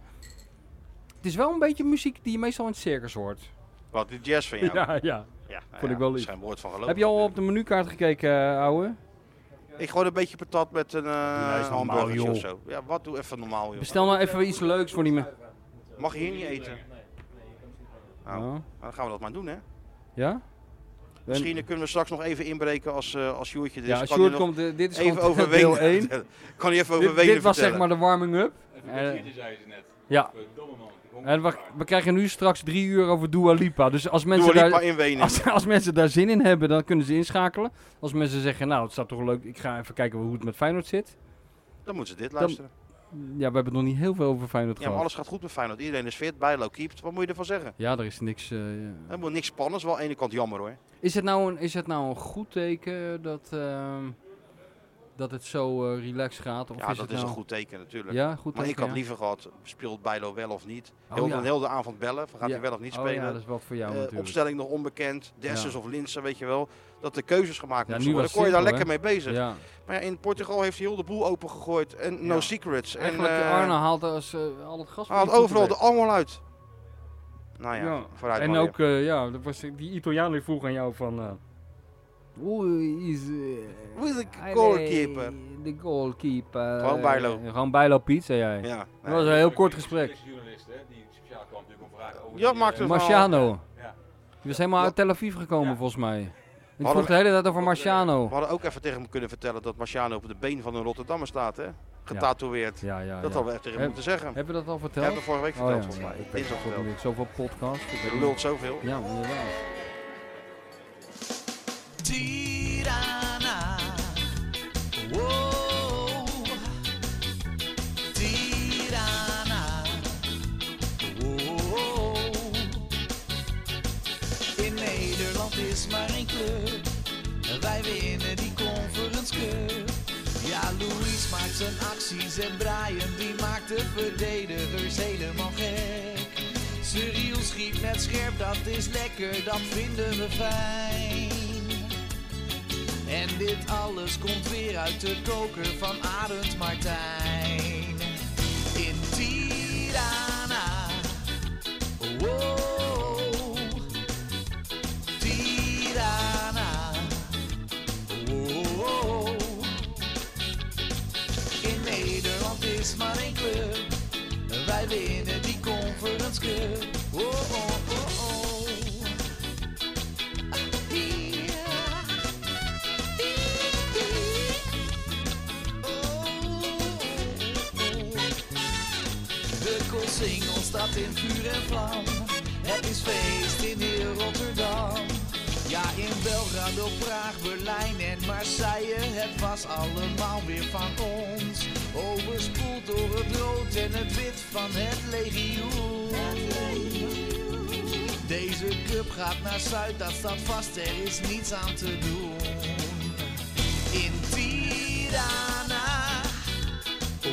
S2: Het is wel een beetje muziek die je meestal in het circus hoort.
S1: Wat, die jazz van jou? Ja,
S2: ja.
S1: nou
S2: Vond ik wel lief.
S1: Er is geen woord van geloof.
S2: Heb je al op de menukaart gekeken, eh, ouwe?
S1: Ik gooi een beetje patat met een
S2: eens
S1: eh
S2: normaal,
S1: hamburger
S2: joh.
S1: of zo. Ja, wat? Doe even normaal, joh.
S2: Bestel nou even iets leuks voor die me.
S1: Mag je hier niet eten?
S3: Nee, nee, je kan misschien gewoon.
S1: Nou,
S2: Oh.
S1: dan gaan we dat maar doen, hè?
S2: Ja?
S1: Misschien eh, kunnen we straks nog even inbreken als, eh als Sjoerdje er is.
S2: Ja,
S1: Kan
S2: als
S1: hij
S2: Sjoerd
S1: nog
S2: komt, eh, dit is
S1: even
S2: gewoon
S1: over
S2: deel
S1: Wenen
S2: 1.
S1: vertellen? Kan hij even over
S2: Dit,
S1: Wenen
S2: dit was zeg
S1: vertellen?
S2: maar de warming-up.
S4: Even een kwartiertje, zei ze net.
S2: Ja.
S4: Verdomme man.
S2: En we, we krijgen nu straks drie uur over Dua Lipa. Dus als mensen,
S1: Dua Lipa
S2: daar,
S1: in Wenen.
S2: als, als mensen daar zin in hebben, dan kunnen ze inschakelen. Als mensen zeggen, nou, het staat toch leuk. Ik ga even kijken hoe het met Feyenoord zit.
S1: Dan moeten ze dit luisteren.
S2: Ja, we hebben het nog niet heel veel over Feyenoord
S1: ja, maar
S2: gehad.
S1: alles gaat goed met Feyenoord. Iedereen is fit, Bijlo keept. Wat moet je ervan zeggen?
S2: Ja, er is niks... eh, ja.
S1: Helemaal niks spannends. Wel aan de ene kant jammer, hoor.
S2: is, het nou een, is het nou een goed teken dat, ehm, dat het zo eh relaxed gaat? Of
S1: ja,
S2: is
S1: dat
S2: het
S1: is
S2: nou...
S1: een goed teken natuurlijk.
S2: Ja, goed
S1: maar
S2: teken,
S1: ik had
S2: ja.
S1: liever gehad, speelt Bijlo wel of niet?
S2: Oh,
S1: Heel,
S2: ja.
S1: de, heel de avond bellen, van gaat
S2: Ja.
S1: hij wel of niet
S2: Oh
S1: spelen?
S2: ja, dat is wat voor jou
S1: Eh,
S2: natuurlijk.
S1: opstelling nog onbekend, Dessers
S2: Ja.
S1: of Linsen, weet je wel. Dat er keuzes gemaakt
S2: Ja,
S1: moeten
S2: nu
S1: worden.
S2: was
S1: Dan kon je daar
S2: simpel,
S1: lekker mee bezig.
S2: Ja.
S1: Maar ja, in Portugal heeft hij heel de boel opengegooid. En no
S2: Ja.
S1: secrets. En
S2: Eigenlijk,
S1: eh,
S2: Arne haalt als, eh, al het gas van
S1: haalt
S2: die voeten
S1: overal
S2: weg.
S1: de allemaal uit. Nou ja,
S2: Ja.
S1: vooruit
S2: En
S1: maar weer.
S2: ook, eh, ja, dat was die Italiaan die vroeg aan jou van... eh Hoe is... eh,
S1: Hoe is de goalkeeper?
S2: De goalkeeper.
S1: Gewoon Bijlo.
S2: Eh, Gewoon Bijlo Piet, zei jij.
S1: Ja,
S2: Dat was een heel kort gesprek.
S4: journalist, hè, die speciaal kwam natuurlijk om vragen over
S1: Ja,
S4: die,
S1: maakt
S4: eh,
S1: het-
S2: Marciano.
S4: Ja.
S2: Die was helemaal uit Tel Aviv gekomen, volgens mij. Ik vroeg de hele tijd over
S1: we
S2: Marciano.
S1: hadden ook even tegen hem kunnen vertellen dat Marciano op de been van een Rotterdammer staat, hè? Getatoeëerd.
S2: Ja,
S1: Dat
S2: ja, ja.
S1: hadden we echt tegen hem
S2: Heb-
S1: moeten zeggen.
S2: Hebben we dat al
S1: Jij
S2: verteld?
S1: hebt het vorige week
S2: Oh ja,
S1: verteld, volgens
S2: ja,
S1: mij.
S2: ik weet
S1: Dinsdag
S2: het ook
S1: verteld.
S2: niet. Zoveel podcasts. ik weet
S1: Je
S2: niet.
S1: lult zoveel.
S2: Ja, inderdaad.
S5: Tirana. Whoa. Tirana. Whoa. In Nederland is maar één club. Wij winnen die Conference Cup. Ja, Louis maakt zijn acties en Brian die maakt de verdedigers helemaal gek. Cyril schiet schiet net scherp, dat is lekker, dat vinden we fijn. En dit alles komt weer uit de koker van Arend Martijn. In Tirana, wow, Tirana, wow. In Nederland is maar één club. Wij winnen die Conference Cup. Oh, oh, oh, oh. Ja. De Koolsingel staat in vuur en vlam. Het is feest in heel Rotterdam. Ja, in Belgrado, Praag, Berlijn en Marseille. Het was allemaal weer van ons. Overspoeld door het rood en het wit van het legioen. Deze cup gaat naar Zuid, dat staat vast. Er is niets aan te doen in Tirana.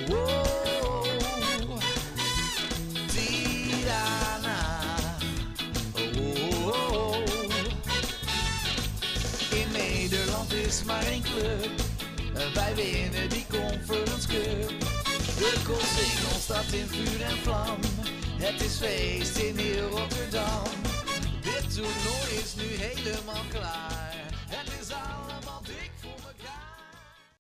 S5: Wow, Tirana. Wow. In Nederland is maar één club. Wij winnen die Conference Cup. De Koolsingel staat in vuur en vlam. Het is feest in heel Rotterdam. Dit toernooi is nu helemaal klaar.